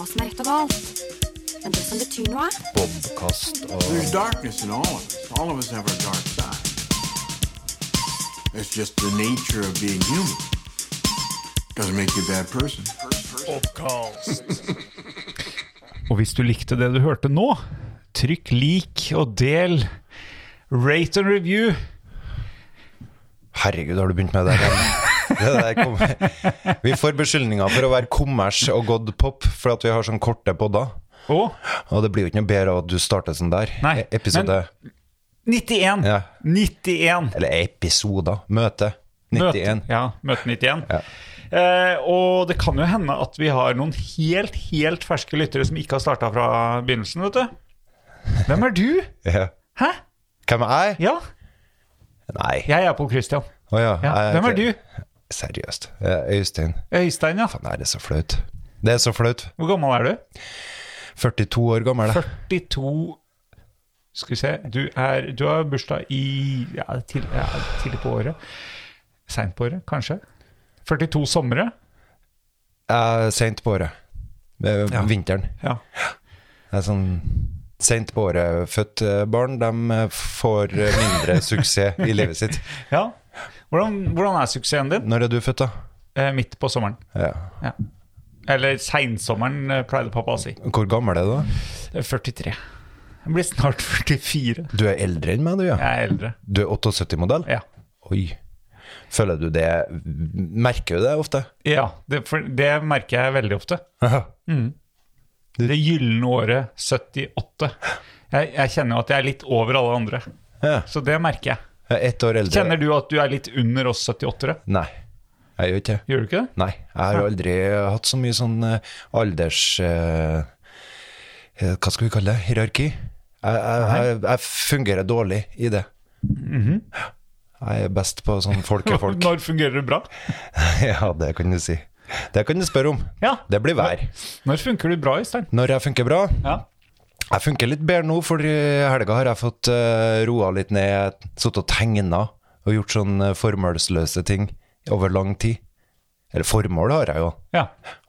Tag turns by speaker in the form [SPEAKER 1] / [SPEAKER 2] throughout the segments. [SPEAKER 1] all. Men det som betyr noe,
[SPEAKER 2] Bobkast og
[SPEAKER 3] There's darkness in all of us. All of us have our dark side. It's just the nature of being human. Doesn't make you a bad person.
[SPEAKER 4] Og hvis du likte det du hørte nå, trykk lik og del. Rate and review.
[SPEAKER 2] Herregud, har du begynt med det der? Det der kom- Vi får beskyldninger for å være kommers og god pop for at vi har sånn korte podder.
[SPEAKER 4] Og
[SPEAKER 2] Og det blir jo ikke noe bedre av at du starter sånn der.
[SPEAKER 4] Nei,
[SPEAKER 2] E- Episode
[SPEAKER 4] 91.
[SPEAKER 2] Ja.
[SPEAKER 4] 91.
[SPEAKER 2] Eller episoder. Møte. 91.
[SPEAKER 4] Møte, ja, møte 91.
[SPEAKER 2] Ja.
[SPEAKER 4] Eh, og det kan jo hende at vi har noen helt, helt ferske lyttere som ikke har starta fra begynnelsen, vet du. Hvem er du?
[SPEAKER 2] Ja.
[SPEAKER 4] Hæ?
[SPEAKER 2] Hvem er jeg?
[SPEAKER 4] Ja,
[SPEAKER 2] Nei.
[SPEAKER 4] jeg er Pål Christian.
[SPEAKER 2] Å Ah, ja.
[SPEAKER 4] Ja.
[SPEAKER 2] jeg-
[SPEAKER 4] Hvem er du?
[SPEAKER 2] Seriøst. Eh, Øystein.
[SPEAKER 4] Øystein, ja.
[SPEAKER 2] Nei, det er så flaut. Det er så flaut.
[SPEAKER 4] Hvor gammel er du?
[SPEAKER 2] 42 år gammel. jeg.
[SPEAKER 4] 42 Skal vi se Du, er, du har bursdag i ja, til, ja, tidlig på året. Seint på året, kanskje. 42 somre.
[SPEAKER 2] Jeg er Seint på året. Det er
[SPEAKER 4] Ja.
[SPEAKER 2] Vinteren.
[SPEAKER 4] Ja.
[SPEAKER 2] Det er sånn Sent på året født eh, barn, de eh, får eh, mindre suksess i livet sitt.
[SPEAKER 4] ja. Hvordan, hvordan er suksessen din?
[SPEAKER 2] Når er du født, da?
[SPEAKER 4] Eh, midt på sommeren.
[SPEAKER 2] Ja.
[SPEAKER 4] Ja. Eller seinsommeren, eh, pleide pappa å si.
[SPEAKER 2] Hvor gammel er du? da?
[SPEAKER 4] Eh, 43. Jeg blir snart 44.
[SPEAKER 2] Du er eldre enn meg, du, ja.
[SPEAKER 4] Jeg er eldre.
[SPEAKER 2] Du er 78-modell?
[SPEAKER 4] Ja.
[SPEAKER 2] Oi. Føler du det Merker du det ofte?
[SPEAKER 4] ja det, for det merker jeg veldig ofte. Det gylne året 78. Jeg, jeg kjenner jo at jeg er litt over alle andre.
[SPEAKER 2] Ja.
[SPEAKER 4] Så det merker jeg.
[SPEAKER 2] Jeg er ett år eldre.
[SPEAKER 4] Kjenner du at du er litt under oss 78-ere?
[SPEAKER 2] Nei. Jeg gjør ikke det.
[SPEAKER 4] Gjør du ikke det?
[SPEAKER 2] Nei. Jeg har jo aldri hatt så mye sånn eh, alders... eh, eh, hva skal vi kalle det? Hierarki? Jeg, jeg, jeg, jeg fungerer dårlig i det. Jeg er best på sånn folkefolk.
[SPEAKER 4] Mhm. Når fungerer det bra?
[SPEAKER 2] ja, det kan du si. Det kan du spørre om.
[SPEAKER 4] Ja.
[SPEAKER 2] Det blir vær.
[SPEAKER 4] Når funker du bra, Øystein?
[SPEAKER 2] Når jeg funker bra
[SPEAKER 4] Ja.
[SPEAKER 2] Jeg funker litt bedre nå, for i helga har jeg fått eh, roa litt ned, sittet og tegna og gjort sånn eh, formålsløse ting over lang tid. Eller formål har jeg jo.
[SPEAKER 4] ja.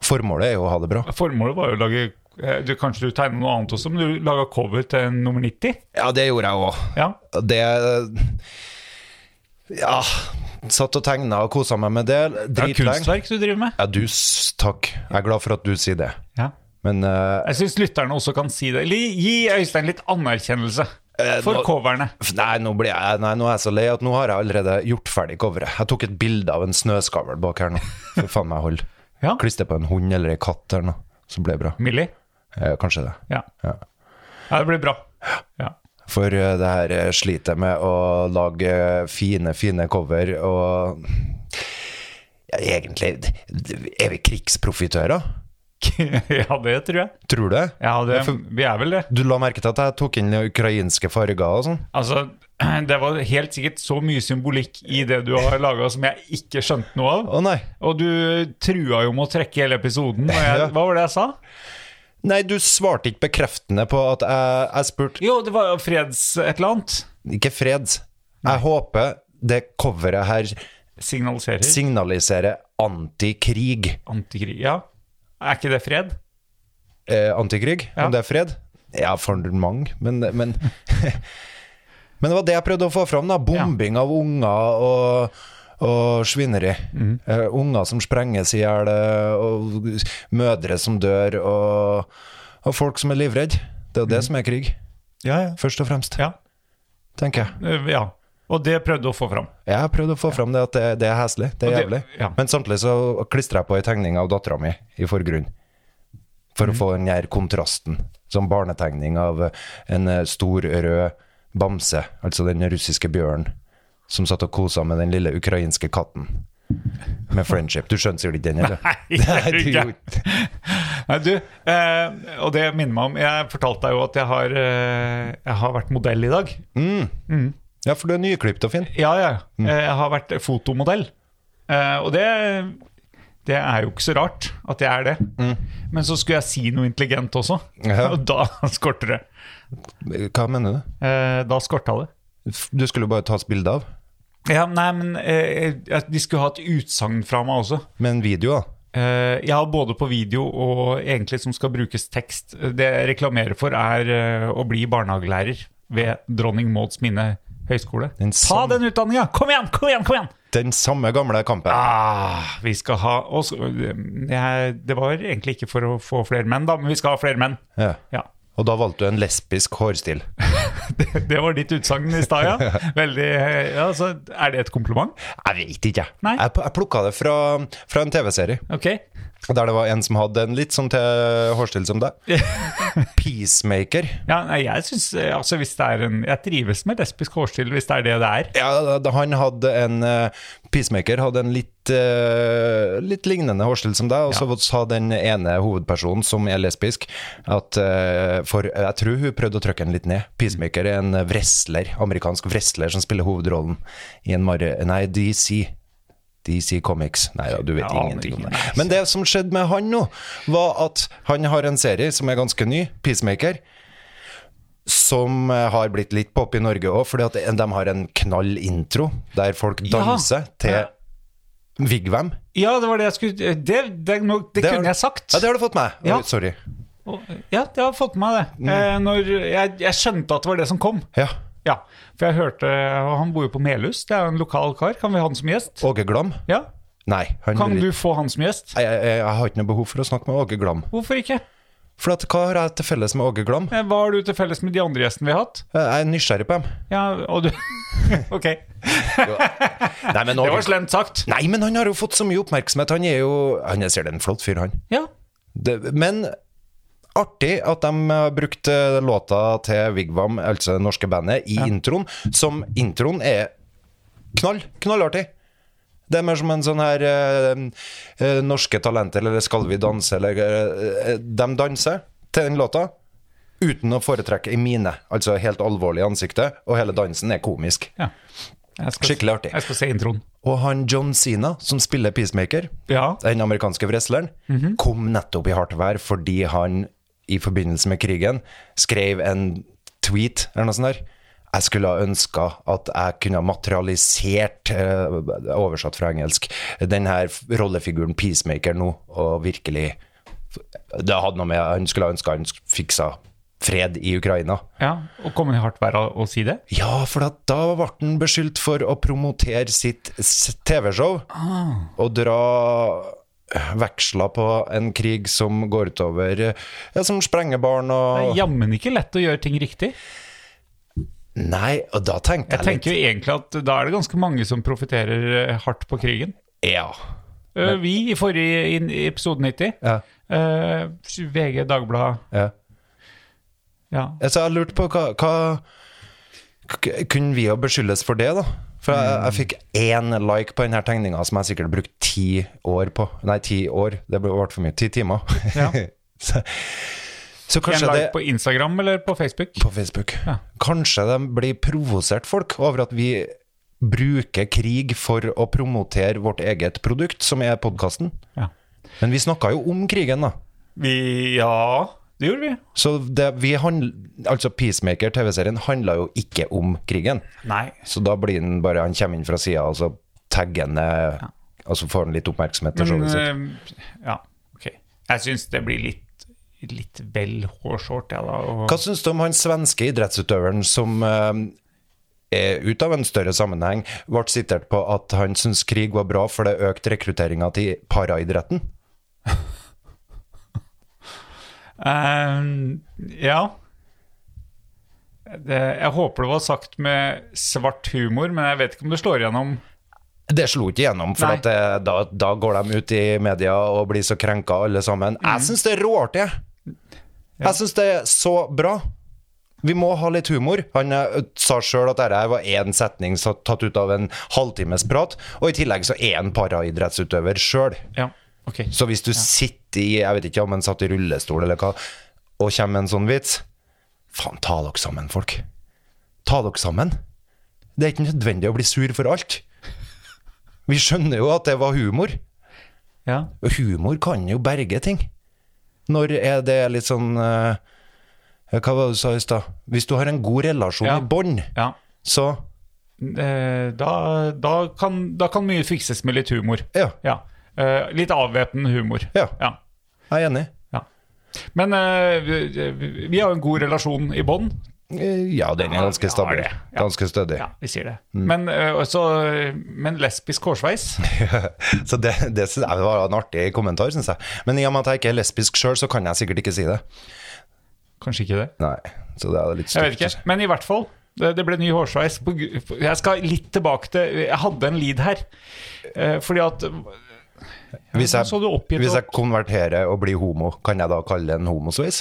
[SPEAKER 2] Formålet er jo å ha det bra.
[SPEAKER 4] Formålet var jo å lage eh, du, Kanskje du tegner noe annet også, men du laga cover til nummer 90?
[SPEAKER 2] Ja, det gjorde jeg òg.
[SPEAKER 4] Ja.
[SPEAKER 2] Det Ja. Satt og tegna og kosa meg med det.
[SPEAKER 4] Det er
[SPEAKER 2] Dritlenge.
[SPEAKER 4] kunstverk du driver med?
[SPEAKER 2] Ja, du, s- takk. Jeg er glad for at du sier det.
[SPEAKER 4] Ja.
[SPEAKER 2] Men eh,
[SPEAKER 4] Jeg syns lytterne også kan si det. Eller gi Øystein litt anerkjennelse
[SPEAKER 2] Eh,
[SPEAKER 4] for
[SPEAKER 2] nå-
[SPEAKER 4] coverne.
[SPEAKER 2] f- Nei, nå blir jeg Nei, nå er jeg så lei at nå har jeg allerede gjort ferdig coveret. Jeg tok et bilde av en snøskavl bak her nå. For faen meg hold.
[SPEAKER 4] Ja.
[SPEAKER 2] Klister på en hund eller en katt eller noe, så blir det bra.
[SPEAKER 4] Millie?
[SPEAKER 2] Eh, kanskje det.
[SPEAKER 4] Ja.
[SPEAKER 2] Ja.
[SPEAKER 4] ja, det blir bra. Ja.
[SPEAKER 2] For eh, det her eh, sliter med å lage eh, fine, fine cover og ja, Egentlig d- d- Er vi krigsprofitører?
[SPEAKER 4] ja, det tror jeg.
[SPEAKER 2] Tror du det?
[SPEAKER 4] Ja, det,
[SPEAKER 2] for-
[SPEAKER 4] vi er vel det.
[SPEAKER 2] Du la merke til at jeg tok inn ukrainske farger og sånn?
[SPEAKER 4] Altså, det var helt sikkert så mye symbolikk i det du har laga som jeg ikke skjønte noe av.
[SPEAKER 2] Å nei.
[SPEAKER 4] Og du trua jo med å trekke hele episoden. Og jeg,
[SPEAKER 2] Ja.
[SPEAKER 4] Hva var det jeg sa?
[SPEAKER 2] Nei, du svarte ikke bekreftende på at jeg, jeg spurte
[SPEAKER 4] Jo, det var jo freds et eller annet.
[SPEAKER 2] Ikke freds. Jeg håper det coveret her
[SPEAKER 4] Signaliserer.
[SPEAKER 2] signaliserer antikrig.
[SPEAKER 4] Antikrig. Ja. Er ikke det fred?
[SPEAKER 2] Eh, antikrig?
[SPEAKER 4] Ja.
[SPEAKER 2] Om det er fred? Ja, for mange, men, men Men det var det jeg prøvde å få fram. da Bombing av unger og, og svineri.
[SPEAKER 4] Mhm.
[SPEAKER 2] Eh, unger som sprenges i hjel, eh, og mødre som dør, og, og folk som er livredde. Det er jo det som er krig,
[SPEAKER 4] Ja, ja.
[SPEAKER 2] først og fremst,
[SPEAKER 4] Mhm. ja.
[SPEAKER 2] tenker jeg.
[SPEAKER 4] Eh, ja. Og det prøvde å få fram.
[SPEAKER 2] Jeg har prøvd å få fram det at det, det er heslig, det er
[SPEAKER 4] Og
[SPEAKER 2] jævlig.
[SPEAKER 4] det- ja.
[SPEAKER 2] Men samtidig så klistrer jeg på ei tegning av dattera mi i forgrunnen. For
[SPEAKER 4] Mm.
[SPEAKER 2] å få den her kontrasten. Som barnetegning av eh, en eh, stor, rød bamse, altså den russiske bjørnen, som satt og kosa med den lille ukrainske katten. Med friendship. Du skjønner sikkert ikke den, eller?
[SPEAKER 4] Nei, det er
[SPEAKER 2] du
[SPEAKER 4] ikke.
[SPEAKER 2] gjorde ikke.
[SPEAKER 4] Nei, du, eh, og det minner meg om Jeg fortalte deg jo at jeg har, eh, jeg har vært modell i dag.
[SPEAKER 2] Ja, for du er nyklipt og fin.
[SPEAKER 4] Ja, ja.
[SPEAKER 2] Mm.
[SPEAKER 4] Eh, Jeg har vært fotomodell. Eh, og det, det er jo ikke så rart at jeg er det. Men så skulle jeg si noe intelligent også,
[SPEAKER 2] Mm. Ja.
[SPEAKER 4] og da skorter det.
[SPEAKER 2] Hva mener du?
[SPEAKER 4] Eh, da skorta det.
[SPEAKER 2] F- Du skulle jo bare tas bilde av.
[SPEAKER 4] Ja, nei, men eh, jeg- de skulle ha et utsagn fra meg også.
[SPEAKER 2] Med en video, da.
[SPEAKER 4] Eh, jeg har både på video og egentlig som skal brukes tekst. Det jeg reklamerer for, er eh, å bli barnehagelærer ved Dronning Mauds minne høgskole.
[SPEAKER 2] Den
[SPEAKER 4] Ta
[SPEAKER 2] samme-
[SPEAKER 4] den utdanninga! Kom igjen, kom igjen! kom igjen!
[SPEAKER 2] Den samme gamle kampen.
[SPEAKER 4] Ah, vi skal ha og så- jeg, Det var egentlig ikke for å få flere menn, da, men vi skal ha flere menn.
[SPEAKER 2] Ja.
[SPEAKER 4] Ja.
[SPEAKER 2] Og da valgte du en lesbisk hårstil.
[SPEAKER 4] Det, det var ditt utsagn i stad, ja. Veldig, ja så er det et kompliment?
[SPEAKER 2] Jeg vet ikke, jeg.
[SPEAKER 4] Nei.
[SPEAKER 2] Jeg, pl- jeg plukka det fra, fra en TV-serie
[SPEAKER 4] Ok.
[SPEAKER 2] der det var en som hadde en litt sånn til hårstil som deg. Peacemaker.
[SPEAKER 4] Ja, nei, jeg synes, eh, altså hvis det er en, jeg trives med lesbisk hårstil hvis det er det det er.
[SPEAKER 2] Ja, da- han hadde en eh, Peacemaker hadde en litt, eh, litt lignende hårstil som deg, og så sa den ene hovedpersonen, som er lesbisk, at eh, For jeg tror hun prøvde å trykke den litt ned. Peacemaker er en wrestler, amerikansk wrestler som spiller hovedrollen i en Mar... Nei, DC. DC Comics. Nei da, du vet
[SPEAKER 4] Jeg aner
[SPEAKER 2] ingenting om
[SPEAKER 4] ikke.
[SPEAKER 2] det. Men det som skjedde med han nå, var at han har en serie som er ganske ny, Peacemaker som eh, har blitt litt pop i Norge òg, fordi at de har en knall intro der folk danser til
[SPEAKER 4] Ja.
[SPEAKER 2] Vigvam.
[SPEAKER 4] Ja, det var det jeg skulle Det, det, er noe- det,
[SPEAKER 2] Det har-
[SPEAKER 4] kunne jeg sagt.
[SPEAKER 2] Ja, det har du fått med.
[SPEAKER 4] Ja.
[SPEAKER 2] Oi, sorry.
[SPEAKER 4] Og- ja, det har jeg fått med meg, det. Eh, når jeg, jeg skjønte at det var det som kom.
[SPEAKER 2] Ja.
[SPEAKER 4] Ja, For jeg hørte og Han bor jo på Melhus, det er jo en lokal kar. Kan vi ha han som gjest?
[SPEAKER 2] Åge Glam?
[SPEAKER 4] Ja.
[SPEAKER 2] Nei. Han
[SPEAKER 4] Kan
[SPEAKER 2] vil
[SPEAKER 4] du
[SPEAKER 2] ikke-
[SPEAKER 4] få han som gjest?
[SPEAKER 2] Nei, Jeg, jeg, jeg har ikke noe behov for å snakke med Åge Glam.
[SPEAKER 4] Hvorfor ikke?
[SPEAKER 2] For at, hva har jeg til felles med Åge Glam?
[SPEAKER 4] Eh, Hva har du til felles med de andre gjestene vi har hatt?
[SPEAKER 2] Jeg er nysgjerrig på dem.
[SPEAKER 4] Ja, og du Ok.
[SPEAKER 2] Nei, men
[SPEAKER 4] Det
[SPEAKER 2] Åge-
[SPEAKER 4] var slemt sagt.
[SPEAKER 2] Nei, men han har jo fått så mye oppmerksomhet. Han er jo Han er sikkert en flott fyr, han.
[SPEAKER 4] Ja.
[SPEAKER 2] Det, men artig at de har brukt eh, låta til Vigvam, altså det norske bandet, i introen. Som introen er knall. Knallartig. Det er mer som en sånn her eh, eh, Norske talenter, eller Skal vi danse, eller eh, eh, De danser til den låta uten å foretrekke i mine. Altså helt alvorlig i ansiktet, og hele dansen er komisk.
[SPEAKER 4] ja. Jeg skal,
[SPEAKER 2] Skikkelig artig.
[SPEAKER 4] Jeg skal se introen.
[SPEAKER 2] Og han John Sina, som spiller Peacemaker,
[SPEAKER 4] Ja.
[SPEAKER 2] den amerikanske wrestleren, kom nettopp i hardt vær fordi han i forbindelse med krigen skrev en tweet eller noe sånt der. Jeg skulle ha ønska at jeg kunne ha materialisert, eh, oversatt fra engelsk, den her rollefiguren Peacemaker nå, og virkelig Det hadde noe med Han skulle ha ønska han fiksa fred i Ukraina.
[SPEAKER 4] ja. Og komme i hardt vær og og si det?
[SPEAKER 2] Ja, for da, da ble han beskyldt for å promotere sitt s- TV-show
[SPEAKER 4] Ah.
[SPEAKER 2] og dra veksler på en krig som går utover eh, ja, Som sprenger barn
[SPEAKER 4] Det er
[SPEAKER 2] og
[SPEAKER 4] jammen ikke lett å gjøre ting riktig.
[SPEAKER 2] Nei, og da tenkte
[SPEAKER 4] Jeg
[SPEAKER 2] jeg,
[SPEAKER 4] tenker jo egentlig at da er det ganske mange som profitterer eh, hardt på krigen.
[SPEAKER 2] litt Ja.
[SPEAKER 4] Eh, Vi i forrige inn- i episode 90,
[SPEAKER 2] ja,
[SPEAKER 4] eh, VG, Dagbladet
[SPEAKER 2] ja.
[SPEAKER 4] ja.
[SPEAKER 2] Altså, jeg lurte på hva, hva k- Kunne vi jo beskyldes for det, da? For jeg,
[SPEAKER 4] Mm.
[SPEAKER 2] jeg fikk én like på denne tegninga som jeg sikkert brukte ti år på. Nei, ti år. Det ble ble for mye. Ti timer.
[SPEAKER 4] Ja.
[SPEAKER 2] så, så
[SPEAKER 4] En
[SPEAKER 2] kanskje
[SPEAKER 4] like
[SPEAKER 2] det
[SPEAKER 4] på Instagram eller på Facebook?
[SPEAKER 2] på Facebook. Kanskje de blir provosert folk over at vi bruker krig for å promotere vårt eget produkt, som er podkasten.
[SPEAKER 4] Ja.
[SPEAKER 2] Men vi snakka jo om krigen, da.
[SPEAKER 4] Vi, ja, det gjorde vi.
[SPEAKER 2] Så det, vi handl, altså Peacemaker, TV-serien, handla jo ikke om krigen.
[SPEAKER 4] Nei.
[SPEAKER 2] Så da blir den bare Han kommer inn fra sida, og så tagger han eh, Og så får han litt oppmerksomhet til
[SPEAKER 4] Men,
[SPEAKER 2] showet sitt.
[SPEAKER 4] eh, ja, ok. Jeg syns det blir litt, litt vel hårshort, jeg da. Og,
[SPEAKER 2] Hva syns du om han svenske idrettsutøveren som eh, er ut av en større sammenheng ble sitert på at han syns krig var bra, for det økte rekrutteringa til paraidretten?
[SPEAKER 4] Eh, ja. Det, jeg håper det var sagt med svart humor, men jeg vet ikke om det slår igjennom.
[SPEAKER 2] Det slo ikke gjennom, for
[SPEAKER 4] Nei.
[SPEAKER 2] at, eh, da, da går de ut i media og blir så krenka alle sammen. Jeg syns det er råartig! jeg. Jeg syns det er så bra! Vi må ha litt humor. Han eh, sa sjøl at dette var én setning satt- tatt ut av en halvtimes prat, og i tillegg så er han paraidrettsutøver sjøl.
[SPEAKER 4] Ja, ok.
[SPEAKER 2] Så hvis du sitter i Jeg vet ikke om en satt i rullestol eller hva Og kommer med en sånn vits Faen, ta dere sammen, folk Ta dere sammen Det er ikke nødvendig å bli sur for alt Vi skjønner jo at det var humor
[SPEAKER 4] Ja.
[SPEAKER 2] Og humor kan jo berge ting Når er det litt sånn eh, Hva var det du sa i sted? Hvis du har en god relasjon
[SPEAKER 4] Ja.
[SPEAKER 2] i bånd
[SPEAKER 4] ja.
[SPEAKER 2] Så,
[SPEAKER 4] Eh, Da, da, kan, da kan mye fikses med litt humor.
[SPEAKER 2] ja
[SPEAKER 4] Ja. Eh, litt avvæpnende humor.
[SPEAKER 2] Ja.
[SPEAKER 4] ja.
[SPEAKER 2] Jeg er enig.
[SPEAKER 4] Ja. Men eh, vi, vi- vi har jo en god relasjon i bånn.
[SPEAKER 2] Eh, Ja, den er ganske
[SPEAKER 4] Ja, vi har
[SPEAKER 2] stabil.
[SPEAKER 4] det, ja.
[SPEAKER 2] Ganske stødig.
[SPEAKER 4] Ja, vi sier det. Men, eh, også, men lesbisk hårsveis
[SPEAKER 2] Så det, det, synes jeg var en artig kommentar, syns jeg. Men i og med at jeg ikke er lesbisk sjøl, så kan jeg sikkert ikke si det.
[SPEAKER 4] Kanskje ikke det.
[SPEAKER 2] Nei, så det er litt
[SPEAKER 4] Jeg vet
[SPEAKER 2] stygt.
[SPEAKER 4] ikke. Men i hvert fall. Det, det ble ny hårsveis. på gr- på- Jeg skal litt tilbake til Jeg hadde en lead her. Eh, fordi at
[SPEAKER 2] Hvis
[SPEAKER 4] Ja,
[SPEAKER 2] jeg,
[SPEAKER 4] så du oppgitt
[SPEAKER 2] hvis
[SPEAKER 4] opp-
[SPEAKER 2] jeg konverterer og blir homo, kan jeg da kalle det en homosveis?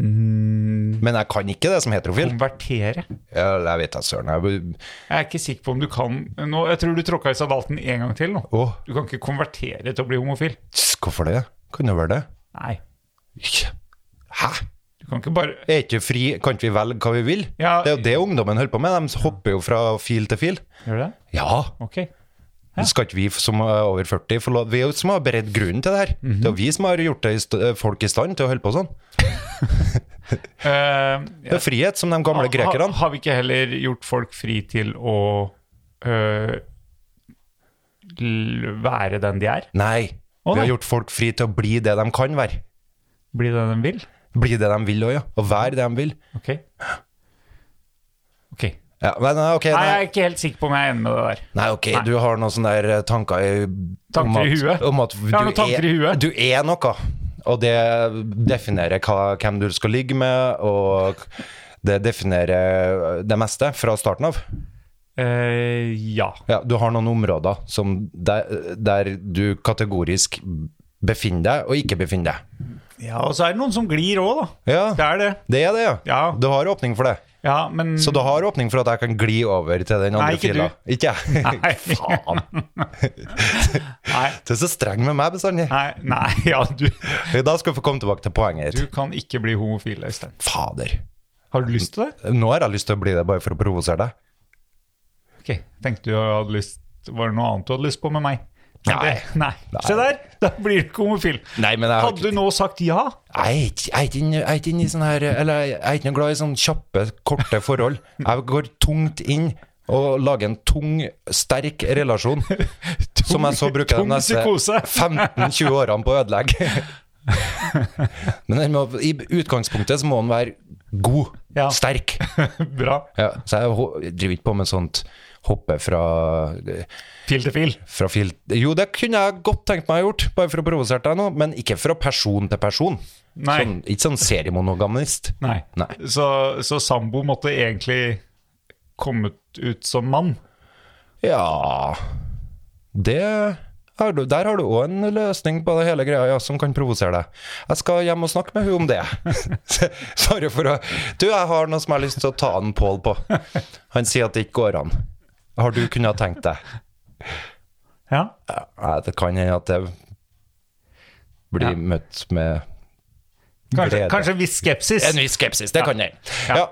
[SPEAKER 4] Mm.
[SPEAKER 2] Men jeg kan ikke det som heterofil.
[SPEAKER 4] Konvertere.
[SPEAKER 2] Eller jeg vet da søren. jeg-
[SPEAKER 4] Jeg er ikke sikker på om du kan nå, Jeg tror du tråkka i sadalten en gang til nå.
[SPEAKER 2] Åh,
[SPEAKER 4] Du kan ikke konvertere til å bli homofil.
[SPEAKER 2] tss, hvorfor det? Kan det være det?
[SPEAKER 4] Nei.
[SPEAKER 2] Ikke. Hæ?
[SPEAKER 4] Du kan ikke bare
[SPEAKER 2] Er ikke fri, Kan ikke vi velge hva vi vil?
[SPEAKER 4] Ja.
[SPEAKER 2] Det er jo det ungdommen holder på med. De hopper jo fra fil til fil.
[SPEAKER 4] Gjør du det?
[SPEAKER 2] Ja,
[SPEAKER 4] Ok.
[SPEAKER 2] Skal ikke vi som er over 40 få lov Vi er jo som har beredt grunnen til det her.
[SPEAKER 4] Mhm.
[SPEAKER 2] Det er jo vi som har gjort det i st eh, folk i stand til å holde på sånn.
[SPEAKER 4] Eh,
[SPEAKER 2] Det er frihet, som de gamle
[SPEAKER 4] Ha,
[SPEAKER 2] grekerne.
[SPEAKER 4] har vi ikke heller gjort folk fri til å øh, l- være den de er?
[SPEAKER 2] Nei.
[SPEAKER 4] Å,
[SPEAKER 2] Vi har
[SPEAKER 4] nei.
[SPEAKER 2] gjort folk fri til å bli det de kan være.
[SPEAKER 4] Bli den de vil?
[SPEAKER 2] Bli det de vil òg, ja. Og være det de vil.
[SPEAKER 4] Ok. Ok.
[SPEAKER 2] Ja, nei, nei, ok,
[SPEAKER 4] Nei, jeg er
[SPEAKER 2] nei.
[SPEAKER 4] ikke helt sikker på om jeg er enig med det der.
[SPEAKER 2] nei, ok,
[SPEAKER 4] Nei.
[SPEAKER 2] du har noen sånne der eh, tanker i
[SPEAKER 4] Tanker
[SPEAKER 2] om
[SPEAKER 4] i
[SPEAKER 2] at-
[SPEAKER 4] huet.
[SPEAKER 2] Om at
[SPEAKER 4] Jeg har noen tanker
[SPEAKER 2] er,
[SPEAKER 4] i huet.
[SPEAKER 2] Du er noe, og det definerer hva, hvem du skal ligge med, og det definerer det meste fra starten av.
[SPEAKER 4] Eh, ja.
[SPEAKER 2] Ja, du har noen områder som der, der du kategorisk befinner deg og ikke befinner deg.
[SPEAKER 4] ja. Og så er det noen som glir òg, da. Det
[SPEAKER 2] Ja,
[SPEAKER 4] er det.
[SPEAKER 2] det er det, ja.
[SPEAKER 4] Ja.
[SPEAKER 2] Du har åpning for det.
[SPEAKER 4] Ja, men
[SPEAKER 2] Så du har åpning for at jeg kan gli over til den andre
[SPEAKER 4] Nei, ikke
[SPEAKER 2] fila? Ikke jeg.
[SPEAKER 4] Nei.
[SPEAKER 2] Faen.
[SPEAKER 4] Nei.
[SPEAKER 2] Du er så streng med meg bestandig.
[SPEAKER 4] Nei, nei, ja, du,
[SPEAKER 2] Da skal vi få komme tilbake til poenget
[SPEAKER 4] du
[SPEAKER 2] ditt.
[SPEAKER 4] kan ikke bli homofil, Øystein.
[SPEAKER 2] Fader.
[SPEAKER 4] Har du lyst til det?
[SPEAKER 2] Nå har jeg lyst til å bli det bare for å provosere deg.
[SPEAKER 4] Ok, tenkte du hadde lyst Var det noe annet du hadde lyst på med meg? Men
[SPEAKER 2] Nei.
[SPEAKER 4] det- Nei.
[SPEAKER 2] Nei.
[SPEAKER 4] Se der, da blir du ikke homofil.
[SPEAKER 2] Nei, men jeg har
[SPEAKER 4] Hadde du nå sagt ja?
[SPEAKER 2] Jeg er ikke- jeg er ikke inn- jeg er ikke inn i sånn her Eller jeg er ikke noe glad i sånne kjappe, korte forhold. Jeg går tungt inn og lager en tung, sterk relasjon. som jeg så bruker de
[SPEAKER 4] tung
[SPEAKER 2] neste
[SPEAKER 4] psykose.
[SPEAKER 2] 15-20 årene på å ødelegge. Men den må, i utgangspunktet så må den være god.
[SPEAKER 4] Ja.
[SPEAKER 2] Sterk.
[SPEAKER 4] Bra.
[SPEAKER 2] Ja, så jeg ho- driver ikke på med sånt hoppe fra,
[SPEAKER 4] Fil til fil.
[SPEAKER 2] fra fil... Jo, det kunne jeg godt tenkt meg å gjort, bare for å provosere deg nå, men ikke fra person til person.
[SPEAKER 4] Nei.
[SPEAKER 2] Sånn, ikke sånn seriemonogamist.
[SPEAKER 4] Nei.
[SPEAKER 2] Nei.
[SPEAKER 4] Så, så sambo måtte egentlig kommet ut som mann?
[SPEAKER 2] Ja Det har du, Der har du òg en løsning på det hele greia ja, som kan provosere deg. Jeg skal hjem og snakke med hun om det. Sorry for å Du, jeg har noe som jeg har lyst til å ta en Pål på. Han sier at det ikke går an. Har du kunnet tenkt deg
[SPEAKER 4] Ja.
[SPEAKER 2] Nei, det kan hende at det blir
[SPEAKER 4] Ja.
[SPEAKER 2] møtt med
[SPEAKER 4] Kanskje,
[SPEAKER 2] glede.
[SPEAKER 4] kanskje en viss skepsis.
[SPEAKER 2] En viss skepsis. Det kan hende.
[SPEAKER 4] Ja.
[SPEAKER 2] Ja.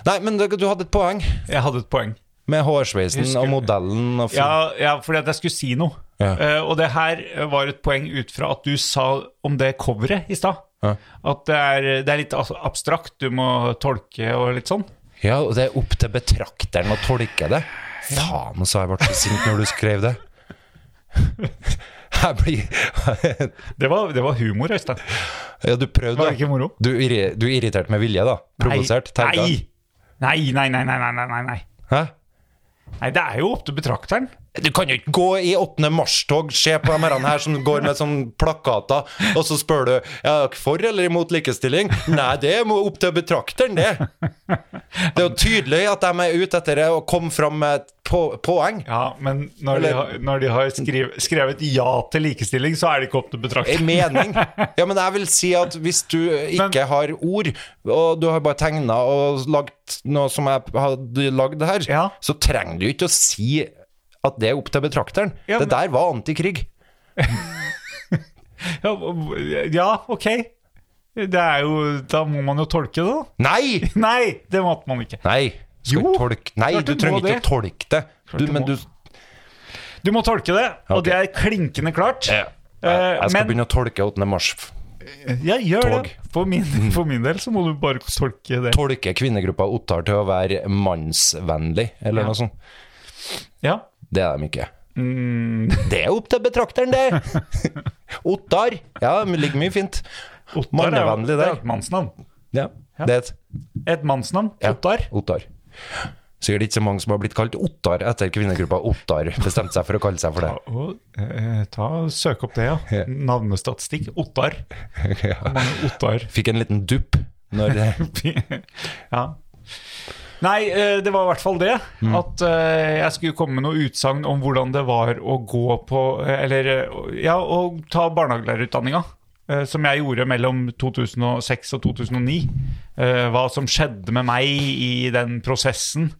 [SPEAKER 2] Nei, men det- du hadde et poeng
[SPEAKER 4] Jeg hadde et poeng.
[SPEAKER 2] med hårsveisen
[SPEAKER 4] Husker-
[SPEAKER 2] og modellen og fil-
[SPEAKER 4] Ja, ja fordi at jeg skulle si noe.
[SPEAKER 2] Ja.
[SPEAKER 4] Eh, og det her var et poeng ut fra at du sa om det coveret i stad.
[SPEAKER 2] Ja.
[SPEAKER 4] At det er, det er litt as- abstrakt, du må tolke og litt sånn.
[SPEAKER 2] Ja, og det er opp til betrakteren å tolke det. Faen, så jeg ble så sint når du skrev det. Jeg blir
[SPEAKER 4] Det var, det var humor, Øystein.
[SPEAKER 2] Ja, du prøvde,
[SPEAKER 4] Var det ikke
[SPEAKER 2] da.
[SPEAKER 4] moro?
[SPEAKER 2] Du, irri- du irriterte med vilje, da. Provosert.
[SPEAKER 4] Nei.
[SPEAKER 2] terka.
[SPEAKER 4] Nei, nei, nei, nei, nei, nei, nei, nei.
[SPEAKER 2] Hæ?
[SPEAKER 4] Nei, det er jo opp til betrakteren.
[SPEAKER 2] Du kan jo ikke gå i 8. mars-tog, se på de herrene her som går med sånn plakater, og så spør du ja, er dere for eller imot likestilling. Nei, det må opp til betrakteren, det. Det er jo tydelig at de er ute etter det å komme fram med et på poeng.
[SPEAKER 4] Ja, men når de
[SPEAKER 2] Eller-
[SPEAKER 4] har, når de har skriv, skrevet ja til likestilling, så er det ikke opp til
[SPEAKER 2] En
[SPEAKER 4] betrakteren.
[SPEAKER 2] mening. Ja, men jeg vil si at hvis du ikke
[SPEAKER 4] Men-
[SPEAKER 2] har ord, og du har bare tegna og lagd noe som jeg hadde lagd her,
[SPEAKER 4] Ja.
[SPEAKER 2] så trenger du ikke å si at det er opp til betrakteren.
[SPEAKER 4] Ja, men-
[SPEAKER 2] Det der var antikrig.
[SPEAKER 4] Ja, og- ja, ok. Det er jo, da må man jo tolke det, da.
[SPEAKER 2] Nei!
[SPEAKER 4] Nei, det måtte man ikke.
[SPEAKER 2] Nei, skal
[SPEAKER 4] Jo,
[SPEAKER 2] ikke tolke. Nei
[SPEAKER 4] klart du
[SPEAKER 2] du
[SPEAKER 4] må
[SPEAKER 2] trenger ikke
[SPEAKER 4] det.
[SPEAKER 2] å tolke det. Du,
[SPEAKER 4] du
[SPEAKER 2] men
[SPEAKER 4] må.
[SPEAKER 2] du
[SPEAKER 4] Du må tolke det, og
[SPEAKER 2] Ok.
[SPEAKER 4] det er klinkende klart. Eh,
[SPEAKER 2] Jeg skal
[SPEAKER 4] men-
[SPEAKER 2] begynne å tolke 8. mars.
[SPEAKER 4] Ja, gjør
[SPEAKER 2] Tog. Mm.
[SPEAKER 4] det. For min, for min del så må du bare tolke det.
[SPEAKER 2] Tolke kvinnegruppa Ottar til å være mannsvennlig, eller
[SPEAKER 4] Ja.
[SPEAKER 2] noe sånt.
[SPEAKER 4] Ja,
[SPEAKER 2] Det er de ikke.
[SPEAKER 4] Mm.
[SPEAKER 2] Det er opp til betrakteren, det! Ottar. Ja, det ligger mye fint. Mannevennlig
[SPEAKER 4] det er
[SPEAKER 2] der.
[SPEAKER 4] et mannsnavn.
[SPEAKER 2] Ja, det er et
[SPEAKER 4] Et mannsnavn.
[SPEAKER 2] ja.
[SPEAKER 4] Ottar.
[SPEAKER 2] Ottar. Sikkert ikke så mange som har blitt kalt Ottar etter kvinnegruppa Ottar bestemte seg for å kalle seg for det.
[SPEAKER 4] Og, eh, ta, søk opp det, ja.
[SPEAKER 2] Ja.
[SPEAKER 4] Navnestatistikk. Ottar. Hvor mange Ottar
[SPEAKER 2] Fikk en liten dupp når
[SPEAKER 4] ja. Nei, eh, det var i hvert fall det. At eh, jeg skulle komme med noe utsagn om hvordan det var å gå på Eller eh, ja, å ta barnehagelærerutdanninga. eh, Som jeg gjorde mellom 2006 og 2009. Eh, Hva som skjedde med meg i den prosessen.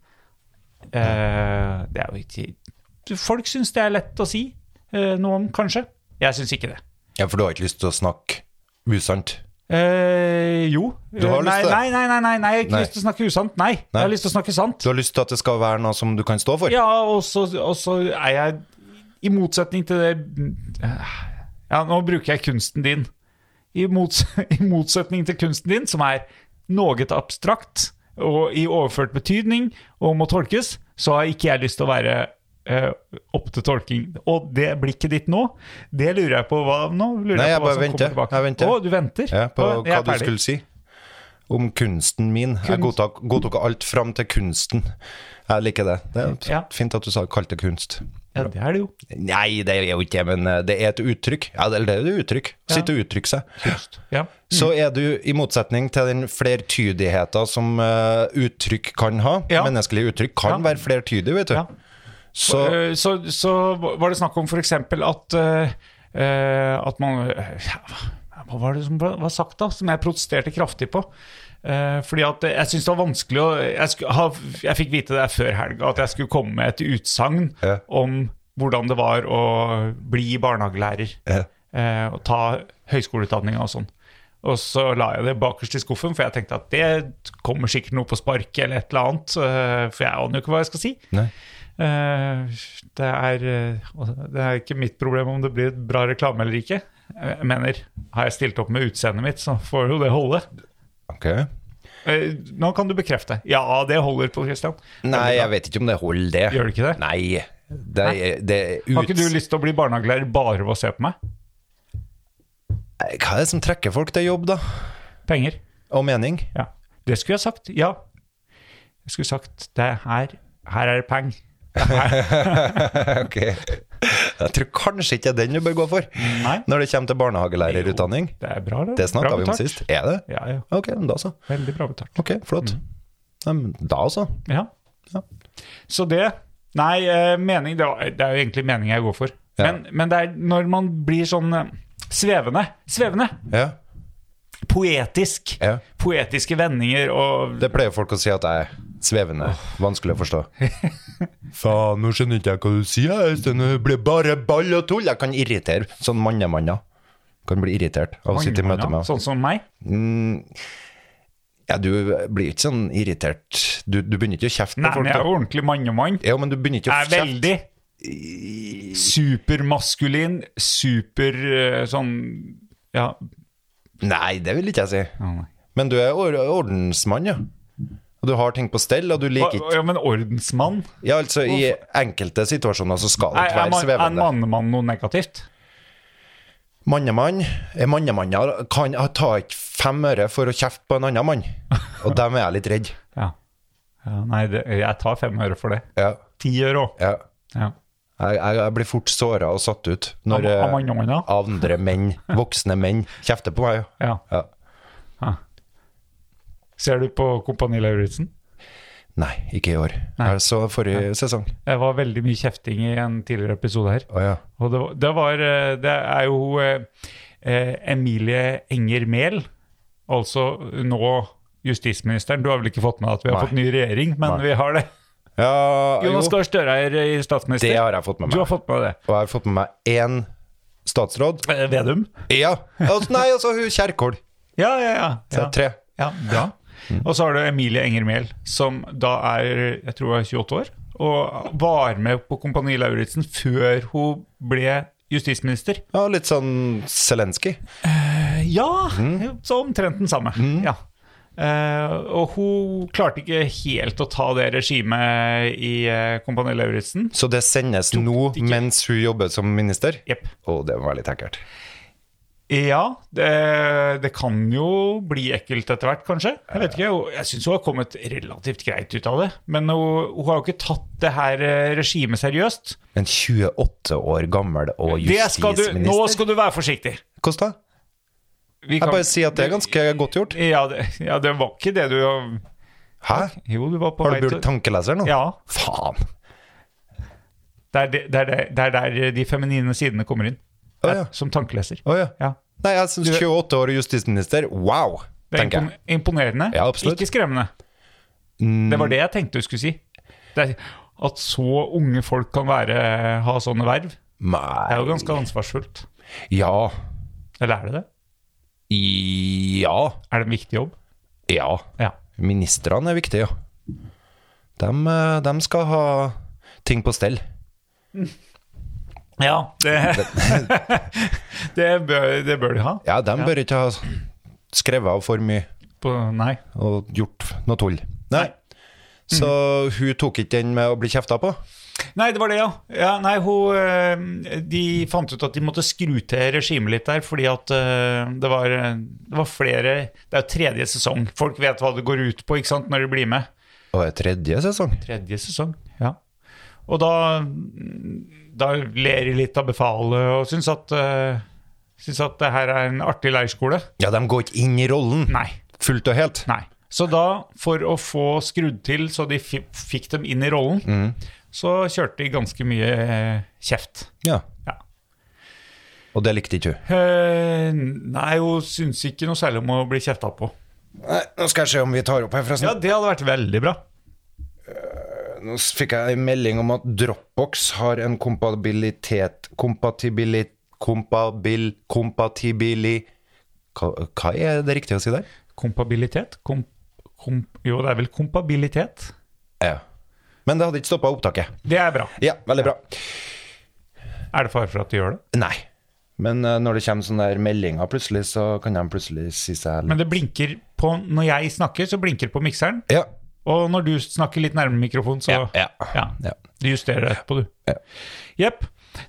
[SPEAKER 4] Eh, Det er jo ikke Folk syns det er lett å si eh, noe om, kanskje. Jeg syns ikke det.
[SPEAKER 2] Ja, for du har ikke lyst til å snakke usant?
[SPEAKER 4] Eh, jo.
[SPEAKER 2] Du har
[SPEAKER 4] nei,
[SPEAKER 2] lyst til det?
[SPEAKER 4] nei, nei, nei, nei, nei, jeg har ikke
[SPEAKER 2] Nei.
[SPEAKER 4] lyst til å snakke usant. Nei, jeg
[SPEAKER 2] Nei.
[SPEAKER 4] har lyst til å snakke sant.
[SPEAKER 2] Du har lyst til at det skal være noe som du kan stå for?
[SPEAKER 4] Ja, og så, og så er jeg I motsetning til det Ja, nå bruker jeg kunsten din. I, mots, I motsetning til kunsten din, som er noe abstrakt og i overført betydning og må tolkes, så har ikke jeg lyst til å være eh, opp til tolking. Og det blikket ditt nå, det lurer jeg på hva nå? Lurer
[SPEAKER 2] Nei, jeg
[SPEAKER 4] på hva
[SPEAKER 2] bare
[SPEAKER 4] som kommer
[SPEAKER 2] venter.
[SPEAKER 4] tilbake.
[SPEAKER 2] Jeg venter.
[SPEAKER 4] Å, du venter?
[SPEAKER 2] Ja, på
[SPEAKER 4] Å, jeg
[SPEAKER 2] hva
[SPEAKER 4] er
[SPEAKER 2] du
[SPEAKER 4] ferdig.
[SPEAKER 2] skulle si om kunsten min. Jeg
[SPEAKER 4] Kunst.
[SPEAKER 2] godtok, godtok alt fram til kunsten. Jeg liker det. Det er
[SPEAKER 4] Mm, Ja.
[SPEAKER 2] fint at du sa kalte det kunst.
[SPEAKER 4] Ja, det er det jo.
[SPEAKER 2] Nei, det er jo ikke det, men eh, det er et uttrykk. Ja, det det er et uttrykk. Sitte og uttrykke seg.
[SPEAKER 4] Ja.
[SPEAKER 2] Så er du, i motsetning til den flertydigheten som eh, uttrykk kan ha,
[SPEAKER 4] Ja.
[SPEAKER 2] menneskelige uttrykk kan
[SPEAKER 4] Ja.
[SPEAKER 2] være flertydig, vet du.
[SPEAKER 4] Ja.
[SPEAKER 2] Så
[SPEAKER 4] Eh, Så, så var det snakk om f.eks. at eh, eh, At man eh, ja, Hva var det som ble- var sagt, da? Som jeg protesterte kraftig på. Eh, fordi at eh, jeg syntes det var vanskelig å jeg, sku, ha, jeg fikk vite det før helga at jeg skulle komme med et utsagn
[SPEAKER 2] Ja.
[SPEAKER 4] om hvordan det var å bli barnehagelærer.
[SPEAKER 2] Ja.
[SPEAKER 4] eh, og ta høyskoleutdanninga og sånn. Og så la jeg det bakerst i skuffen, for jeg tenkte at det kommer sikkert noe på sparket eller et eller annet. eh, for jeg aner jo ikke hva jeg skal si.
[SPEAKER 2] Nei.
[SPEAKER 4] Eh, det, er, eh, og det er ikke mitt problem om det blir bra reklame eller ikke. Jeg mener, har jeg stilt opp med utseendet mitt, så får jo det holde.
[SPEAKER 2] Ok.
[SPEAKER 4] Eh, nå kan du bekrefte. Ja, det holder på Christian.
[SPEAKER 2] Nei, jeg vet ikke om det holder, det.
[SPEAKER 4] Gjør det ikke det?
[SPEAKER 2] Nei. Det, er- det er ut...
[SPEAKER 4] Har ikke du lyst til å bli barnehagelærer bare ved å se på meg?
[SPEAKER 2] Nei, Hva er det som trekker folk til jobb, da?
[SPEAKER 4] Penger.
[SPEAKER 2] Og mening?
[SPEAKER 4] Ja. Det skulle jeg sagt. Ja. Jeg skulle sagt det her. Her er det peng.
[SPEAKER 2] Ok. Jeg tror kanskje ikke det er den du bør gå for
[SPEAKER 4] Nei.
[SPEAKER 2] når det kommer til barnehagelærerutdanning.
[SPEAKER 4] Det er bra, det.
[SPEAKER 2] Det snakka
[SPEAKER 4] Bra
[SPEAKER 2] vi om
[SPEAKER 4] betalt.
[SPEAKER 2] sist. Er det?
[SPEAKER 4] Ja, ja.
[SPEAKER 2] Ok, men da så.
[SPEAKER 4] Veldig bra betalt.
[SPEAKER 2] Ok, flott.
[SPEAKER 4] Mm.
[SPEAKER 2] Nei, men Da så.
[SPEAKER 4] Ja.
[SPEAKER 2] Ja.
[SPEAKER 4] Så det Nei, eh, mening det, var, det er jo egentlig mening jeg går for.
[SPEAKER 2] Ja.
[SPEAKER 4] Men, men det er når man blir sånn eh, svevende. Svevende!
[SPEAKER 2] Ja.
[SPEAKER 4] Poetisk.
[SPEAKER 2] Ja.
[SPEAKER 4] Poetiske vendinger og
[SPEAKER 2] Det pleier folk å si at jeg er svevende. Vanskelig å forstå. Faen, nå skjønner ikke jeg hva du sier. Øystein. Det blir bare ball og tull. Jeg kan irritere sånn mannemanner. Kan bli irritert av å sitte i møte med
[SPEAKER 4] Sånn som meg.
[SPEAKER 2] Ja, du blir ikke sånn irritert. Du, du begynner ikke å kjefte
[SPEAKER 4] Nei, men
[SPEAKER 2] på folk.
[SPEAKER 4] jeg er
[SPEAKER 2] da.
[SPEAKER 4] jo ordentlig mannemann.
[SPEAKER 2] Ja, men du begynner ikke å
[SPEAKER 4] Er veldig supermaskulin, super eh, sånn Ja.
[SPEAKER 2] Nei, det vil ikke jeg si.
[SPEAKER 4] ja, nei.
[SPEAKER 2] Men du er or ordensmann, ja. Og du har ting på stell, og du liker ikke
[SPEAKER 4] ja men ordensmann?
[SPEAKER 2] Ja, altså, i enkelte situasjoner så skal det
[SPEAKER 4] Er, er,
[SPEAKER 2] ikke være
[SPEAKER 4] man- er
[SPEAKER 2] svevende.
[SPEAKER 4] mannemann noe negativt?
[SPEAKER 2] Mannemann er mannemanner, kan ta ikke fem øre for å kjefte på en annen mann. Og dem er jeg litt redd.
[SPEAKER 4] Ja. ja nei, det, jeg tar fem øre for det.
[SPEAKER 2] Ja,
[SPEAKER 4] Ti øre òg.
[SPEAKER 2] ja.
[SPEAKER 4] Ja.
[SPEAKER 2] Jeg, jeg, jeg blir fort såra og satt ut når
[SPEAKER 4] Av- av
[SPEAKER 2] eh,
[SPEAKER 4] mannemanner?
[SPEAKER 2] andre menn, voksne menn, kjefter på meg.
[SPEAKER 4] Ja.
[SPEAKER 2] Ja.
[SPEAKER 4] Ser du på Kompani Lauritzen?
[SPEAKER 2] Nei, ikke i år.
[SPEAKER 4] Nei.
[SPEAKER 2] Jeg så forrige sesong.
[SPEAKER 4] Det var veldig mye kjefting i en tidligere episode her.
[SPEAKER 2] Å ja.
[SPEAKER 4] Og det, var- det var eh, Det er jo eh, eh, Emilie Enger Mehl, altså nå justisministeren. Du har vel ikke fått med deg at vi har
[SPEAKER 2] Nei.
[SPEAKER 4] fått ny regjering, men
[SPEAKER 2] Nei.
[SPEAKER 4] vi har det.
[SPEAKER 2] ja jo,
[SPEAKER 4] Jonas Gahr Støre er eh, statsminister.
[SPEAKER 2] det har jeg fått med
[SPEAKER 4] Du
[SPEAKER 2] meg.
[SPEAKER 4] har fått med deg det.
[SPEAKER 2] Og jeg har fått med meg én statsråd.
[SPEAKER 4] Eh, Vedum?
[SPEAKER 2] Ja. Altså, nei, altså hun Kjerkol.
[SPEAKER 4] Ja, ja, ja.
[SPEAKER 2] Så
[SPEAKER 4] ja.
[SPEAKER 2] tre.
[SPEAKER 4] Ja, bra. Mm. Og så har du Emilie Enger Mehl, som da er jeg tror hun er 28 år, og var med på Kompani Lauritzen før hun ble justisminister.
[SPEAKER 2] Ja, litt sånn Zelenskyj.
[SPEAKER 4] Eh, Mm. Ja, så omtrent den samme. Ja. Eh, og hun klarte ikke helt å ta det regimet i eh, Kompani Lauritzen.
[SPEAKER 2] Så det sendes nå mens hun jobber som minister?
[SPEAKER 4] Jepp.
[SPEAKER 2] Å, det var litt ekkelt.
[SPEAKER 4] Ja, det, det kan jo bli ekkelt etter hvert, kanskje. Jeg vet ikke, og jeg syns hun har kommet relativt greit ut av det. Men hun, hun har jo ikke tatt det her eh, regimet seriøst.
[SPEAKER 2] En 28 år gammel og
[SPEAKER 4] Det skal du, nå
[SPEAKER 2] justisminister?
[SPEAKER 4] skal du være forsiktig.
[SPEAKER 2] Kosta?
[SPEAKER 4] Vi
[SPEAKER 2] Jeg
[SPEAKER 4] kan-
[SPEAKER 2] bare sier at det er ganske godt gjort.
[SPEAKER 4] ja det, ja, det var ikke det du
[SPEAKER 2] Hæ?
[SPEAKER 4] Jo, du var på
[SPEAKER 2] Har
[SPEAKER 4] vei
[SPEAKER 2] du brukt tankeleser nå?
[SPEAKER 4] Ja.
[SPEAKER 2] Faen.
[SPEAKER 4] Det er, det, det, er, det- det er der de feminine sidene kommer inn.
[SPEAKER 2] Å, ja.
[SPEAKER 4] Som tankeleser.
[SPEAKER 2] Å ja.
[SPEAKER 4] Ja.
[SPEAKER 2] Nei, jeg syns 28 år og justisminister, wow,
[SPEAKER 4] Det er
[SPEAKER 2] tenker jeg.
[SPEAKER 4] impon- imponerende,
[SPEAKER 2] Ja, absolutt.
[SPEAKER 4] ikke skremmende. Det var det jeg tenkte du skulle si. Det er, at så unge folk kan være, ha sånne verv, det er jo
[SPEAKER 2] Nei
[SPEAKER 4] ganske ansvarsfullt.
[SPEAKER 2] Ja.
[SPEAKER 4] Eller er det det?
[SPEAKER 2] Ja.
[SPEAKER 4] Er det en viktig jobb?
[SPEAKER 2] Ja.
[SPEAKER 4] Ja.
[SPEAKER 2] Ministrene er viktige, ja. Dem, eh, dem skal ha ting på stell.
[SPEAKER 4] Ja, det, det, bør, det bør de ha.
[SPEAKER 2] Ja, dem bør ikke ha skrevet av for mye
[SPEAKER 4] På, nei.
[SPEAKER 2] og gjort noe tull. Nei. Så hun tok ikke den med å bli kjefta på?
[SPEAKER 4] Nei, det var det, ja. ja nei, hun, eh, de fant ut at de måtte skru til regimet litt der, fordi at eh, det var, det var flere Det er jo tredje sesong. Folk vet hva det går ut på ikke sant, når de blir med.
[SPEAKER 2] Og i tredje sesong?
[SPEAKER 4] Tredje sesong, ja. Og da, da ler de litt av befalet og syns at, eh, syns at det her er en artig leirskole.
[SPEAKER 2] Ja, de går ikke inn i rollen
[SPEAKER 4] Nei.
[SPEAKER 2] fullt og helt.
[SPEAKER 4] nei. Så da, for å få skrudd til så de fi- fikk dem inn i rollen, så kjørte de ganske mye eh, kjeft.
[SPEAKER 2] Ja.
[SPEAKER 4] Ja.
[SPEAKER 2] Og det likte ikke hun.
[SPEAKER 4] Eh, nei, hun syns ikke noe særlig om å bli kjefta på.
[SPEAKER 2] Nei, nå skal jeg se om vi tar opp her,
[SPEAKER 4] Ja,
[SPEAKER 2] forresten.
[SPEAKER 4] det hadde vært veldig bra.
[SPEAKER 2] Nå fikk jeg en melding om at Dropbox har en kompabilitet Kompatibili... Kompabil... Kompatibili... Hva, hva er det riktige å si der?
[SPEAKER 4] Kompabilitet? Kom, kom, jo, det er vel kompabilitet.
[SPEAKER 2] Ja. Men det hadde ikke stoppa opptaket.
[SPEAKER 4] Det er bra.
[SPEAKER 2] Ja, veldig bra.
[SPEAKER 4] Er det fare for at de gjør det?
[SPEAKER 2] Nei. Men eh, når det kommer sånne der meldinger plutselig, så kan de plutselig si seg
[SPEAKER 4] Men det blinker på Når jeg snakker, så blinker det på mikseren.
[SPEAKER 2] Ja.
[SPEAKER 4] Og når du snakker litt nærmere mikrofonen, så
[SPEAKER 2] Ja, ja. Ja.
[SPEAKER 4] Du justerer det etterpå,
[SPEAKER 2] Ja.
[SPEAKER 4] du. Jepp.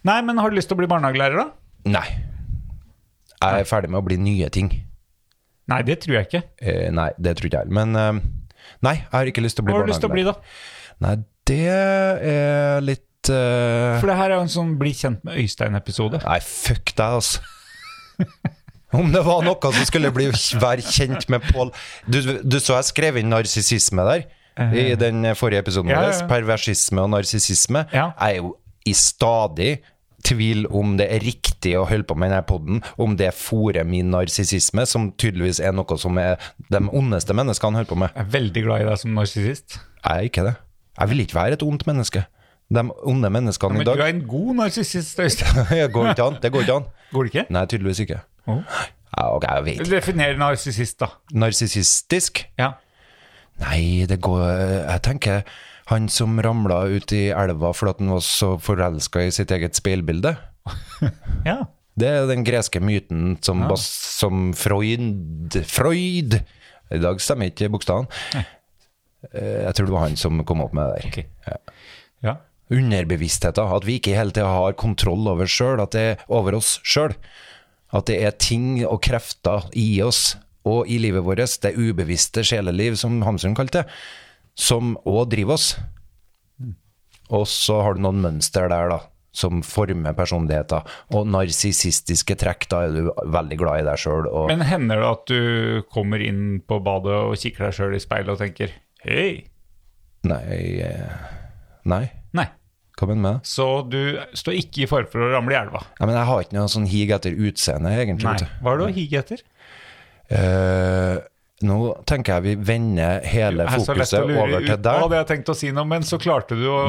[SPEAKER 4] Nei, men har du lyst til å bli barnehagelærer, da?
[SPEAKER 2] Nei. Jeg er ferdig med å bli nye ting.
[SPEAKER 4] Nei, det tror jeg ikke.
[SPEAKER 2] Eh, nei, det tror ikke jeg. Men eh, nei, jeg har ikke lyst til å bli
[SPEAKER 4] Hva har du lyst til å bli, da?
[SPEAKER 2] Nei, det er litt eh,
[SPEAKER 4] For det her er jo en sånn bli kjent med Øystein-episode.
[SPEAKER 2] Nei, fuck deg, altså. Om det var noe som skulle bli være kjent med Pål du, du så jeg skrev inn narsissisme der i den forrige episoden
[SPEAKER 4] Eh. Ja, ja,
[SPEAKER 2] vår.
[SPEAKER 4] ja.
[SPEAKER 2] Perversisme og narsissisme.
[SPEAKER 4] Ja.
[SPEAKER 2] Jeg er jo i stadig tvil om det er riktig å holde på med denne poden, om det fôrer min narsissisme, som tydeligvis er noe som er de ondeste menneskene holder på med.
[SPEAKER 4] Jeg er veldig glad i deg som narsissist.
[SPEAKER 2] Jeg er ikke det. Jeg vil ikke være et ondt menneske. De onde menneskene
[SPEAKER 4] Men
[SPEAKER 2] i
[SPEAKER 4] du
[SPEAKER 2] dag
[SPEAKER 4] er en god narsissist, Øystein.
[SPEAKER 2] Det går ikke an. Det går ikke an.
[SPEAKER 4] Går det ikke?
[SPEAKER 2] Nei, tydeligvis ikke.
[SPEAKER 4] Oh.
[SPEAKER 2] Ja, ok, jeg vet ikke.
[SPEAKER 4] Definer narsissist, da.
[SPEAKER 2] Narsissistisk?
[SPEAKER 4] Ja.
[SPEAKER 2] Nei, det går Jeg tenker han som ramla ut i elva fordi at han var så forelska i sitt eget speilbilde.
[SPEAKER 4] ja.
[SPEAKER 2] Det er den greske myten som, bas, som Freud Freud! I dag stemmer ikke bokstaven. Eh, Jeg tror det var han som kom opp med det der.
[SPEAKER 4] Ok. Ja.
[SPEAKER 2] underbevisstheten, at vi ikke hele tida har kontroll over sjøl, at det er over oss sjøl. At det er ting og krefter i oss og i livet vårt, det ubevisste sjeleliv, som Hamsun kalte det, som òg driver oss. Og så har du noen mønster der, da, som former personligheter. Og narsissistiske trekk, da er du veldig glad i deg sjøl. Og...
[SPEAKER 4] Men hender det at du kommer inn på badet og kikker deg sjøl i speilet og tenker Hei!
[SPEAKER 2] Nei eh, Nei,
[SPEAKER 4] Nei.
[SPEAKER 2] hva mener du med det?
[SPEAKER 4] Så du står ikke i fare for å ramle i elva?
[SPEAKER 2] Nei, men Jeg har ikke noe sånn hig etter utseende, egentlig.
[SPEAKER 4] Nei.
[SPEAKER 2] vet du.
[SPEAKER 4] Hva er det å hige etter?
[SPEAKER 2] Eh, nå tenker jeg vi vender hele
[SPEAKER 4] Det er så lett
[SPEAKER 2] fokuset
[SPEAKER 4] å lure
[SPEAKER 2] over til
[SPEAKER 4] ut hva
[SPEAKER 2] deg.
[SPEAKER 4] det jeg tenkte å si noe, men så klarte du å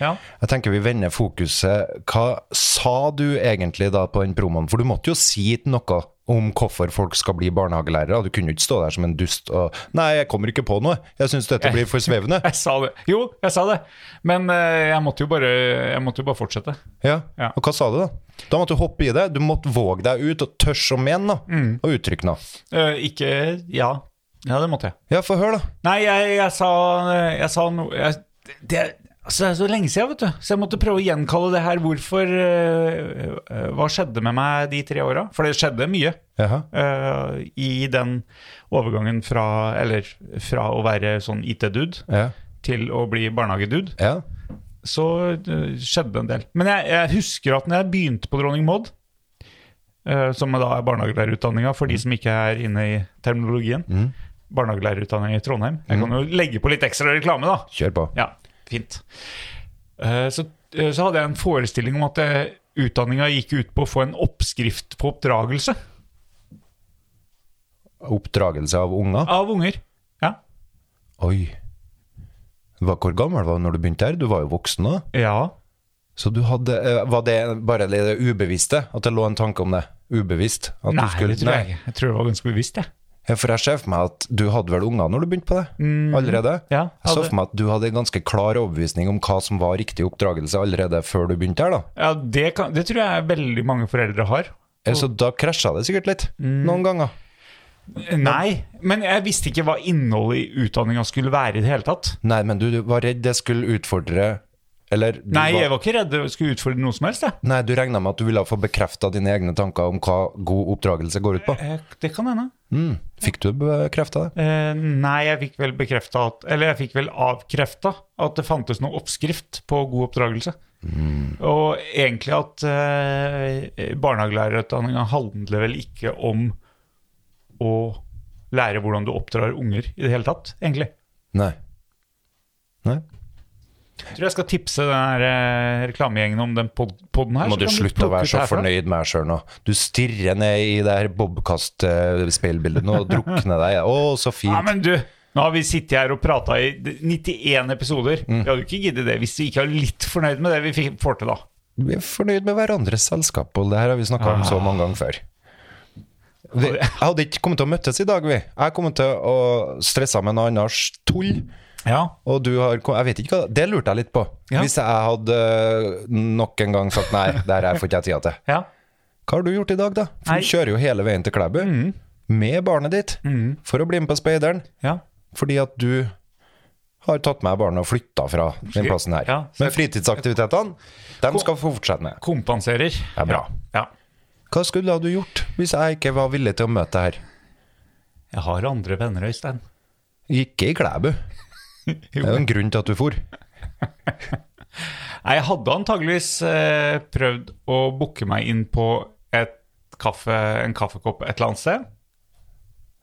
[SPEAKER 4] Ja.
[SPEAKER 2] Jeg tenker vi vender fokuset Hva sa du egentlig da på den promoen? For du måtte jo si noe om hvorfor folk skal bli barnehagelærere. Du kunne jo ikke stå der som en dust og Nei, jeg kommer ikke på noe. Jeg syns dette blir for svevende.
[SPEAKER 4] Jeg sa det. Jo, jeg sa det. Men eh, jeg måtte jo bare, jeg måtte jo bare fortsette.
[SPEAKER 2] Ja.
[SPEAKER 4] Ja.
[SPEAKER 2] Og hva sa du, da? Da måtte du hoppe i det.
[SPEAKER 4] Mm.
[SPEAKER 2] Du måtte våge deg ut og tørre å mene noe. Og uttrykke noe.
[SPEAKER 4] Eh, ikke Ja. Ja, det måtte jeg.
[SPEAKER 2] Ja, få høre, da.
[SPEAKER 4] Nei, jeg, jeg sa, jeg sa noe jeg, det, er- altså, det er så lenge siden, vet du. Så jeg måtte prøve å gjenkalle det her. Hvorfor eh, eh, Hva skjedde med meg de tre åra? For det skjedde mye
[SPEAKER 2] Jaha.
[SPEAKER 4] eh, i den overgangen fra Eller fra å være sånn IT-dude
[SPEAKER 2] Ja.
[SPEAKER 4] til å bli barnehagedude.
[SPEAKER 2] ja.
[SPEAKER 4] Så eh, skjedde en del. Men jeg, jeg husker at når jeg begynte på Dronning Maud, eh, som da er barnehagelærerutdanninga for de som ikke er inne i terminologien, barnehagelærerutdanning i Trondheim Jeg kan jo legge på litt ekstra reklame, da.
[SPEAKER 2] Kjør på.
[SPEAKER 4] Mm. Ja, fint. Eh, Så, eh, så hadde jeg en forestilling om at eh, utdanninga gikk ut på å få en oppskrift på oppdragelse
[SPEAKER 2] Oppdragelse av unger.
[SPEAKER 4] av unger. Ja.
[SPEAKER 2] Oi. Hva, hvor gammel var du når du begynte her? Du var jo voksen da.
[SPEAKER 4] ja.
[SPEAKER 2] Så du hadde eh, Var det bare det ubevisste? At det lå en tanke om det? Ubevisst? At
[SPEAKER 4] Nei,
[SPEAKER 2] du skulle,
[SPEAKER 4] det tror jeg ikke. Jeg tror det var ganske bevisst, jeg.
[SPEAKER 2] Ja, for jeg ser for meg at du hadde vel unger når du begynte på det? Allerede?
[SPEAKER 4] Mm, Ja,
[SPEAKER 2] jeg så
[SPEAKER 4] hadde.
[SPEAKER 2] for meg at du hadde en ganske klar overbevisning om hva som var riktig oppdragelse allerede før du begynte her, da.
[SPEAKER 4] Ja, det, kan, det tror jeg veldig mange foreldre har.
[SPEAKER 2] Eh, Så da krasja det sikkert litt.
[SPEAKER 4] Mm.
[SPEAKER 2] Noen ganger.
[SPEAKER 4] Nei, men jeg visste ikke hva innholdet i utdanninga skulle være i det hele tatt.
[SPEAKER 2] Nei, men du, du var redd det skulle utfordre Eller du
[SPEAKER 4] Nei, jeg var ikke redd det skulle utfordre noe som helst, jeg.
[SPEAKER 2] Nei, du regna med at du ville få bekrefta dine egne tanker om hva god oppdragelse går ut på.
[SPEAKER 4] Eh, Det kan hende.
[SPEAKER 2] Mm. Fikk du bekrefta det?
[SPEAKER 4] Eh, nei, jeg fikk vel bekrefta at Eller jeg fikk vel avkrefta at det fantes noen oppskrift på god oppdragelse.
[SPEAKER 2] Mm.
[SPEAKER 4] Og egentlig at eh, barnehagelærerutdanninga handler vel ikke om å lære hvordan du oppdrar unger i det hele tatt, egentlig.
[SPEAKER 2] Nei. Nei.
[SPEAKER 4] Jeg tror jeg skal tipse den her eh, reklamegjengen om den pod poden her. så
[SPEAKER 2] Må du
[SPEAKER 4] kan
[SPEAKER 2] slutte å
[SPEAKER 4] plukke
[SPEAKER 2] være
[SPEAKER 4] ut
[SPEAKER 2] så
[SPEAKER 4] herfra.
[SPEAKER 2] fornøyd med deg sjøl nå. Du stirrer ned i det her Bobkast-speilbildet nå og drukner deg. Å, så fint.
[SPEAKER 4] Ja, men du, nå har vi sittet her og prata i 91 episoder. Vi hadde jo ikke giddet det hvis vi ikke er litt fornøyd med det vi fikk- får til, da.
[SPEAKER 2] Vi er fornøyd med hverandres selskap, og det her har vi snakka
[SPEAKER 4] Ah.
[SPEAKER 2] om så mange ganger før. Vi, jeg hadde ikke kommet til å møttes i dag, vi. Jeg kommer til å stresse med noe annet tull.
[SPEAKER 4] Ja,
[SPEAKER 2] Og du har kom- Jeg vet ikke hva Det lurte jeg litt på.
[SPEAKER 4] Ja.
[SPEAKER 2] Hvis jeg hadde nok en gang sagt nei, det her får ikke jeg tida til.
[SPEAKER 4] ja.
[SPEAKER 2] Hva har du gjort i dag, da? For
[SPEAKER 4] Nei.
[SPEAKER 2] du kjører jo hele veien til Klæbu med barnet ditt for å bli med på Speideren.
[SPEAKER 4] Ja.
[SPEAKER 2] Fordi at du har tatt med barna og flytta fra den plassen her.
[SPEAKER 4] Ja, så-
[SPEAKER 2] Men fritidsaktivitetene, dem skal få fortsette med.
[SPEAKER 4] Kompenserer.
[SPEAKER 2] er bra.
[SPEAKER 4] Ja.
[SPEAKER 2] Hva skulle du gjort hvis jeg ikke var villig til å møte deg her?
[SPEAKER 4] Jeg har andre venner, Øystein.
[SPEAKER 2] Ikke i Klæbu. Det er jo en grunn til at du for.
[SPEAKER 4] Nei, Jeg hadde antageligvis eh, prøvd å booke meg inn på et kaffe, en kaffekopp et eller annet sted.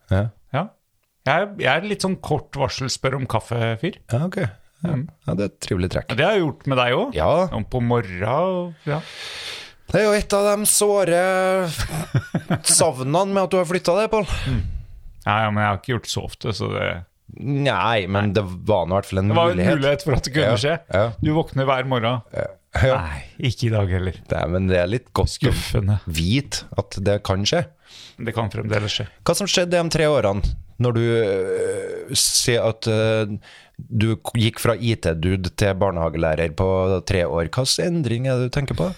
[SPEAKER 2] Ja,
[SPEAKER 4] Ja. Jeg, er- jeg er litt sånn kort varsel spør om kaffe-fyr.
[SPEAKER 2] ja ok. Ja. ja, det er et trivelig trekk.
[SPEAKER 4] Det har jeg gjort med deg òg.
[SPEAKER 2] Mm. Ja,
[SPEAKER 4] På morgenen. og- Ja.
[SPEAKER 2] det er jo et av de såre savnene med at du har flytta deg, Pål.
[SPEAKER 4] Nei, ja, men jeg har ikke gjort så ofte, så det,
[SPEAKER 2] Nei, men det var nå i hvert fall en
[SPEAKER 4] det var en
[SPEAKER 2] mulighet.
[SPEAKER 4] mulighet for at det kunne
[SPEAKER 2] Ja,
[SPEAKER 4] skje.
[SPEAKER 2] ja.
[SPEAKER 4] Du våkner hver morgen.
[SPEAKER 2] Ja.
[SPEAKER 4] Nei, ikke i dag heller.
[SPEAKER 2] Nei, men det er litt godt å
[SPEAKER 4] Skuffende.
[SPEAKER 2] vite at det kan skje.
[SPEAKER 4] Det kan fremdeles skje.
[SPEAKER 2] Hva som skjedde de tre årene, når du øh, ser at øh, du k- gikk fra IT-dude til barnehagelærer på tre år? Hva slags endring er det du tenker på?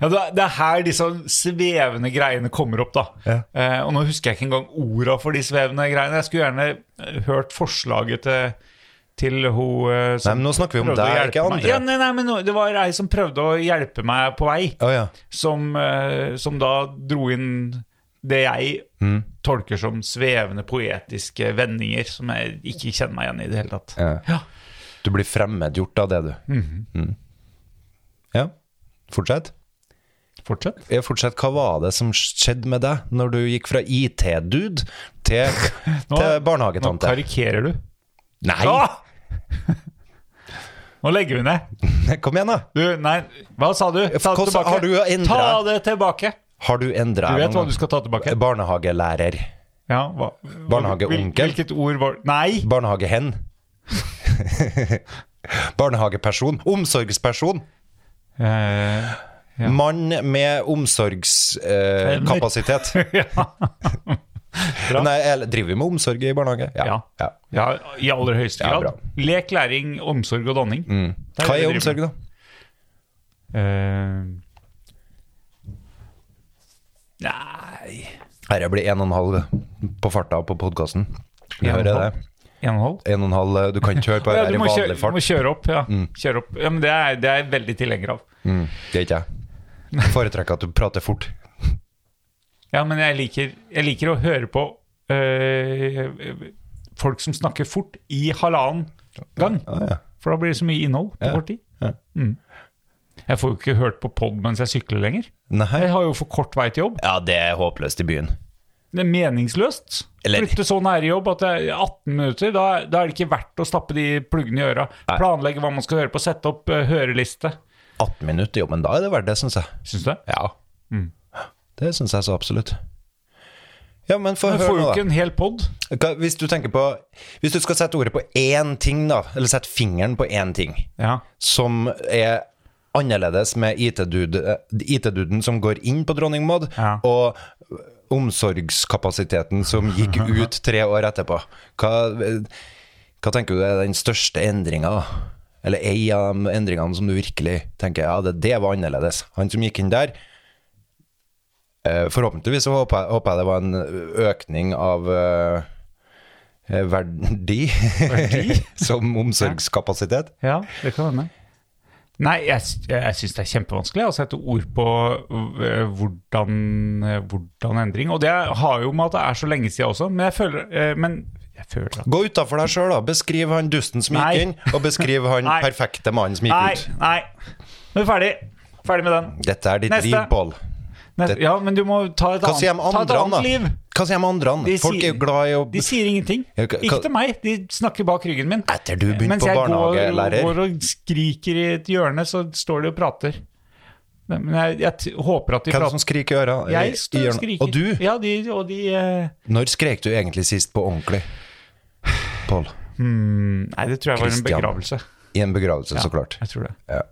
[SPEAKER 4] Ja, det, er- det er her disse svevende greiene kommer opp, da.
[SPEAKER 2] Ja.
[SPEAKER 4] Eh, og nå husker jeg ikke engang orda for de svevende greiene. Jeg skulle gjerne eh, hørt forslaget til, til hun eh,
[SPEAKER 2] Nei,
[SPEAKER 4] som
[SPEAKER 2] men Nå snakker vi om
[SPEAKER 4] prøvde å
[SPEAKER 2] deg,
[SPEAKER 4] hjelpe
[SPEAKER 2] ikke
[SPEAKER 4] meg. Ja,
[SPEAKER 2] andre.
[SPEAKER 4] nei, nei, men nå- det var ei som prøvde å hjelpe meg på vei,
[SPEAKER 2] Å ja.
[SPEAKER 4] som, eh, som da dro inn det jeg
[SPEAKER 2] Mm.
[SPEAKER 4] tolker som svevende poetiske vendinger, som jeg ikke kjenner meg igjen i i det hele tatt.
[SPEAKER 2] ja.
[SPEAKER 4] Ja.
[SPEAKER 2] Du blir fremmedgjort av det, du.
[SPEAKER 4] Mhm.
[SPEAKER 2] Mm. Ja, fortsett.
[SPEAKER 4] Fortsett.
[SPEAKER 2] Ja, fortsett. Hva var det som skjedde med deg når du gikk fra IT-dude til, til
[SPEAKER 4] nå
[SPEAKER 2] barnehagetante?
[SPEAKER 4] karikerer du.
[SPEAKER 2] Nei,
[SPEAKER 4] Ah! Nå legger vi ned.
[SPEAKER 2] kom igjen, da!
[SPEAKER 4] Du, nei, hva sa du? Ta det
[SPEAKER 2] Hvordan
[SPEAKER 4] tilbake.
[SPEAKER 2] har du endret?
[SPEAKER 4] Ta det tilbake.
[SPEAKER 2] Har du endra
[SPEAKER 4] Du vet hva du skal ta tilbake?
[SPEAKER 2] Eh, Barnehagelærer.
[SPEAKER 4] Ja, hva?
[SPEAKER 2] Barnehageonkel.
[SPEAKER 4] Hvil- Hvilket ord var Nei!
[SPEAKER 2] Barnehagehen. Barnehageperson. Omsorgsperson.
[SPEAKER 4] Eh,
[SPEAKER 2] Mann med omsorgskapasitet. Eh, kapasitet.
[SPEAKER 4] ja. Bra.
[SPEAKER 2] Nei, eller driver vi med omsorg i barnehage?
[SPEAKER 4] Ja. ja, i aller høyeste
[SPEAKER 2] Ja,
[SPEAKER 4] grad.
[SPEAKER 2] bra. Mm.
[SPEAKER 4] Lek, læring, omsorg og danning. Det
[SPEAKER 2] Hva
[SPEAKER 4] det vi
[SPEAKER 2] er
[SPEAKER 4] driver
[SPEAKER 2] omsorg,
[SPEAKER 4] med.
[SPEAKER 2] da?
[SPEAKER 4] Eh, nei
[SPEAKER 2] Dette blir 1,5 på farta på podkasten. Vi
[SPEAKER 4] En og en
[SPEAKER 2] hører
[SPEAKER 4] halv?
[SPEAKER 2] det.
[SPEAKER 4] En og en halv?
[SPEAKER 2] 1,5 eh, Du kan ikke høre på det
[SPEAKER 4] Ja,
[SPEAKER 2] her
[SPEAKER 4] du
[SPEAKER 2] i
[SPEAKER 4] må kjøre,
[SPEAKER 2] vanlig
[SPEAKER 4] du
[SPEAKER 2] fart.
[SPEAKER 4] må kjøre opp, ja. Kjøre opp. ja men det er, det er jeg veldig tilhenger av.
[SPEAKER 2] Mm, det er ikke jeg. Jeg foretrekker at du prater fort.
[SPEAKER 4] Ja, men jeg liker, jeg liker å høre på øh, folk som snakker fort i halvannen gang.
[SPEAKER 2] Ja, ja.
[SPEAKER 4] For da blir det så mye innhold på
[SPEAKER 2] Ja,
[SPEAKER 4] kort tid.
[SPEAKER 2] ja.
[SPEAKER 4] Mm. Jeg får jo ikke hørt på pod mens jeg sykler lenger.
[SPEAKER 2] Nei.
[SPEAKER 4] Jeg har jo for kort vei til jobb.
[SPEAKER 2] Ja, det er håpløst i byen.
[SPEAKER 4] Det er meningsløst.
[SPEAKER 2] Eller-
[SPEAKER 4] Flytte så nære jobb at det er 18 minutter. Da, da er det ikke verdt å stappe de pluggene i øra. Planlegge hva man skal høre på, sette opp øh, høreliste.
[SPEAKER 2] 18 minutter, jo, men da er det verdt det, syns jeg.
[SPEAKER 4] Syns du det?
[SPEAKER 2] Ja.
[SPEAKER 4] Mm.
[SPEAKER 2] Det syns jeg så absolutt. Ja, men få
[SPEAKER 4] Jeg
[SPEAKER 2] høre
[SPEAKER 4] får jo
[SPEAKER 2] nå,
[SPEAKER 4] ikke
[SPEAKER 2] da.
[SPEAKER 4] en hel pod.
[SPEAKER 2] Hva, hvis du tenker på Hvis du skal sette ordet på én ting, da, eller sette fingeren på én ting,
[SPEAKER 4] Ja.
[SPEAKER 2] som er annerledes med IT-dude- IT-duden som går inn på Dronning Maud,
[SPEAKER 4] Ja.
[SPEAKER 2] og omsorgskapasiteten som gikk ut tre år etterpå. Hva, hva tenker du er den største endringa? Eller ei av de endringene som du virkelig tenker ja, det, det var annerledes. Han som gikk inn der eh, Forhåpentligvis så håper jeg, håper jeg det var en økning av eh, eh, verdi,
[SPEAKER 4] Verdi?
[SPEAKER 2] som omsorgskapasitet.
[SPEAKER 4] Ja, det kan hende. Nei, jeg, s- jeg syns det er kjempevanskelig å sette ord på øh, hvordan, øh, hvordan endring. Og det har jo med at det er så lenge siden også, men jeg føler, øh, men jeg føler at
[SPEAKER 2] Gå utafor deg sjøl, da. Beskriv han dusten som
[SPEAKER 4] Nei.
[SPEAKER 2] gikk inn, og beskriv han
[SPEAKER 4] Nei.
[SPEAKER 2] perfekte mannen som gikk
[SPEAKER 4] Nei,
[SPEAKER 2] ut.
[SPEAKER 4] nei. Nå er vi ferdig. Ferdig med den.
[SPEAKER 2] Dette er ditt
[SPEAKER 4] Neste.
[SPEAKER 2] liv, Pål.
[SPEAKER 4] Neste. Ja, men du må ta et
[SPEAKER 2] Hva sier de
[SPEAKER 4] annet, ta et
[SPEAKER 2] andre, da?
[SPEAKER 4] annet liv.
[SPEAKER 2] Hva sier de andre?
[SPEAKER 4] De
[SPEAKER 2] Folk er
[SPEAKER 4] sier-
[SPEAKER 2] jo glad i å
[SPEAKER 4] De sier ingenting.
[SPEAKER 2] Ja, hva-
[SPEAKER 4] Ikke til meg, de snakker bak ryggen min.
[SPEAKER 2] Etter du begynte
[SPEAKER 4] Mens
[SPEAKER 2] på
[SPEAKER 4] jeg går,
[SPEAKER 2] barnehagelærer.
[SPEAKER 4] går og skriker i et hjørne, så står de og prater. Men jeg, jeg t- håper at de
[SPEAKER 2] Hva er det
[SPEAKER 4] prater
[SPEAKER 2] som skriker i øra?
[SPEAKER 4] Jeg står og skriker.
[SPEAKER 2] Og du?
[SPEAKER 4] Ja, de, og de eh,
[SPEAKER 2] Når skrek du egentlig sist på ordentlig? Pål.
[SPEAKER 4] Nei, det tror jeg var en
[SPEAKER 2] Christian.
[SPEAKER 4] begravelse.
[SPEAKER 2] I en begravelse, så klart.
[SPEAKER 4] Jeg tror det.
[SPEAKER 2] Ja.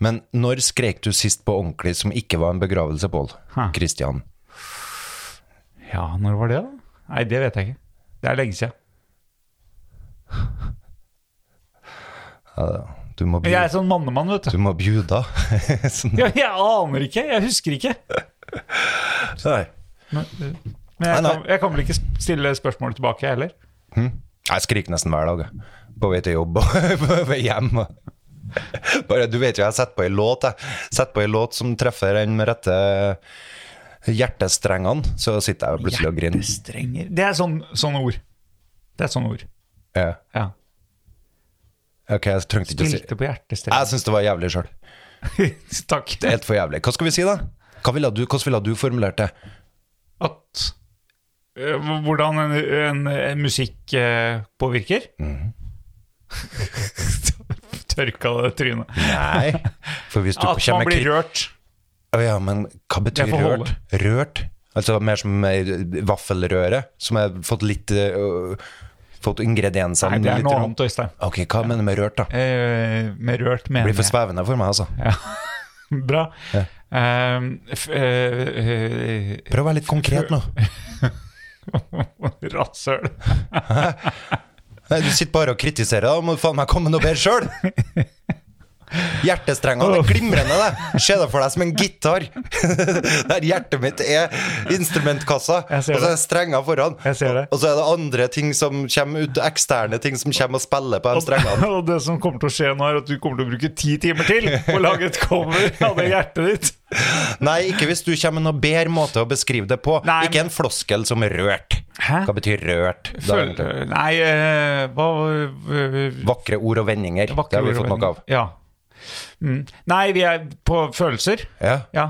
[SPEAKER 2] Men når skrek du sist på ordentlig som ikke var en begravelse, Pål?
[SPEAKER 4] Hæ.
[SPEAKER 2] Kristian.
[SPEAKER 4] Ja, når var det, da? Nei, det vet jeg ikke. Det er lenge siden.
[SPEAKER 2] Ja, du må
[SPEAKER 4] Men jeg
[SPEAKER 2] bjuda.
[SPEAKER 4] er sånn mannemann, vet du.
[SPEAKER 2] Du må bjuda. sånn.
[SPEAKER 4] Ja, jeg aner ikke. Jeg husker ikke.
[SPEAKER 2] Nei.
[SPEAKER 4] Men, eh, men
[SPEAKER 2] Nei,
[SPEAKER 4] jeg,
[SPEAKER 2] nei.
[SPEAKER 4] kan, jeg kan vel ikke stille spørsmål tilbake, jeg heller.
[SPEAKER 2] Jeg skriker nesten hver dag. jeg. På vei til jobb og på vei hjem. og- Bare, du vet jo, jeg setter på en låt jeg. Setter på en låt som treffer den rette hjertestrengene, så sitter jeg jo plutselig og griner.
[SPEAKER 4] Hjertestrenger Det er sånn, sånne ord. Det er sånne ord.
[SPEAKER 2] Ja.
[SPEAKER 4] Ja.
[SPEAKER 2] Ok, jeg trengte ikke å si
[SPEAKER 4] Spilte på
[SPEAKER 2] Jeg
[SPEAKER 4] hjertestrenger.
[SPEAKER 2] syns det var jævlig sjøl. altså,
[SPEAKER 4] Takk.
[SPEAKER 2] Helt for jævlig. Hva skal vi si, da? Hva ville du, hvordan ville du formulert det?
[SPEAKER 4] At eh, Hvordan en, en, en musikk eh, påvirker?
[SPEAKER 2] Mhm.
[SPEAKER 4] Tørka det trynet.
[SPEAKER 2] Nei, for hvis du
[SPEAKER 4] At man
[SPEAKER 2] kommer med
[SPEAKER 4] blir
[SPEAKER 2] kri-
[SPEAKER 4] rørt.
[SPEAKER 2] Å Ja, men hva betyr
[SPEAKER 4] Det får holde.
[SPEAKER 2] rørt? Rørt? Altså mer som eh, vaffelrøre, som har fått litt eh, Fått ingrediensene
[SPEAKER 4] Nei, det er
[SPEAKER 2] litt
[SPEAKER 4] noe
[SPEAKER 2] rann.
[SPEAKER 4] annet, Øystein.
[SPEAKER 2] Ok, hva mener du med rørt, da?
[SPEAKER 4] Eh, med rørt mener
[SPEAKER 2] blir for
[SPEAKER 4] jeg
[SPEAKER 2] svevende for meg, altså.
[SPEAKER 4] Bra.
[SPEAKER 2] Ja.
[SPEAKER 4] Eh, f, eh, eh,
[SPEAKER 2] Prøv å være litt konkret nå.
[SPEAKER 4] Rasshøl.
[SPEAKER 2] Nei, Du sitter bare og kritiserer, da må du faen meg komme noe bedre sjøl! Hjertestrengene er glimrende, det! Se deg for deg som en gitar. Der hjertet mitt er instrumentkassa, og
[SPEAKER 4] Jeg ser
[SPEAKER 2] så er
[SPEAKER 4] det.
[SPEAKER 2] det strenger foran.
[SPEAKER 4] Jeg ser det.
[SPEAKER 2] Og så er det andre ting som kommer ut, eksterne ting som kommer og spiller på de strengene.
[SPEAKER 4] Og det som kommer til å skje nå, er at du kommer til å bruke ti timer til på å lage et cover av det hjertet ditt.
[SPEAKER 2] Nei, ikke hvis du kommer med noen bedre måte å beskrive det på.
[SPEAKER 4] Nei,
[SPEAKER 2] ikke en floskel som rørt.
[SPEAKER 4] Hæ?
[SPEAKER 2] Hva betyr rørt? Da,
[SPEAKER 4] Føl,
[SPEAKER 2] egentlig?
[SPEAKER 4] nei, eh, hva
[SPEAKER 2] Vakre ord og vendinger.
[SPEAKER 4] vakre
[SPEAKER 2] det har vi
[SPEAKER 4] ord
[SPEAKER 2] fått
[SPEAKER 4] og
[SPEAKER 2] nok av.
[SPEAKER 4] Ja. Mm. Nei, vi er på følelser.
[SPEAKER 2] Ja.
[SPEAKER 4] Ja.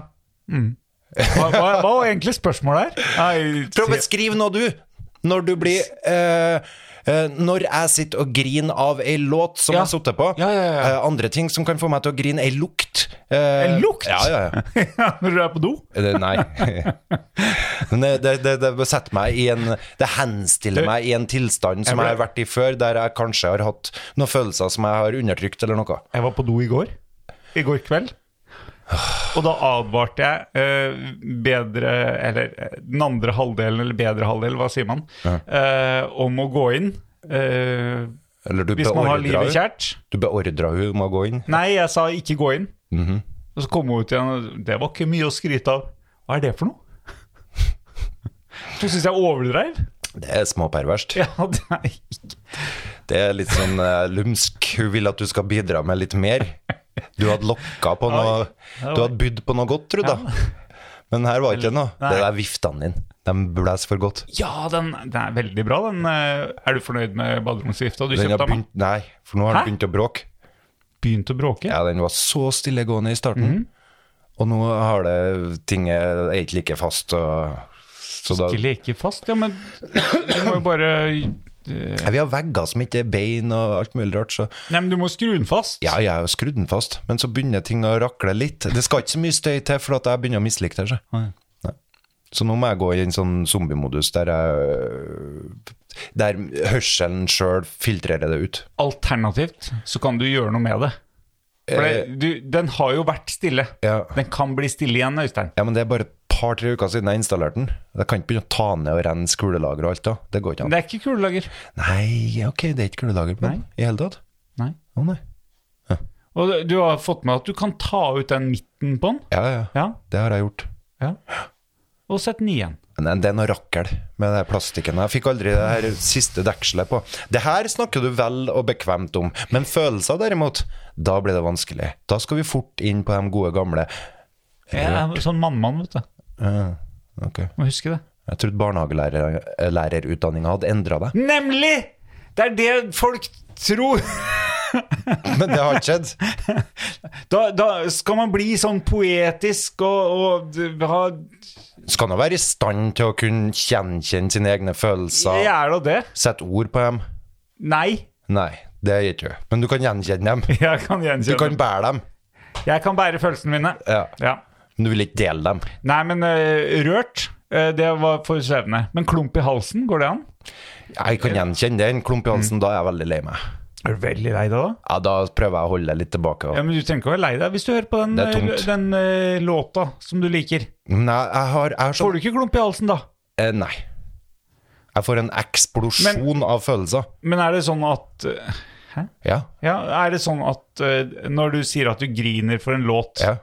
[SPEAKER 4] Mm. Hva, hva, hva var egentlig spørsmålet her? Nei,
[SPEAKER 2] Prøv å
[SPEAKER 4] se-
[SPEAKER 2] beskrive nå, du! Når du blir eh, eh, Når jeg sitter og griner av ei låt som
[SPEAKER 4] Ja.
[SPEAKER 2] jeg sitter på.
[SPEAKER 4] Ja, ja, ja.
[SPEAKER 2] Eh, andre ting som kan få meg til å grine. Ei lukt. Eh,
[SPEAKER 4] En lukt?
[SPEAKER 2] Ja, ja, ja. Eh,
[SPEAKER 4] Ja, Når du er på do?
[SPEAKER 2] Det, nei. Men det, det, det, det setter meg i en Det henstiller meg i en tilstand som
[SPEAKER 4] Jeg ble-
[SPEAKER 2] jeg har vært i før, der jeg kanskje har hatt noen følelser som jeg har undertrykt, eller noe.
[SPEAKER 4] Jeg var på do i går. I går kveld. Og da advarte jeg eh, bedre Eller eh, den andre halvdelen, eller bedre halvdel, hva sier man? Eh, om å gå inn. eh,
[SPEAKER 2] Eller du
[SPEAKER 4] hvis man har
[SPEAKER 2] beordra
[SPEAKER 4] livet
[SPEAKER 2] henne
[SPEAKER 4] kjært.
[SPEAKER 2] Du beordra hun om å gå inn.
[SPEAKER 4] Nei, jeg sa ikke gå inn.
[SPEAKER 2] Mhm.
[SPEAKER 4] Og så kom hun ut igjen, og det var ikke mye å skryte av. Hva er det for noe? Du syns jeg overdreiv?
[SPEAKER 2] Det er småperverst.
[SPEAKER 4] Ja, det er ikke
[SPEAKER 2] Det er litt sånn eh, lumsk. Hun vil at du skal bidra med litt mer. Du hadde lokka på noe
[SPEAKER 4] Oi.
[SPEAKER 2] Du hadde bydd på noe godt, tror jeg. Men her var ikke noe.
[SPEAKER 4] Nei.
[SPEAKER 2] Det er viftene dine. De blæser for godt.
[SPEAKER 4] Ja, den, den er veldig bra, den. eh, Er du fornøyd med baderomsvifta? Du
[SPEAKER 2] Den
[SPEAKER 4] kjøpte
[SPEAKER 2] har
[SPEAKER 4] den?
[SPEAKER 2] begynt, nei, for nå har
[SPEAKER 4] Hæ?
[SPEAKER 2] den begynt å bråke.
[SPEAKER 4] Begynt å bråke?
[SPEAKER 2] Ja, den var så stillegående i starten,
[SPEAKER 4] Mhm.
[SPEAKER 2] og nå har det ting er er ikke like fast. Og, så da,
[SPEAKER 4] Ikke leke fast? Ja, men du må jo bare eh,
[SPEAKER 2] ja, vi har vegger som ikke er bein og alt mulig rart, så
[SPEAKER 4] Nei, men du må skru den fast.
[SPEAKER 2] ja, jeg har jo skrudd den fast. Men så begynner ting å rakle litt. Det skal ikke så mye støy til, for at jeg begynner å mislike det. Så.
[SPEAKER 4] Nei.
[SPEAKER 2] Så nå må jeg gå i en sånn zombiemodus der jeg øh, Der hørselen sjøl filtrerer det ut.
[SPEAKER 4] Alternativt så kan du gjøre noe med det. For det, du, den har jo vært stille.
[SPEAKER 2] Eh. Ja.
[SPEAKER 4] Den kan bli stille igjen, Øystein.
[SPEAKER 2] Ja, men Det er bare et par-tre uker siden jeg installerte den. Jeg kan ikke begynne å ta ned og rense kulelager og alt da. Det går ikke
[SPEAKER 4] Men
[SPEAKER 2] an.
[SPEAKER 4] det er ikke kulelager.
[SPEAKER 2] Nei, ok, det er ikke kulelager på den
[SPEAKER 4] Nei.
[SPEAKER 2] i hele tatt.
[SPEAKER 4] Nei.
[SPEAKER 2] Å nei.
[SPEAKER 4] Og du har fått med at du kan ta ut den midten på den.
[SPEAKER 2] Ja, ja,
[SPEAKER 4] Ja,
[SPEAKER 2] Det har jeg gjort.
[SPEAKER 4] ja. Og sett den igjen.
[SPEAKER 2] Men det er noe rakkel med den plastikken. Jeg fikk aldri det her siste dekselet på. Det her snakker du vel og bekvemt om, men følelser derimot, da blir det vanskelig. Da skal vi fort inn på de gode gamle
[SPEAKER 4] Jeg er sånn mannmann, vet du.
[SPEAKER 2] Ja, Ok.
[SPEAKER 4] Må huske det.
[SPEAKER 2] Jeg trodde barnehagelærerutdanninga hadde endra deg,
[SPEAKER 4] Nemlig! Det er det folk tror.
[SPEAKER 2] men det har ikke skjedd.
[SPEAKER 4] Da, da skal man bli sånn poetisk og, og ha
[SPEAKER 2] Skal nå være i stand til å kunne gjenkjenne sine egne følelser,
[SPEAKER 4] Jeg er da det.
[SPEAKER 2] sette ord på dem.
[SPEAKER 4] Nei.
[SPEAKER 2] Nei, det gjør ikke du. Men du kan gjenkjenne dem.
[SPEAKER 4] Jeg kan
[SPEAKER 2] Du
[SPEAKER 4] gjenkjenne.
[SPEAKER 2] kan bære dem.
[SPEAKER 4] Jeg kan bære følelsene mine.
[SPEAKER 2] Ja.
[SPEAKER 4] Ja.
[SPEAKER 2] Men du vil ikke dele dem.
[SPEAKER 4] Nei, men eh, rørt, eh, det var for svevende. Men klump i halsen, går det an?
[SPEAKER 2] Jeg kan gjenkjenne det. En klump i halsen, da er jeg veldig lei meg.
[SPEAKER 4] Er du veldig lei deg da?
[SPEAKER 2] Ja, da prøver jeg å holde det litt tilbake.
[SPEAKER 4] Ja, men Du trenger ikke å være lei deg hvis du hører på den,
[SPEAKER 2] Det er
[SPEAKER 4] eh,
[SPEAKER 2] tungt.
[SPEAKER 4] den eh, låta som du liker.
[SPEAKER 2] Men jeg, jeg har, jeg har
[SPEAKER 4] Får
[SPEAKER 2] sånn
[SPEAKER 4] du ikke klump i halsen da?
[SPEAKER 2] eh, Nei. Jeg får en eksplosjon av følelser.
[SPEAKER 4] Men er det sånn at eh, Hæ?
[SPEAKER 2] Ja.
[SPEAKER 4] Ja, er det sånn at eh, når du sier at du griner for en låt,
[SPEAKER 2] ja.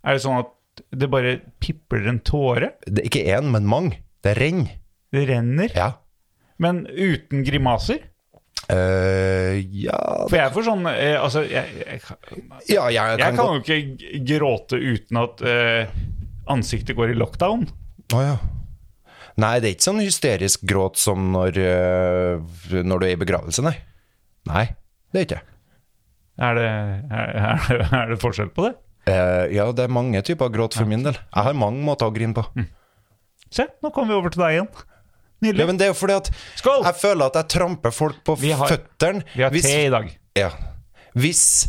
[SPEAKER 4] er det sånn at det bare pipler en tåre?
[SPEAKER 2] Det er ikke én, men mange. Det renner.
[SPEAKER 4] Det renner?
[SPEAKER 2] Ja.
[SPEAKER 4] Men uten grimaser?
[SPEAKER 2] Eh, ja
[SPEAKER 4] For jeg får sånn eh, Altså, jeg, jeg, kan-
[SPEAKER 2] Ja, jeg
[SPEAKER 4] jeg kan
[SPEAKER 2] kan gå
[SPEAKER 4] jo ikke g- gråte uten at eh, ansiktet går i lockdown.
[SPEAKER 2] Å ja. Nei, det er ikke sånn hysterisk gråt som når, eh, når du er i begravelse, nei. Nei, det er ikke det.
[SPEAKER 4] Er det, er, er, er det forskjell på det?
[SPEAKER 2] Eh, ja, det er mange typer gråt for min del. Jeg har mange måter å grine på.
[SPEAKER 4] Mm. Se, nå kommer vi over til deg igjen.
[SPEAKER 2] Ja,
[SPEAKER 4] Nydelig.
[SPEAKER 2] men det er jo fordi at
[SPEAKER 4] Skål!
[SPEAKER 2] jeg føler at jeg tramper folk på
[SPEAKER 4] Vi har-
[SPEAKER 2] føttene.
[SPEAKER 4] Vi har
[SPEAKER 2] hvis-
[SPEAKER 4] te i dag.
[SPEAKER 2] Ja. Hvis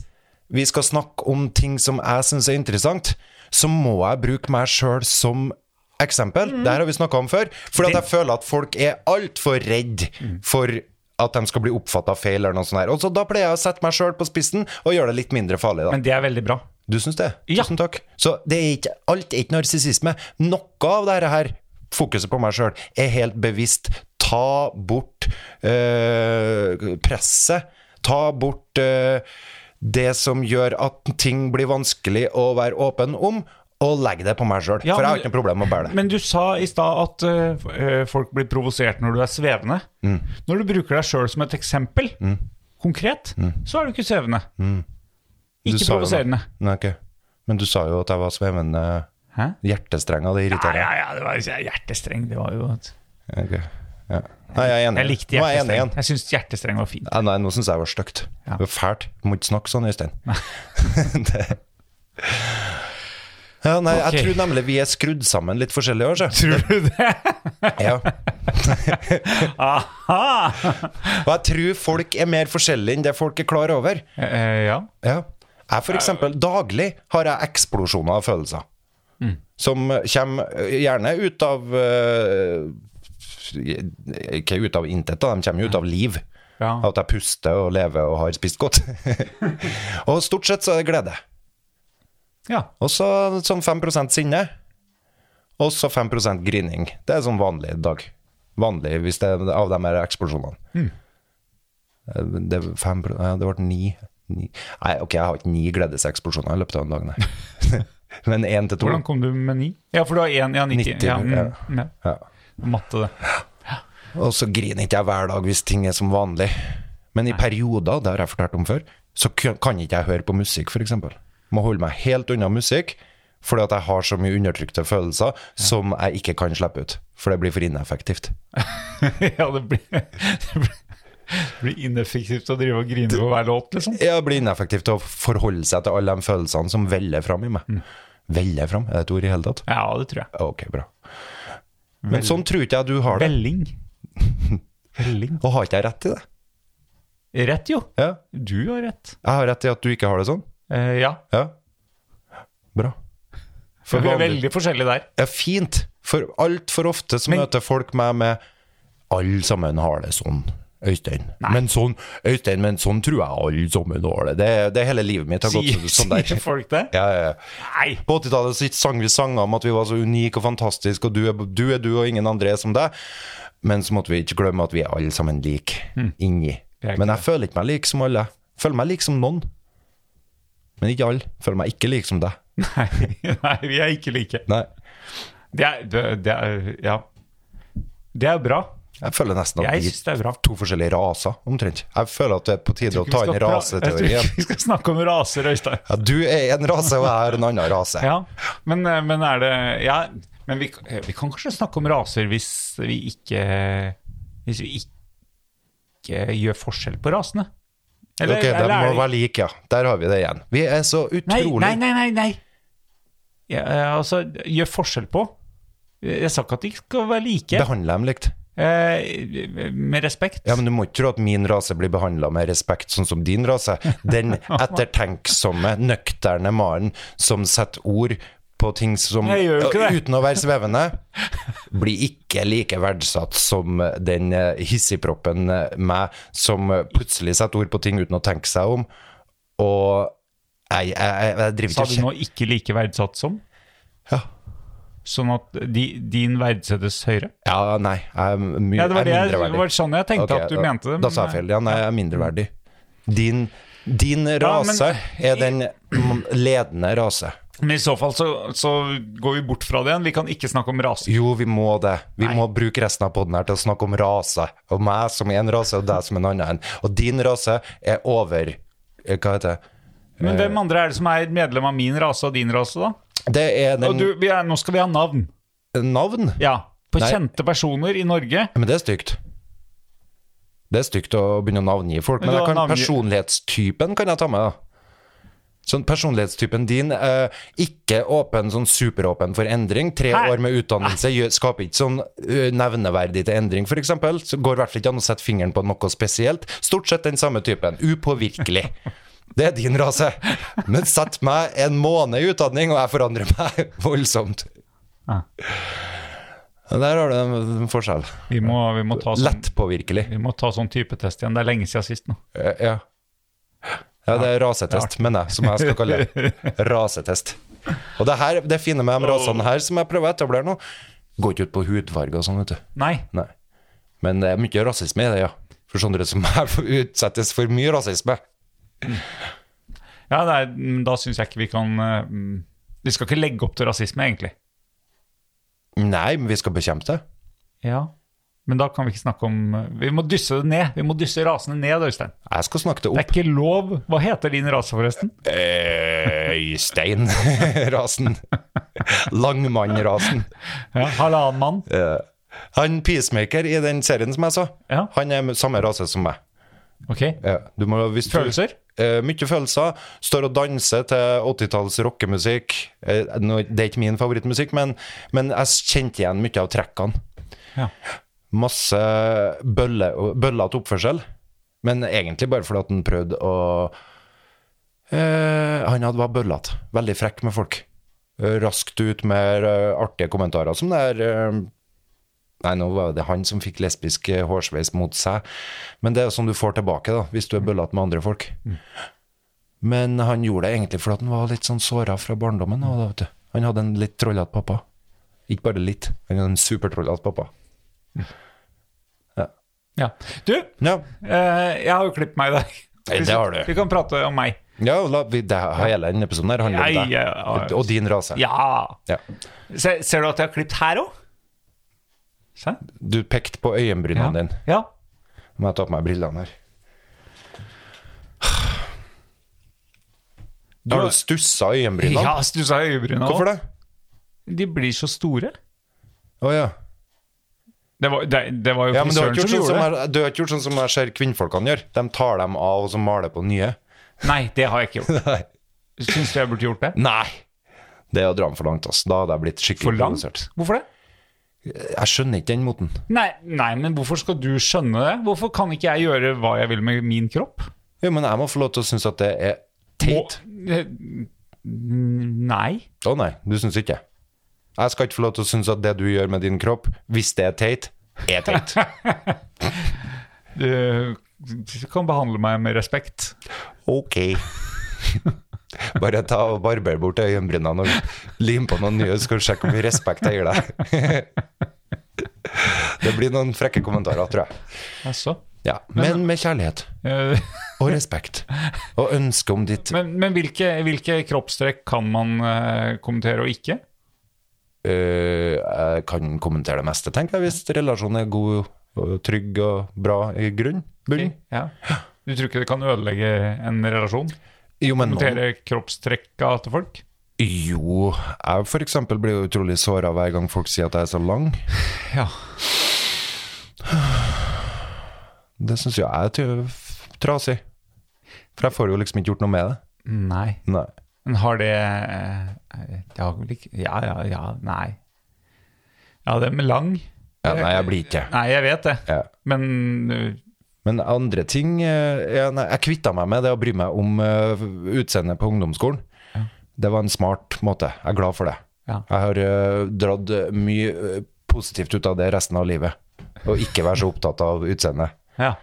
[SPEAKER 2] vi skal snakke om ting som jeg syns er interessant, så må jeg bruke meg sjøl som eksempel. Det her har vi snakka om før. Fordi at jeg føler at folk er altfor redd for at de skal bli oppfatta feil eller noe sånt. her. Og så Da pleier jeg å sette meg sjøl på spissen og gjøre det litt mindre farlig, da.
[SPEAKER 4] Men det er veldig bra.
[SPEAKER 2] Du syns det?
[SPEAKER 4] Ja.
[SPEAKER 2] Tusen takk. Så det er ikke, alt er ikke narsissisme. Noe av dette her, fokuset på meg sjøl, er helt bevisst. Ta bort eh, presset. Ta bort eh, det som gjør at ting blir vanskelig å være åpen om, og legg det på meg sjøl.
[SPEAKER 4] Ja,
[SPEAKER 2] For jeg har
[SPEAKER 4] men-
[SPEAKER 2] ikke noe problem med å bære det.
[SPEAKER 4] Men du sa i stad at eh, f- eh, folk blir provosert når du er svevende.
[SPEAKER 2] Mm.
[SPEAKER 4] Når du bruker deg sjøl som et eksempel, konkret, så er du ikke svevende.
[SPEAKER 2] Mm. Du
[SPEAKER 4] Ikke
[SPEAKER 2] sa jo noe.
[SPEAKER 4] provoserende.
[SPEAKER 2] Nei, ok. Men du sa jo at jeg var svevende
[SPEAKER 4] Hæ?
[SPEAKER 2] hjertestrenger. Det
[SPEAKER 4] Ja,
[SPEAKER 2] irriterer
[SPEAKER 4] ja, ja, det var hjertestreng. Det var jo et...
[SPEAKER 2] meg. Ok. Ja. Nei, jeg er enig.
[SPEAKER 4] Jeg likte
[SPEAKER 2] Nå er jeg enig
[SPEAKER 4] hjertestreng.
[SPEAKER 2] igjen.
[SPEAKER 4] Jeg syns hjertestreng var fint.
[SPEAKER 2] Ja, nei, nå syns jeg det var stygt.
[SPEAKER 4] Ja.
[SPEAKER 2] Det var fælt. Du må ikke snakke sånn, Øystein. Det- ja, nei,
[SPEAKER 4] Ok.
[SPEAKER 2] Jeg tror nemlig vi er skrudd sammen litt forskjellig i år, så.
[SPEAKER 4] Tror du det?
[SPEAKER 2] Ja.
[SPEAKER 4] Aha!
[SPEAKER 2] Og jeg tror folk er mer forskjellige enn det folk er klar over.
[SPEAKER 4] Eh, eh, ja.
[SPEAKER 2] Ja. Jeg for eksempel, daglig har jeg eksplosjoner av følelser.
[SPEAKER 4] Mm.
[SPEAKER 2] Som kommer gjerne ut av eh, Ikke ut av intet, da. de kommer jo ut av liv.
[SPEAKER 4] Ja.
[SPEAKER 2] At jeg puster og lever og har spist godt. og stort sett så er det glede.
[SPEAKER 4] ja.
[SPEAKER 2] Og så sånn 5 sinne. Og så 5 grining. Det er sånn vanlig dag. Vanlig hvis det er av de her eksplosjonene. Eh, Det, er 5 ja, det ble ni. ni. Nei, ok, jeg har ikke ni gledeseksplosjoner i løpet av en dag, nei. Men én til to.
[SPEAKER 4] Hvordan kom du med ni? Ja, for du har én ja, 90.
[SPEAKER 2] Nitti,
[SPEAKER 4] ja,
[SPEAKER 2] ja.
[SPEAKER 4] mm, ja.
[SPEAKER 2] Ja.
[SPEAKER 4] Matte, det.
[SPEAKER 2] Og så griner ikke jeg hver dag hvis ting er som vanlig. Men i perioder, det har jeg fortalt om før, så k- kan ikke jeg høre på musikk, f.eks. Må holde meg helt unna musikk, fordi at jeg har så mye undertrykte følelser som jeg ikke kan slippe ut. For det blir for ineffektivt.
[SPEAKER 4] ja, det blir, det blir det blir ineffektivt å drive og grine på hver låt, liksom.
[SPEAKER 2] Ja, det blir ineffektivt å forholde seg til alle de følelsene som veller fram i meg. Veller fram, er det et ord i hele tatt?
[SPEAKER 4] Ja, det tror jeg.
[SPEAKER 2] Ok, bra. Men sånn tror ikke jeg du har det.
[SPEAKER 4] Velling. Velling.
[SPEAKER 2] Og har ikke jeg rett i det?
[SPEAKER 4] Rett, jo.
[SPEAKER 2] Ja.
[SPEAKER 4] Du har rett.
[SPEAKER 2] Jeg har rett i at du ikke har det sånn?
[SPEAKER 4] Eh, ja.
[SPEAKER 2] Ja. Bra. For
[SPEAKER 4] vi er
[SPEAKER 2] vanlig-
[SPEAKER 4] veldig forskjellige der.
[SPEAKER 2] er fint, for altfor ofte så
[SPEAKER 4] Men-
[SPEAKER 2] møter folk meg med Alle sammen har det sånn, Øystein.
[SPEAKER 4] Nei.
[SPEAKER 2] Men sånn, Øystein, men sånn tror jeg alle sammen har det. Det, det er hele livet mitt har gått
[SPEAKER 4] Sier,
[SPEAKER 2] sånn der.
[SPEAKER 4] sier folk det?
[SPEAKER 2] Ja, ja, ja.
[SPEAKER 4] Nei.
[SPEAKER 2] På 80-tallet så sang vi sanger om at vi var så unike og fantastiske, og du er du, er du og ingen andre er som deg. Men så måtte vi ikke glemme at vi er alle sammen like inni.
[SPEAKER 4] Hmm. Det er ikke
[SPEAKER 2] Men jeg føler ikke meg lik som alle. Føler meg lik som noen. Men ikke alle. Føler meg ikke lik som deg.
[SPEAKER 4] Nei, nei, vi er ikke like.
[SPEAKER 2] Nei.
[SPEAKER 4] Det er, det, det er Ja. Det er bra.
[SPEAKER 2] Jeg føler nesten at
[SPEAKER 4] Jeg
[SPEAKER 2] vi
[SPEAKER 4] syns det er bra.
[SPEAKER 2] to forskjellige raser, omtrent. Jeg føler at det er på tide å ta inn
[SPEAKER 4] pra- jeg tror
[SPEAKER 2] raseteorien.
[SPEAKER 4] ikke vi skal snakke om raser, Øystein.
[SPEAKER 2] Ja, du er en rase, og jeg er en annen rase.
[SPEAKER 4] Ja, men, eh, men er det Ja, men vi, vi kan kanskje snakke om raser hvis vi ikke Hvis vi ikke gjør forskjell på rasene?
[SPEAKER 2] ok, de
[SPEAKER 4] er
[SPEAKER 2] må
[SPEAKER 4] det-
[SPEAKER 2] være like, ja. Der har vi det igjen. Vi er så
[SPEAKER 4] Nei,
[SPEAKER 2] utrolig
[SPEAKER 4] nei, nei, nei, nei. Ja, eh, altså, gjør forskjell på Jeg sa ikke at de skal være like
[SPEAKER 2] Behandle dem likt.
[SPEAKER 4] eh, Med respekt
[SPEAKER 2] Ja, men Du må ikke tro at min rase blir behandla med respekt, sånn som din rase. Den ettertenksomme, nøkterne mannen som setter ord på ting som
[SPEAKER 4] Jeg gjør jo ikke det.
[SPEAKER 2] uten å være svevende, blir ikke like verdsatt som den eh, hissigproppen eh, meg som eh, plutselig setter ord på ting uten å tenke seg om. Og jeg, jeg, jeg, jeg driver
[SPEAKER 4] Sa
[SPEAKER 2] ikke
[SPEAKER 4] du
[SPEAKER 2] og
[SPEAKER 4] nå ikke like verdsatt som?
[SPEAKER 2] kje- Ja.
[SPEAKER 4] Sånn at di, din verdsettes høyere?
[SPEAKER 2] Ja, nei, jeg er mye
[SPEAKER 4] Ja, det var,
[SPEAKER 2] jeg
[SPEAKER 4] det,
[SPEAKER 2] er
[SPEAKER 4] jeg- det
[SPEAKER 2] mindreverdig.
[SPEAKER 4] var sånn jeg tenkte
[SPEAKER 2] Ok,
[SPEAKER 4] at du
[SPEAKER 2] da,
[SPEAKER 4] mente det
[SPEAKER 2] Da sa
[SPEAKER 4] men-
[SPEAKER 2] jeg feil. Ja, nei, jeg er mindreverdig. Din, din rase er den ledende rase.
[SPEAKER 4] Men i så fall så, så går vi bort fra det igjen. Vi kan ikke snakke om raser.
[SPEAKER 2] Jo, vi må det. Vi må bruke resten av poden her til å snakke om rase. Og meg som en rase, og deg som en annen. Og din rase er over eh, Hva heter det? Eh,
[SPEAKER 4] Men hvem andre er det som er medlem av min rase og din rase, da?
[SPEAKER 2] Det er
[SPEAKER 4] Og
[SPEAKER 2] den
[SPEAKER 4] du, vi er, nå skal vi ha navn.
[SPEAKER 2] Navn?
[SPEAKER 4] Ja. På
[SPEAKER 2] Nei.
[SPEAKER 4] kjente personer i Norge.
[SPEAKER 2] Men det er stygt. Det er stygt å begynne å navngi folk,
[SPEAKER 4] Men
[SPEAKER 2] men
[SPEAKER 4] du
[SPEAKER 2] jeg
[SPEAKER 4] har
[SPEAKER 2] kan,
[SPEAKER 4] navngi-
[SPEAKER 2] personlighetstypen kan jeg ta med. da. Sånn Personlighetstypen din, eh, ikke åpen, sånn superåpen for endring. Tre
[SPEAKER 4] Hæ?
[SPEAKER 2] år med utdannelse gjør, skaper ikke sånn eh, nevneverdig til endring, f.eks. Så går i hvert fall ikke an å sette fingeren på noe spesielt. Stort sett den samme typen. Upåvirkelig. Det er din rase. Men sett meg en måned i utdanning, og jeg forandrer meg voldsomt.
[SPEAKER 4] Ja.
[SPEAKER 2] Der har du en en forskjell.
[SPEAKER 4] Vi må, vi må ta sånn,
[SPEAKER 2] Lettpåvirkelig.
[SPEAKER 4] vi må ta sånn typetest igjen. Det er lenge siden sist nå.
[SPEAKER 2] Eh, Ja. Ja, det er rasetest, mener jeg, som jeg skal kalle det. Rasetest. Og det, her, det fine med de rasene her som jeg prøver å etablere nå, går ikke ut på hudfarge og sånn, vet du.
[SPEAKER 4] Nei.
[SPEAKER 2] Nei. Men det er mye rasisme i det, ja. For sånne som meg utsettes for mye rasisme.
[SPEAKER 4] Ja, det er, men da syns jeg ikke vi kan eh, mm, Vi skal ikke legge opp til rasisme, egentlig.
[SPEAKER 2] Nei, men vi skal bekjempe det.
[SPEAKER 4] Ja. Men da kan vi ikke snakke om eh, Vi må dysse det ned. Vi må dysse rasene ned, Øystein.
[SPEAKER 2] Jeg skal snakke det
[SPEAKER 4] Det er
[SPEAKER 2] opp.
[SPEAKER 4] ikke lov. Hva heter din rase, forresten?
[SPEAKER 2] Øystein-rasen. Langmann-rasen.
[SPEAKER 4] Ja, Halvannen mann.
[SPEAKER 2] Eh, Han peacemaker i den serien som jeg så,
[SPEAKER 4] Ja.
[SPEAKER 2] han er samme rase som meg.
[SPEAKER 4] Ok.
[SPEAKER 2] Ja, du må, hvis du-
[SPEAKER 4] Følelser?
[SPEAKER 2] Eh, mye følelser. Står og danser til 80-talls rockemusikk. Eh, nå- det er ikke min favorittmusikk, men, men jeg kjente igjen mye av trekkene.
[SPEAKER 4] Ja.
[SPEAKER 2] Masse bølle, bøllete oppførsel, men egentlig bare fordi at han prøvde å eh, Han hadde var bøllete. Veldig frekk med folk. Eh, Raskt ut med eh, artige kommentarer, som det er eh, Nei, nå var det han som fikk lesbisk eh, hårsveis mot seg. Men det er jo sånn du får tilbake, da, hvis du er bøllete med andre folk. Men han gjorde det egentlig fordi at han var litt sånn såra fra barndommen. Og da, vet du. Han hadde en litt trollete pappa. Ikke bare litt, han hadde en supertrollete pappa.
[SPEAKER 4] Ja. Du,
[SPEAKER 2] Ja,
[SPEAKER 4] eh, jeg har jo klippet meg i dag.
[SPEAKER 2] Nei, det har du.
[SPEAKER 4] Vi kan prate om meg.
[SPEAKER 2] ja la, vi, det, hele denne episoden her handler
[SPEAKER 4] Jeg,
[SPEAKER 2] om deg
[SPEAKER 4] eh, har-
[SPEAKER 2] og din rase.
[SPEAKER 4] Ja.
[SPEAKER 2] Ja.
[SPEAKER 4] Se, ser du at jeg har klippet her òg? Se.
[SPEAKER 2] Du pekte på øyenbrynene
[SPEAKER 4] Ja.
[SPEAKER 2] dine.
[SPEAKER 4] ja.
[SPEAKER 2] Nå må jeg ta på meg brillene her. Du har
[SPEAKER 4] har-
[SPEAKER 2] du stussa øyenbrynene?
[SPEAKER 4] Ja, stussa øyebrynene òg.
[SPEAKER 2] Hvorfor det?
[SPEAKER 4] De blir så store.
[SPEAKER 2] Å ja.
[SPEAKER 4] Det var, det, det var jo
[SPEAKER 2] ja men du, har
[SPEAKER 4] frisøren
[SPEAKER 2] ikke gjort
[SPEAKER 4] som
[SPEAKER 2] sånn som
[SPEAKER 4] gjorde det.
[SPEAKER 2] jeg, du har ikke gjort sånn som jeg ser kvinnfolkene gjør. De tar dem av og så maler på nye.
[SPEAKER 4] Nei, det har jeg ikke gjort.
[SPEAKER 2] Nei.
[SPEAKER 4] Syns du jeg burde gjort det?
[SPEAKER 2] Nei. Det er å dra dem for langt. ass. Da hadde jeg blitt
[SPEAKER 4] For
[SPEAKER 2] skikkelig
[SPEAKER 4] langt?
[SPEAKER 2] provosert.
[SPEAKER 4] Hvorfor det?
[SPEAKER 2] Jeg skjønner ikke den moten.
[SPEAKER 4] Nei, nei, men hvorfor skal du skjønne det? Hvorfor kan ikke jeg gjøre hva jeg vil med min kropp?
[SPEAKER 2] Jo, men jeg må få lov til å synes at det er
[SPEAKER 4] Må-
[SPEAKER 2] teit.
[SPEAKER 4] Eh, Nei.
[SPEAKER 2] Å nei, du syns ikke. Jeg skal ikke få lov til å synes at det du gjør med din kropp, hvis det er teit, er teit.
[SPEAKER 4] Du, du kan behandle meg med respekt.
[SPEAKER 2] Ok. Bare ta og barber bort øyenbrynene og lim på noen nye, skal du sjekke hvor mye respekt jeg gir deg. Det blir noen frekke kommentarer, tror jeg.
[SPEAKER 4] Altså.
[SPEAKER 2] Ja, men med kjærlighet
[SPEAKER 4] Eh,
[SPEAKER 2] og respekt og ønske om ditt
[SPEAKER 4] Men, men hvilke, hvilke kroppstrekk kan man eh, kommentere og ikke?
[SPEAKER 2] Øh, Jeg kan kommentere det meste, tenker jeg, hvis relasjonen er god og trygg og bra i grunn. Bunn.
[SPEAKER 4] Ja. Du tror ikke det kan ødelegge en relasjon?
[SPEAKER 2] Jo, men noen
[SPEAKER 4] Kommentere kroppstrekka til folk?
[SPEAKER 2] Jo, jeg for eksempel blir jo utrolig såra hver gang folk sier at jeg er så lang.
[SPEAKER 4] Ja.
[SPEAKER 2] Det syns jo jeg er tø- trasig. For jeg får jo liksom ikke gjort noe med det.
[SPEAKER 4] Nei.
[SPEAKER 2] Nei.
[SPEAKER 4] Men har det eh, det har vel ikke Ja, ja, ja. Nei. Ja, det med lang
[SPEAKER 2] Ja, nei, jeg blir ikke
[SPEAKER 4] Nei, jeg vet det.
[SPEAKER 2] ja.
[SPEAKER 4] Men eh,
[SPEAKER 2] Men andre ting eh, ja, nei, Jeg kvitta meg med det å bry meg om eh, utseendet på ungdomsskolen. Det var en smart måte. Jeg er glad for det.
[SPEAKER 4] Ja.
[SPEAKER 2] Jeg har eh, dratt mye eh, positivt ut av det resten av livet. Å ikke være så opptatt av utseendet.
[SPEAKER 4] ja.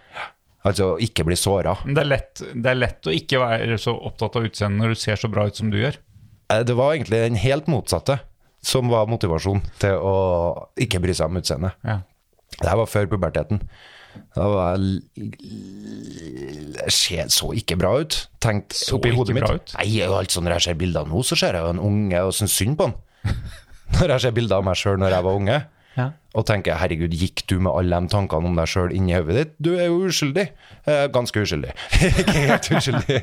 [SPEAKER 2] Altså å ikke bli såra.
[SPEAKER 4] Men det er, lett, det er lett å ikke være så opptatt av utseendet når du ser så bra ut som du gjør.
[SPEAKER 2] Eh, Det var egentlig den helt motsatte som var motivasjon til å ikke bry seg om utseendet.
[SPEAKER 4] Ja.
[SPEAKER 2] Det her var før puberteten. Da var jeg l- Jeg ser- så ikke bra ut. Tenkt
[SPEAKER 4] Så
[SPEAKER 2] oppi
[SPEAKER 4] ikke
[SPEAKER 2] hodet mitt.
[SPEAKER 4] bra ut?
[SPEAKER 2] Nei, og alt sånn når jeg ser bilder av henne, så ser jeg jo en unge og syns synd på han. Når jeg ser bilder av meg sjøl når jeg var unge,
[SPEAKER 4] Ja.
[SPEAKER 2] og tenker herregud, gikk du med alle de tankene om deg sjøl inni hodet ditt? Du er jo uskyldig. Eh, ganske uskyldig. ikke helt uskyldig.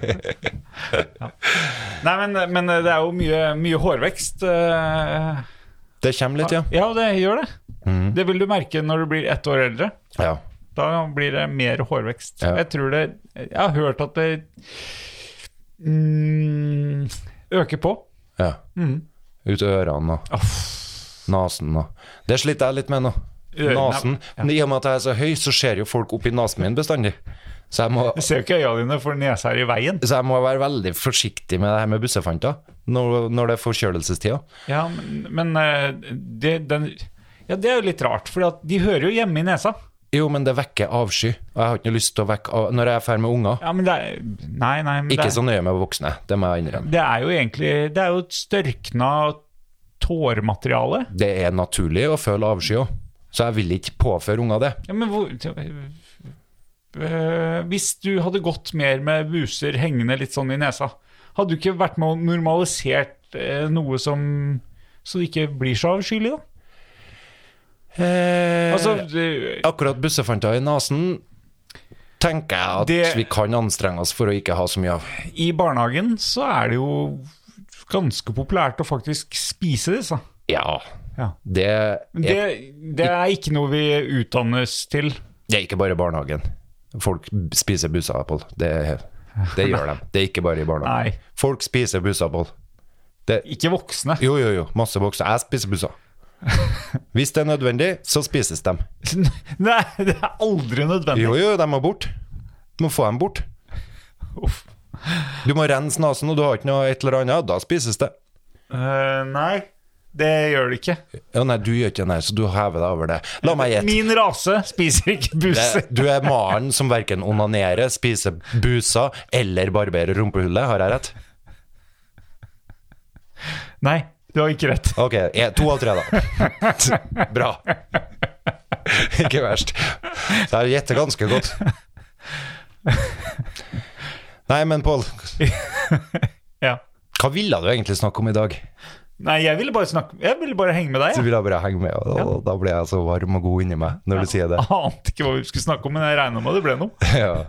[SPEAKER 4] Nei, men, men det er jo mye, mye hårvekst. eh,
[SPEAKER 2] Det kommer litt, ja.
[SPEAKER 4] Ja, det gjør det.
[SPEAKER 2] Mm.
[SPEAKER 4] Det vil du merke når du blir ett år eldre.
[SPEAKER 2] ja.
[SPEAKER 4] Da blir det mer hårvekst.
[SPEAKER 2] Ja.
[SPEAKER 4] Jeg tror det Jeg har hørt at det mm, øker på.
[SPEAKER 2] ja.
[SPEAKER 4] Mm.
[SPEAKER 2] Ut ørene og Nasen og Det sliter jeg litt med nå.
[SPEAKER 4] Ørene,
[SPEAKER 2] Nasen. Men i og med at jeg er så høy, så ser jo folk oppi nesen min bestandig. Så jeg, må,
[SPEAKER 4] Jeg ser jo ikke øya dine, for nesa er i veien.
[SPEAKER 2] så jeg må være veldig forsiktig med det her med bussefanter når, når det er forkjølelsestida.
[SPEAKER 4] Ja, men, men eh, det, den, ja, det er jo litt rart, for de hører jo hjemme i nesa.
[SPEAKER 2] Jo, men det vekker avsky, og jeg har ikke noe lyst til å vekke av Når jeg er ferdig med unger.
[SPEAKER 4] Ja, men det er Nei, nei. Men
[SPEAKER 2] Ikke sånn.
[SPEAKER 4] det,
[SPEAKER 2] så nøye med voksne, det må jeg innrømme.
[SPEAKER 4] det er jo egentlig Det er jo et størkna tårmateriale.
[SPEAKER 2] Det er naturlig å føle avsky òg, så jeg vil ikke påføre unger det.
[SPEAKER 4] Ja, men hvor Øh, Hvis du hadde gått mer med buser hengende litt sånn i nesa, hadde du ikke vært med og normalisert eh, noe som Så det ikke blir så avskyelig, da?
[SPEAKER 2] Eh,
[SPEAKER 4] Altså, det-
[SPEAKER 2] Akkurat bussefanter i nesen tenker jeg at
[SPEAKER 4] Det-
[SPEAKER 2] vi kan anstrenge oss for å ikke ha så mye av.
[SPEAKER 4] i barnehagen så er det jo ganske populært å faktisk spise disse.
[SPEAKER 2] Ja,
[SPEAKER 4] Ja.
[SPEAKER 2] det er,
[SPEAKER 4] Men
[SPEAKER 2] det...
[SPEAKER 4] Det, det er ikke noe vi utdannes til.
[SPEAKER 2] er ikke bare barnehagen. Folk b- spiser busseapple. Det, det gjør de. Det er ikke bare i barnehagen.
[SPEAKER 4] Nei.
[SPEAKER 2] Folk spiser busseapple. Det,
[SPEAKER 4] Ikke voksne.
[SPEAKER 2] jo, jo, jo. Masse voksne. Jeg spiser busser. Hvis det er nødvendig, så spises de.
[SPEAKER 4] Nei, det er aldri nødvendig.
[SPEAKER 2] Jo, jo, de må bort. Du må få dem bort.
[SPEAKER 4] Uff.
[SPEAKER 2] Du må rense nesen, og du har ikke noe et eller annet. Da spises det.
[SPEAKER 4] Eh, nei, det gjør det ikke.
[SPEAKER 2] Ja, nei, du gjør ikke det, nei, så du hever deg over det. La meg gjette.
[SPEAKER 4] Min rase spiser ikke buser.
[SPEAKER 2] Det- Du er mannen som verken onanerer, spiser buser eller barberer rumpehullet, har jeg rett?
[SPEAKER 4] Nei, du har ikke rett.
[SPEAKER 2] Ok, eh, to av tre da Bra Ikke verst Det her gjetter ganske godt Nei, men Pål
[SPEAKER 4] Ja.
[SPEAKER 2] Hva ville du egentlig snakke om i dag?
[SPEAKER 4] Nei, jeg ville bare snakke Jeg ville bare henge med deg.
[SPEAKER 2] Så
[SPEAKER 4] Jeg
[SPEAKER 2] vil jeg bare henge med, og da, da blir jeg så varm og god inni meg når du
[SPEAKER 4] Ah.
[SPEAKER 2] sier det.
[SPEAKER 4] ante ikke hva vi skulle snakke om, men jeg regna med det ble noe.
[SPEAKER 2] Ja.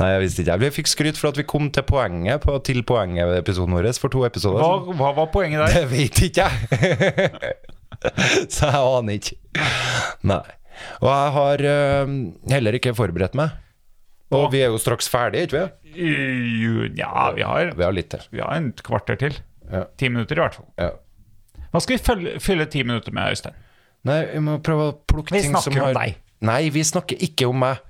[SPEAKER 2] Nei, jeg visste ikke. Jeg fikk skryt for at vi kom til poenget på, til poenget ved episoden vår for to episoder.
[SPEAKER 4] Hva,
[SPEAKER 2] siden.
[SPEAKER 4] hva var poenget der?
[SPEAKER 2] Det vet ikke jeg. så jeg aner ikke. Nei. Og jeg har eh, heller ikke forberedt meg. Og vi er jo straks ferdige, ikke vi?
[SPEAKER 4] Nja, vi har,
[SPEAKER 2] Vi har litt til.
[SPEAKER 4] vi har en kvarter til.
[SPEAKER 2] Ja.
[SPEAKER 4] Ti minutter, i hvert fall.
[SPEAKER 2] Ja.
[SPEAKER 4] Hva skal vi fylle, fylle ti minutter med, Øystein?
[SPEAKER 2] Nei, vi må prøve å plukke
[SPEAKER 4] Vi
[SPEAKER 2] ting som
[SPEAKER 4] snakker om
[SPEAKER 2] har
[SPEAKER 4] deg.
[SPEAKER 2] Nei, vi snakker ikke om meg.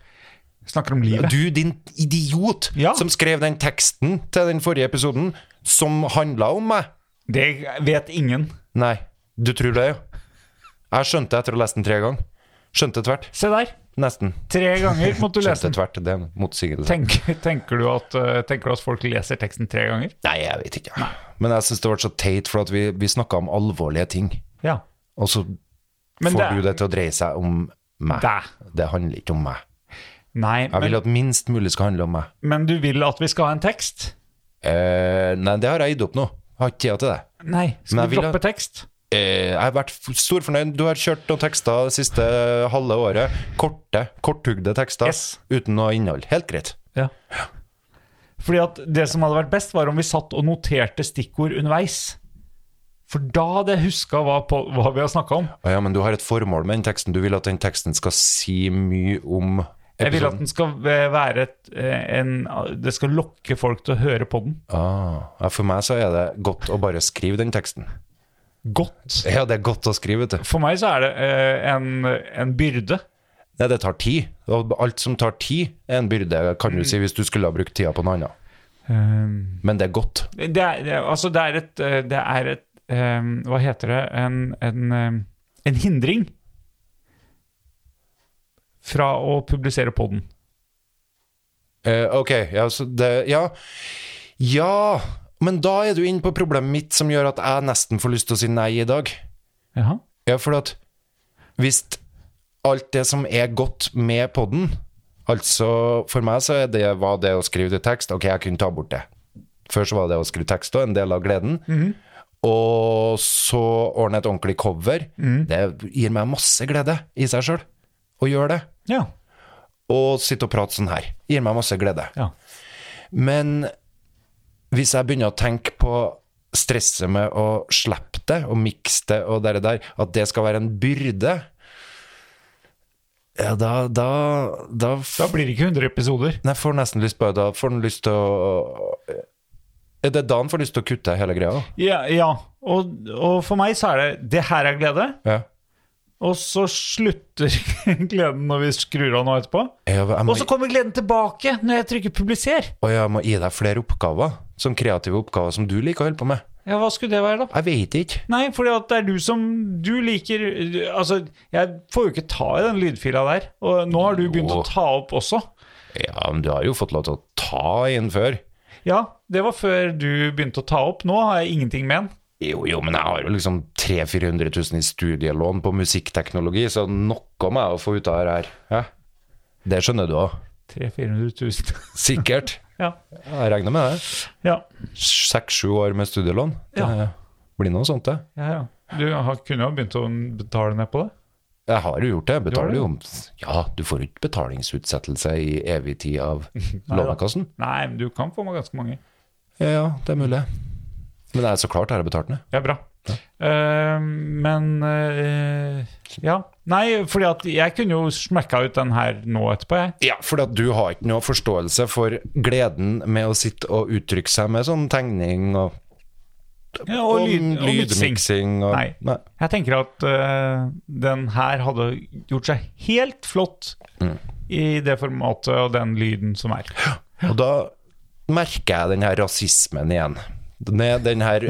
[SPEAKER 4] Snakker om livet.
[SPEAKER 2] Du, din idiot
[SPEAKER 4] Ja.
[SPEAKER 2] som skrev den teksten til den forrige episoden som handla om meg.
[SPEAKER 4] Det vet ingen.
[SPEAKER 2] Nei, du tror det, ja. Jeg skjønte etter å lese den tre ganger. Skjønte tvert.
[SPEAKER 4] Se der.
[SPEAKER 2] Nesten.
[SPEAKER 4] Tre ganger måtte du lese
[SPEAKER 2] Skjønte
[SPEAKER 4] den.
[SPEAKER 2] tvert. Det er en motsigelse.
[SPEAKER 4] Tenk, tenker, du at, eh, tenker du at folk leser teksten tre ganger?
[SPEAKER 2] Nei, jeg vet ikke. Men jeg syns det ble så teit, for at vi, vi snakka om alvorlige ting.
[SPEAKER 4] Ja.
[SPEAKER 2] Og så
[SPEAKER 4] Men
[SPEAKER 2] får
[SPEAKER 4] det-
[SPEAKER 2] du det til å dreie seg om meg.
[SPEAKER 4] Deg.
[SPEAKER 2] Det handler ikke om meg.
[SPEAKER 4] Nei,
[SPEAKER 2] Jeg vil
[SPEAKER 4] men,
[SPEAKER 2] at minst mulig skal handle om meg.
[SPEAKER 4] men du vil at vi skal ha en tekst?
[SPEAKER 2] Eh, nei, det har jeg gitt opp nå. Har ikke tida til det.
[SPEAKER 4] Nei.
[SPEAKER 2] Men
[SPEAKER 4] Skal vi
[SPEAKER 2] jeg vil ha-
[SPEAKER 4] droppe tekst?
[SPEAKER 2] Eh, jeg har vært f- stor fornøyd. Du har kjørt noen tekster det siste halve året. Korte, korthugde tekster
[SPEAKER 4] Yes.
[SPEAKER 2] uten noe innhold. Helt greit.
[SPEAKER 4] Ja. Fordi at det som hadde vært best, var om vi satt og noterte stikkord underveis. For da hadde jeg huska hva, på- hva vi har snakka om.
[SPEAKER 2] Å ja, men du har et formål med den teksten. Du vil at den teksten skal si mye om
[SPEAKER 4] Jeg vil at
[SPEAKER 2] episoden.
[SPEAKER 4] den skal eh, være et, eh, en Det skal lokke folk til å høre på den.
[SPEAKER 2] Ah, ja, for meg så er det godt å bare skrive den teksten.
[SPEAKER 4] Godt.
[SPEAKER 2] Ja, det er godt å skrive, vet du.
[SPEAKER 4] For meg så er det eh, en, en byrde.
[SPEAKER 2] Nei, det tar tid. Og alt som tar tid, er en byrde, kan du si, hvis du skulle ha brukt tida på noe annet.
[SPEAKER 4] Eh,
[SPEAKER 2] Men det er godt.
[SPEAKER 4] det er, det, er- altså det er et, eh, det er et eh, Hva heter det? En, en, eh, en hindring fra å publisere podden.
[SPEAKER 2] Eh, ok, ja, så det Ja. Ja, men da er du inne på problemet mitt som gjør at jeg nesten får lyst til å si nei i dag.
[SPEAKER 4] Jaha.
[SPEAKER 2] Ja, for at hvis alt det som er godt med podden Altså, for meg så er det, var det å skrive til tekst Ok, jeg kunne ta bort det. Før så var det å skrive tekst òg, en del av gleden. Og så ordne et ordentlig cover. Det gir meg masse glede i seg sjøl å gjøre det.
[SPEAKER 4] Ja.
[SPEAKER 2] Og sitte og prate sånn her. Gir meg masse glede.
[SPEAKER 4] ja.
[SPEAKER 2] Men hvis jeg begynner å tenke på stresset med å slippe det, og mikse det og det der, at det skal være en byrde ja, da, da, da, f-
[SPEAKER 4] Da blir det ikke 100 episoder.
[SPEAKER 2] Nei, jeg får nesten lyst på Da får han lyst til å Er det da han får lyst til å kutte hele greia?
[SPEAKER 4] Ja. ja. Og, og for meg så er det Det her er glede,
[SPEAKER 2] Ja.
[SPEAKER 4] og så slutter gleden når vi skrur av nå etterpå.
[SPEAKER 2] Jeg, jeg,
[SPEAKER 4] Og
[SPEAKER 2] må,
[SPEAKER 4] så kommer gleden tilbake når jeg trykker 'publiser'.
[SPEAKER 2] og jeg må gi deg flere oppgaver, sånn kreative oppgaver som du liker å holde på med.
[SPEAKER 4] Ja, hva skulle det være, da?
[SPEAKER 2] Jeg vet ikke.
[SPEAKER 4] Nei, fordi at det er du som Du liker du- Altså, jeg får jo ikke ta i den lydfila der. Og nå har du begynt
[SPEAKER 2] Jo.
[SPEAKER 4] å ta opp også.
[SPEAKER 2] Ja, men du har jo fått lov til å ta inn før.
[SPEAKER 4] Ja, det var før du begynte å ta opp. Nå har jeg ingenting med den.
[SPEAKER 2] Jo, jo, men jeg har jo liksom 300 000-400 000 i studielån på musikkteknologi, så noe må jeg jo få ut av det her. Hæ? Det skjønner du òg.
[SPEAKER 4] 300 000-400 000.
[SPEAKER 2] Sikkert.
[SPEAKER 4] ja.
[SPEAKER 2] Jeg regner med det.
[SPEAKER 4] ja.
[SPEAKER 2] Seks-sju år med studielån. Det
[SPEAKER 4] Ja.
[SPEAKER 2] blir noe sånt, det.
[SPEAKER 4] Ja, ja. Du har, kunne jo begynt å betale ned på det.
[SPEAKER 2] Jeg har jo gjort det. Jeg
[SPEAKER 4] har
[SPEAKER 2] Betaler
[SPEAKER 4] det?
[SPEAKER 2] jo om Ja, du får jo ikke betalingsutsettelse i evig tid av Lånekassen.
[SPEAKER 4] Nei, men du kan få med ganske mange.
[SPEAKER 2] Ja, ja, det er mulig. Men det er så klart jeg har betalt ned.
[SPEAKER 4] Ja, bra. Eh, men eh, Ja. Nei, fordi at jeg kunne jo smekka ut den her nå etterpå, jeg.
[SPEAKER 2] Ja, for at du har ikke noe forståelse for gleden med å sitte og uttrykke seg med sånn tegning og
[SPEAKER 4] Ja, og lyd, og miksing.
[SPEAKER 2] lydmiksing og
[SPEAKER 4] Nei.
[SPEAKER 2] Nei.
[SPEAKER 4] Jeg tenker at eh, den her hadde gjort seg helt flott
[SPEAKER 2] Mm.
[SPEAKER 4] i det formatet og den lyden som er.
[SPEAKER 2] Og da merker jeg den her rasismen igjen. Med den her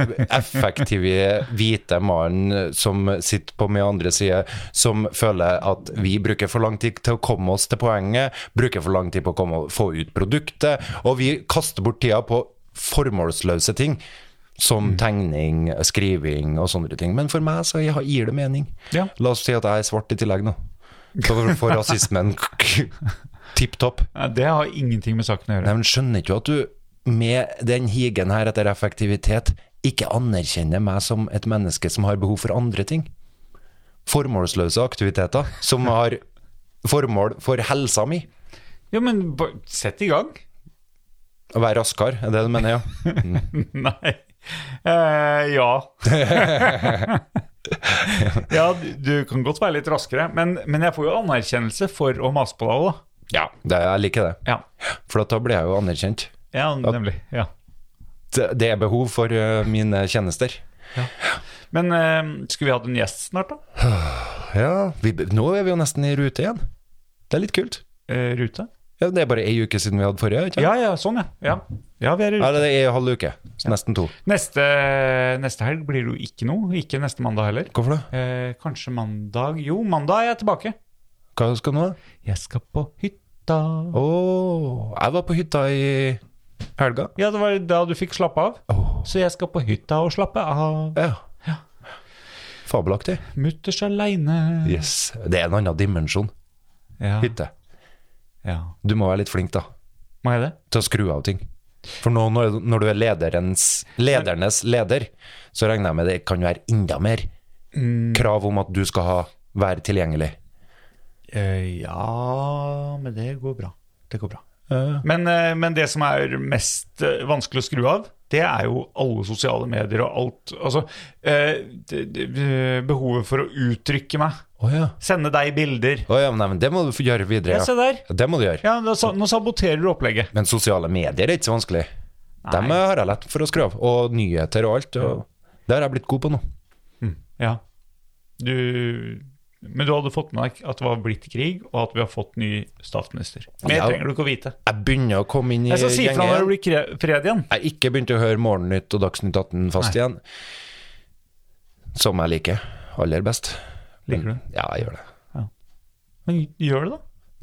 [SPEAKER 2] effektive hvite mannen som sitter på min andre side, som føler at vi bruker for lang tid til å komme oss til poenget, bruker for lang tid på å komme, få ut produktet, og vi kaster bort tida på formålsløse ting. Som tegning, skriving og sånne ting. Men for meg så gir det mening.
[SPEAKER 4] Ja.
[SPEAKER 2] La oss si at jeg er svart i tillegg nå. Så får rasismen tipp topp.
[SPEAKER 4] Nei, Det har ingenting med saken å
[SPEAKER 2] Nei,
[SPEAKER 4] gjøre.
[SPEAKER 2] men skjønner ikke du at du med den higen her etter effektivitet ikke anerkjenner meg som et menneske som har behov for andre ting. Formålsløse aktiviteter som har formål for helsa mi.
[SPEAKER 4] Jo, men ba- sett i gang.
[SPEAKER 2] Å være raskere, er det du mener, ja?
[SPEAKER 4] Nei. Eh, ja. ja, du- du kan godt være litt raskere, men, men jeg får jo anerkjennelse for å mase på deg òg,
[SPEAKER 2] Ja, det, jeg liker det.
[SPEAKER 4] da. Ja.
[SPEAKER 2] For at da blir jeg jo anerkjent.
[SPEAKER 4] ja, nemlig. Ja.
[SPEAKER 2] Det, det er behov for eh, mine tjenester.
[SPEAKER 4] Men eh, skulle vi hatt en gjest snart, da?
[SPEAKER 2] Ja, vi, nå er vi jo nesten i rute igjen. Det er litt kult.
[SPEAKER 4] Eh, rute?
[SPEAKER 2] Ja, det er bare ei uke siden vi hadde forrige, ikke sant?
[SPEAKER 4] Ja, ja, sånn, ja. Ja, ja vi er i rute.
[SPEAKER 2] Eller det er ei halv uke. Så nesten to.
[SPEAKER 4] Neste, neste helg blir det jo ikke noe. Ikke neste mandag heller.
[SPEAKER 2] Hvorfor det?
[SPEAKER 4] Eh, kanskje mandag Jo, mandag er jeg tilbake.
[SPEAKER 2] Hva skal du nå?
[SPEAKER 4] Jeg skal på hytta.
[SPEAKER 2] Å, jeg var på hytta i helga.
[SPEAKER 4] Ja, det var da du fikk slappe av. Så jeg skal på hytta og slappe av.
[SPEAKER 2] Ja. Fabelaktig.
[SPEAKER 4] Mutters aleine.
[SPEAKER 2] Yes. Det er en annen dimensjon.
[SPEAKER 4] Ja,
[SPEAKER 2] Hytte.
[SPEAKER 4] ja.
[SPEAKER 2] Du må være litt flink, da,
[SPEAKER 4] Må jeg det?
[SPEAKER 2] til å skru av ting. For nå når, når du er lederens, ledernes leder, så regner jeg med det kan være enda mer
[SPEAKER 4] Mm,
[SPEAKER 2] krav om at du skal ha, være tilgjengelig.
[SPEAKER 4] Eh, ja, men det går bra. Det går bra. Men, eh, men det som er mest eh, vanskelig å skru av, det er jo alle sosiale medier og alt. Altså, eh, det, det, eh, behovet for å uttrykke meg.
[SPEAKER 2] Å ja.
[SPEAKER 4] Sende deg bilder.
[SPEAKER 2] Å ja, men, nei, men det må du få gjøre videre.
[SPEAKER 4] Ja, se der.
[SPEAKER 2] Det må du gjøre.
[SPEAKER 4] Ja, da, sa- nå saboterer du opplegget.
[SPEAKER 2] Men sosiale medier er ikke så vanskelig. Dem eh, har jeg lett for å skru av. Og nyheter og alt. Og det har jeg blitt god på nå.
[SPEAKER 4] Ja. Du, men du hadde fått med deg at det var blitt krig, og at vi har fått ny statsminister. Mer
[SPEAKER 2] Ja.
[SPEAKER 4] trenger du ikke å vite.
[SPEAKER 2] Jeg begynner å komme inn i
[SPEAKER 4] Jeg skal si
[SPEAKER 2] gjengen
[SPEAKER 4] fra når
[SPEAKER 2] igjen.
[SPEAKER 4] det blir kre- fred igjen.
[SPEAKER 2] Jeg har ikke begynt å høre Morgennytt og Dagsnytt 18 fast igjen. Som jeg liker aller best.
[SPEAKER 4] Liker du det?
[SPEAKER 2] Ja, jeg gjør det.
[SPEAKER 4] Men gjør det, da.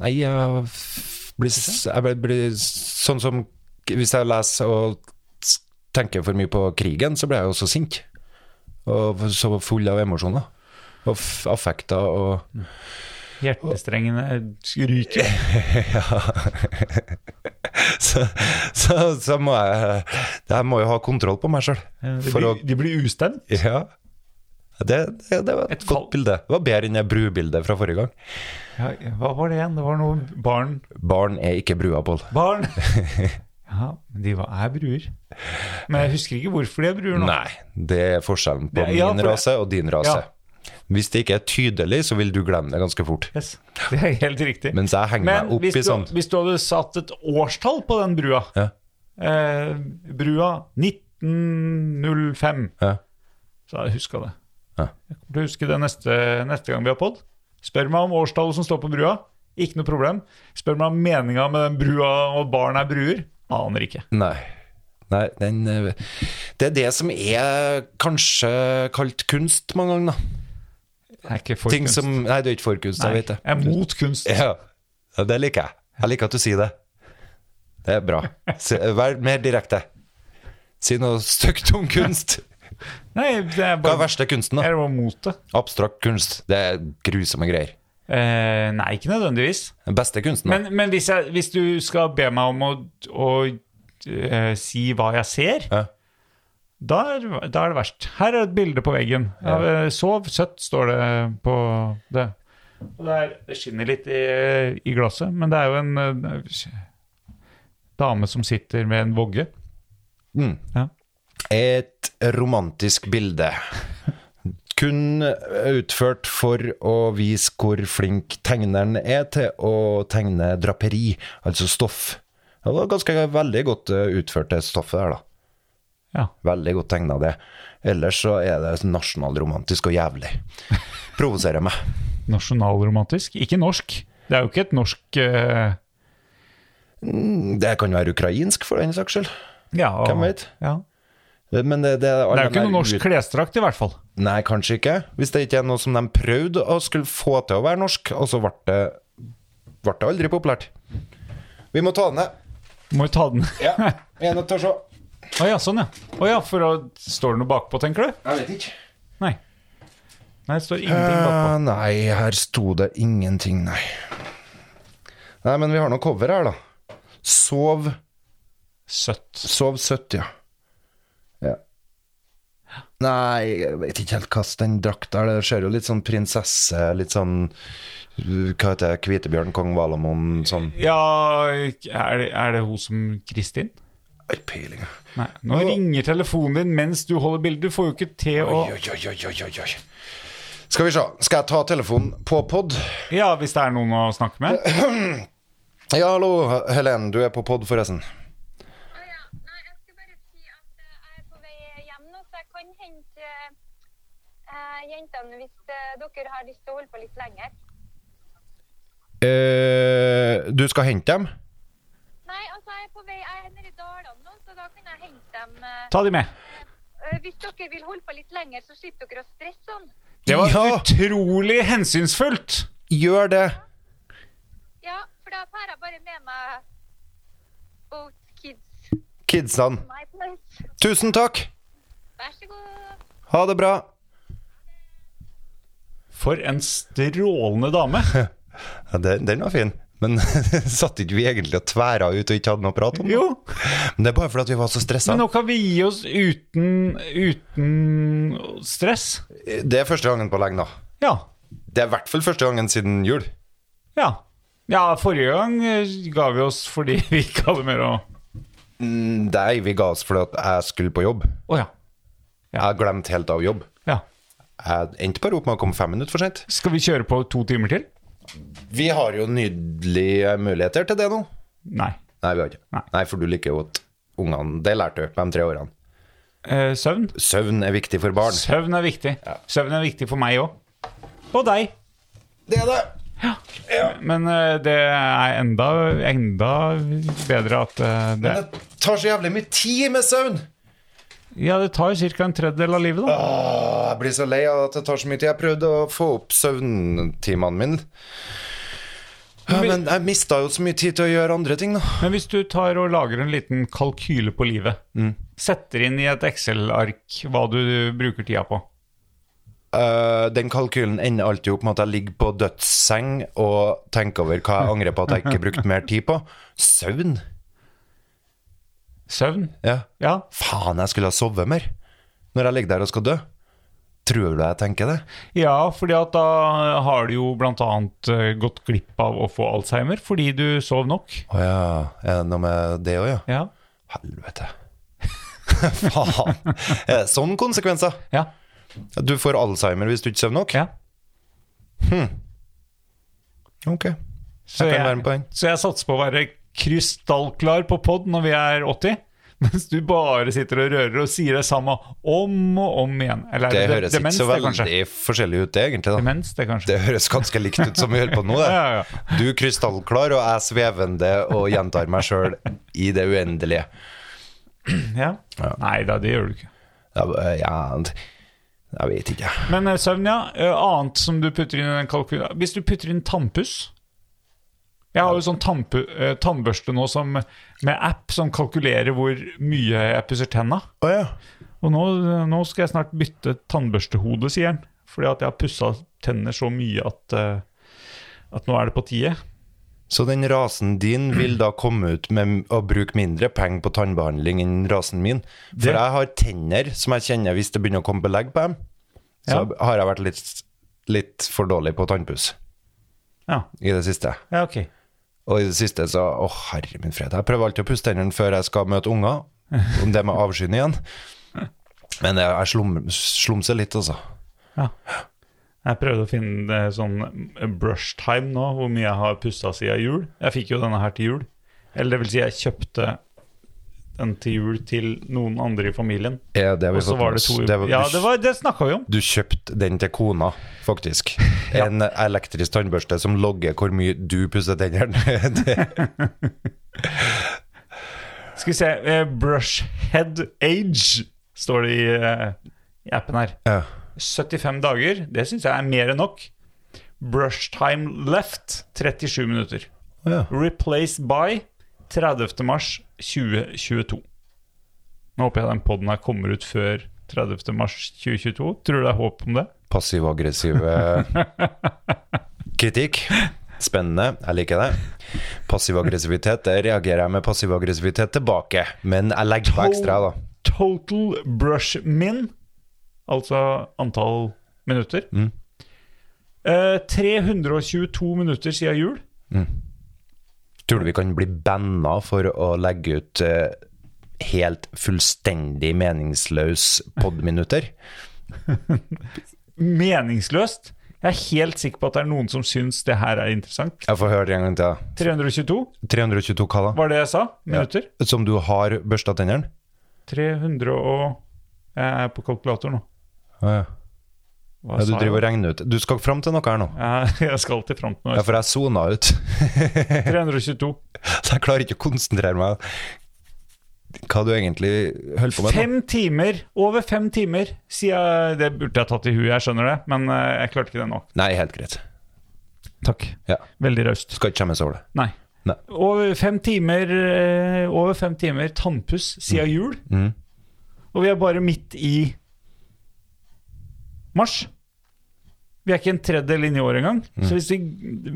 [SPEAKER 2] Nei, jeg f- blir, s- jeg blir- blir sånn som k- Hvis jeg leser og s- tenker for mye på krigen, så blir jeg jo så sint. Og f- så full av emosjoner. Og f- affekter og
[SPEAKER 4] Hjertestrengene ryker.
[SPEAKER 2] så, så, så må jeg Jeg må jo ha kontroll på meg sjøl.
[SPEAKER 4] Ja, De
[SPEAKER 2] For
[SPEAKER 4] blir,
[SPEAKER 2] å
[SPEAKER 4] de blir ustemt.
[SPEAKER 2] Ja. Det, det, det var et
[SPEAKER 4] Et
[SPEAKER 2] godt
[SPEAKER 4] fall.
[SPEAKER 2] bilde. Det var bedre enn det brubildet fra forrige gang.
[SPEAKER 4] Ja, hva var det igjen? Det var noen barn
[SPEAKER 2] Barn er ikke brua, Pål.
[SPEAKER 4] Barn! Ja, men de var, er bruer. Men jeg husker ikke hvorfor de er bruer nå.
[SPEAKER 2] Nei, det er forskjellen på
[SPEAKER 4] Det- ja,
[SPEAKER 2] min
[SPEAKER 4] for-
[SPEAKER 2] rase og din rase. Hvis det ikke er tydelig, så vil du glemme det ganske fort.
[SPEAKER 4] Yes, det er helt riktig.
[SPEAKER 2] Mens jeg henger
[SPEAKER 4] Men
[SPEAKER 2] meg opp
[SPEAKER 4] hvis
[SPEAKER 2] i sånn.
[SPEAKER 4] du,
[SPEAKER 2] sånt.
[SPEAKER 4] hvis du hadde satt et årstall på den brua
[SPEAKER 2] Ja.
[SPEAKER 4] eh, Brua 1905,
[SPEAKER 2] Ja.
[SPEAKER 4] så hadde jeg huska det.
[SPEAKER 2] Ja.
[SPEAKER 4] Jeg kommer til å huske det neste, neste gang vi har pod. Spør meg om årstallet som står på brua. Ikke noe problem. Spør meg om meninga med den brua og barn er bruer. Aner ikke.
[SPEAKER 2] Nei. Nei den, eh, det er det som er kanskje kalt kunst mange ganger, da.
[SPEAKER 4] Jeg er ikke for
[SPEAKER 2] Ting
[SPEAKER 4] kunst.
[SPEAKER 2] som Nei, det er ikke for kunst, jeg
[SPEAKER 4] Nei,
[SPEAKER 2] vet det.
[SPEAKER 4] Jeg er mot kunst.
[SPEAKER 2] Ja, ja, det liker jeg. Jeg liker at du sier det. Det er bra. Si- Vær mer direkte. Si noe stygt om kunst.
[SPEAKER 4] Nei, det er
[SPEAKER 2] Hva er
[SPEAKER 4] bare
[SPEAKER 2] verste kunsten,
[SPEAKER 4] Jeg
[SPEAKER 2] da?
[SPEAKER 4] er bare mot det.
[SPEAKER 2] Abstrakt kunst. Det er grusomme greier.
[SPEAKER 4] Eh, nei, ikke nødvendigvis.
[SPEAKER 2] Den beste kunsten, da?
[SPEAKER 4] Men, men hvis, jeg, hvis du skal be meg om å, å eh, si hva jeg ser,
[SPEAKER 2] Ja.
[SPEAKER 4] da, er, da er det verst. Her er et bilde på veggen. Av, eh, Sov søtt, står det på det. Og det, er, det skinner litt i, i glasset, men det er jo en eh, dame som sitter med en vogge.
[SPEAKER 2] Mm. Et romantisk bilde. Kun utført for å vise hvor flink tegneren er til å tegne draperi, altså stoff. Det var ganske veldig godt eh, utført, det stoffet der, da.
[SPEAKER 4] Ja.
[SPEAKER 2] Veldig godt tegna det. Ellers så er det nasjonalromantisk og jævlig. Provoserer meg.
[SPEAKER 4] Nasjonalromantisk. Ikke norsk. Det er jo ikke et norsk eh,
[SPEAKER 2] Det kan være ukrainsk, for den saks skyld.
[SPEAKER 4] ja,
[SPEAKER 2] Hvem vet?
[SPEAKER 4] Ja.
[SPEAKER 2] Men det, det,
[SPEAKER 4] Det er jo ikke noe norsk klesdrakt, i hvert fall.
[SPEAKER 2] Nei, kanskje ikke. Hvis det ikke er noe som de prøvde å skulle få til å være norsk, og så ble det, ble det aldri populært. Vi må ta den ned.
[SPEAKER 4] Må jo ta den
[SPEAKER 2] Ja, vi er nødt til å se.
[SPEAKER 4] Å ja, sånn ja. Å ja, for å, står det noe bakpå, tenker du?
[SPEAKER 2] Jeg vet ikke. Eh,
[SPEAKER 4] Nei. Nei, det står ingenting bakpå.
[SPEAKER 2] nei, her sto det ingenting, nei. Nei, men vi har noe cover her, da. Sov
[SPEAKER 4] Søtt.
[SPEAKER 2] Sov søtt, ja. ja. Nei, jeg vet ikke helt hva den drakta er. Det ser jo litt sånn prinsesse, litt sånn uh, Hva heter det, Kvitebjørn, kong Valamon, sånn.
[SPEAKER 4] Ja, er det, er det hun som Kristin?
[SPEAKER 2] Ei, peiling.
[SPEAKER 4] Nei. Nå ringer telefonen din mens du holder bildet. Du får jo ikke til å
[SPEAKER 2] Oi, oi, oi, oi, oi, oi. Skal vi se. Skal jeg ta telefonen på pod?
[SPEAKER 4] Ja, hvis det er noen å snakke med.
[SPEAKER 2] Ja, hallo, Helen. Du er på pod, forresten.
[SPEAKER 5] Å ja. Nei, jeg skulle bare si at eh, jeg er på vei hjem nå, så jeg kan hente eh, jentene hvis eh, dere har lyst til å holde på litt lenger.
[SPEAKER 2] Eh, du skal hente dem?
[SPEAKER 5] Nei, altså jeg er på vei, jeg er nede i Dalane nå, så da kan jeg hente dem. eh,
[SPEAKER 4] Ta de med.
[SPEAKER 5] eh, hvis dere vil holde på litt lenger, så slipper dere å stresse sånn.
[SPEAKER 4] Det var
[SPEAKER 2] Ja.
[SPEAKER 4] utrolig hensynsfullt.
[SPEAKER 2] Gjør det.
[SPEAKER 5] Ja, for da får jeg bare med meg both kids
[SPEAKER 2] Kidsene.
[SPEAKER 5] my place.
[SPEAKER 2] Tusen takk.
[SPEAKER 5] Vær så god.
[SPEAKER 2] Ha det bra.
[SPEAKER 4] For en strålende dame.
[SPEAKER 2] Ja, den, den var fin. Men satt ikke vi egentlig og tværa ut og ikke hadde noe å prate om?
[SPEAKER 4] Jo,
[SPEAKER 2] Men det er bare fordi at vi var så stressa.
[SPEAKER 4] men nå kan vi gi oss uten, uten stress.
[SPEAKER 2] Det er første gangen på lenge, da.
[SPEAKER 4] Ja.
[SPEAKER 2] Det er i hvert fall første gangen siden jul.
[SPEAKER 4] Ja. ja, forrige gang eh, ga vi oss fordi vi ikke hadde mer å
[SPEAKER 2] Nei, Mm, vi ga oss fordi at jeg skulle på jobb.
[SPEAKER 4] Å ja.
[SPEAKER 2] Jeg glemte helt av jobb.
[SPEAKER 4] ja.
[SPEAKER 2] Jeg endte bare opp med å komme fem minutter for sent.
[SPEAKER 4] Skal vi kjøre på to timer til?
[SPEAKER 2] Vi har jo nydelige muligheter til det nå.
[SPEAKER 4] Nei.
[SPEAKER 2] Nei, vi har ikke.
[SPEAKER 4] Nei.
[SPEAKER 2] Nei, for du liker jo at ungene Det lærte du de tre årene.
[SPEAKER 4] Eh, søvn?
[SPEAKER 2] Søvn er viktig for barn.
[SPEAKER 4] Søvn er viktig. Søvn er viktig for meg òg. Og deg.
[SPEAKER 2] Det er det!
[SPEAKER 4] Men eh, det er enda, enda bedre at eh, det
[SPEAKER 2] Det tar så jævlig mye tid med søvn!
[SPEAKER 4] Ja, det tar jo ca. en tredjedel av livet, da.
[SPEAKER 2] Åh, jeg blir så lei av at det tar så mye tid. Jeg prøvde å få opp søvntimene mine. Ja, men jeg mista jo så mye tid til å gjøre andre ting, da.
[SPEAKER 4] Men hvis du tar og lager en liten kalkyle på livet, setter inn i et Excel-ark hva du bruker tida på
[SPEAKER 2] Eh, den kalkylen ender alltid opp med at jeg ligger på dødsseng og tenker over hva jeg angrer på at jeg ikke brukte mer tid på. Søvn?
[SPEAKER 4] Søvn?
[SPEAKER 2] Ja.
[SPEAKER 4] Ja.
[SPEAKER 2] Faen, jeg skulle ha sovet mer når jeg ligger der og skal dø. Tror du jeg tenker det?
[SPEAKER 4] ja, fordi at da har du jo blant annet eh, gått glipp av å få Alzheimer fordi du sov nok.
[SPEAKER 2] Å ja, er det noe med det òg, ja?
[SPEAKER 4] Ja.
[SPEAKER 2] Helvete. Faen. Er det sånne konsekvenser?
[SPEAKER 4] Ja.
[SPEAKER 2] Du får Alzheimer hvis du ikke sover nok?
[SPEAKER 4] ja.
[SPEAKER 2] Ok.
[SPEAKER 4] Så,
[SPEAKER 2] Jeg kan være med på den.
[SPEAKER 4] så jeg satser på å være krystallklar på pod når vi er 80. Mens du bare sitter og rører og sier det samme om og om igjen. Eller er
[SPEAKER 2] Det
[SPEAKER 4] det,
[SPEAKER 2] høres ikke
[SPEAKER 4] demens,
[SPEAKER 2] så
[SPEAKER 4] det, kanskje?
[SPEAKER 2] veldig forskjellig ut, det, egentlig. da.
[SPEAKER 4] Demens, det, kanskje.
[SPEAKER 2] Det høres ganske likt ut som vi holder på nå. Det.
[SPEAKER 4] Ja, ja,
[SPEAKER 2] Du krystallklar, og jeg svevende og gjentar meg sjøl i det uendelige.
[SPEAKER 4] Ja. Nei da, det gjør du ikke.
[SPEAKER 2] Ja, øh, ja, d- jeg vet ikke.
[SPEAKER 4] Men eh, søvn, ja. Eh, Annet som du putter inn i den kalkulen Hvis du putter inn tannpuss Jeg har jo sånn tannpu eh, tannbørste nå som, med app som kalkulerer hvor mye jeg pusser tenna.
[SPEAKER 2] Å ja.
[SPEAKER 4] Og nå, eh, nå skal jeg snart bytte tannbørstehode, sier han. Fordi at jeg har pussa tenner så mye at, eh, at nå er det på tide.
[SPEAKER 2] Så den rasen din vil da komme ut med å bruke mindre penger på tannbehandling enn rasen min? For
[SPEAKER 4] Det-
[SPEAKER 2] jeg har tenner som jeg kjenner hvis det begynner å komme belegg på dem. Så
[SPEAKER 4] Ja.
[SPEAKER 2] har jeg vært litt, litt for dårlig på tannpuss
[SPEAKER 4] Ja,
[SPEAKER 2] i det siste.
[SPEAKER 4] ja ok.
[SPEAKER 2] Og i det siste så Å, herre min fred. Jeg prøver alltid å pusse tennene før jeg skal møte unger. Om det med avskyen igjen. Men jeg, jeg slum, slumser litt, altså.
[SPEAKER 4] Jeg prøvde å finne eh, sånn brush time nå, hvor mye jeg har pussa siden jul. Jeg fikk jo denne her til jul. Eller det vil si, jeg kjøpte den til jul til noen andre i familien.
[SPEAKER 2] Er det vi
[SPEAKER 4] Og så
[SPEAKER 2] fått med
[SPEAKER 4] var det
[SPEAKER 2] oss?
[SPEAKER 4] to
[SPEAKER 2] var-
[SPEAKER 4] Ja,
[SPEAKER 2] du-
[SPEAKER 4] det, var- det snakka vi om.
[SPEAKER 2] Du kjøpte den til kona, faktisk. En elektrisk tannbørste som logger hvor mye du pusser tennene. Det-
[SPEAKER 4] Skal vi se eh, Brush head age står det i, eh, i appen her.
[SPEAKER 2] ja.
[SPEAKER 4] 75 dager, det syns jeg er mer enn nok. Brush time left 37 minutter.
[SPEAKER 2] Ja.
[SPEAKER 4] Replace by 30. mars 2022. Nå håper jeg den poden her kommer ut før 30. mars 2022. Tror du det er håp om det?
[SPEAKER 2] Passiv-aggressiv eh, kritikk. Spennende. Jeg liker det. Passiv-aggressivitet, det reagerer jeg med passiv-aggressivitet tilbake. Men jeg legger på ekstra, da.
[SPEAKER 4] Total brush min altså antall minutter.
[SPEAKER 2] Mm.
[SPEAKER 4] Eh, 322 minutter siden jul.
[SPEAKER 2] Tror du vi kan bli banna for å legge ut eh, helt fullstendig meningsløs podminutter?
[SPEAKER 4] Meningsløst. Jeg er helt sikker på at det er noen som syns det her er interessant.
[SPEAKER 2] Jeg får høre det en gang til.
[SPEAKER 4] 322
[SPEAKER 2] 322 hva da?
[SPEAKER 4] var det jeg sa. Minutter.
[SPEAKER 2] Som du har børsta tennene?
[SPEAKER 4] 300 og Jeg er på kalkulator nå.
[SPEAKER 2] Ja, ja.
[SPEAKER 4] Hva
[SPEAKER 2] Ja, du
[SPEAKER 4] sa
[SPEAKER 2] driver og
[SPEAKER 4] jeg?
[SPEAKER 2] regner ut. Du skal fram til noe her nå.
[SPEAKER 4] Eh, Jeg skal til fronten.
[SPEAKER 2] Ja,
[SPEAKER 4] nå.
[SPEAKER 2] for jeg sona ut.
[SPEAKER 4] 322.
[SPEAKER 2] Så jeg klarer ikke å konsentrere meg. Hva du egentlig holder på med nå.
[SPEAKER 4] Fem timer! Over fem timer, sier jeg. Det burde jeg tatt i huet, jeg skjønner det, men eh, jeg klarte ikke det nå.
[SPEAKER 2] Nei, helt greit.
[SPEAKER 4] Takk.
[SPEAKER 2] Ja.
[SPEAKER 4] Veldig raust.
[SPEAKER 2] Skal ikke skjemmes over det.
[SPEAKER 4] Nei.
[SPEAKER 2] Nei.
[SPEAKER 4] Over fem timer eh, Over fem timer tannpuss siden jul.
[SPEAKER 2] Mm.
[SPEAKER 4] Og vi er bare midt i mars. Vi er ikke en tredjedel inn i året engang.
[SPEAKER 2] Mm.
[SPEAKER 4] Så hvis vi,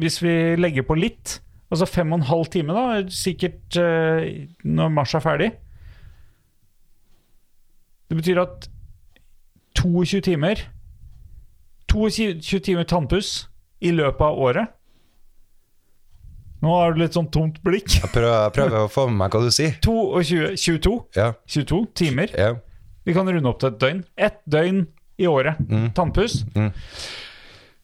[SPEAKER 4] hvis vi legger på litt, altså fem og en halv time, da, er det sikkert eh, når mars er ferdig Det betyr at 22 timer 22 timer tannpuss i løpet av året. Nå har du litt sånn tomt blikk.
[SPEAKER 2] Jeg prøver, jeg prøver å få med meg hva du sier.
[SPEAKER 4] 22, 22,
[SPEAKER 2] Ja,
[SPEAKER 4] 22 timer.
[SPEAKER 2] ja.
[SPEAKER 4] Vi kan runde opp til et døgn. Ett døgn i året. Tannpuss.
[SPEAKER 2] Mm.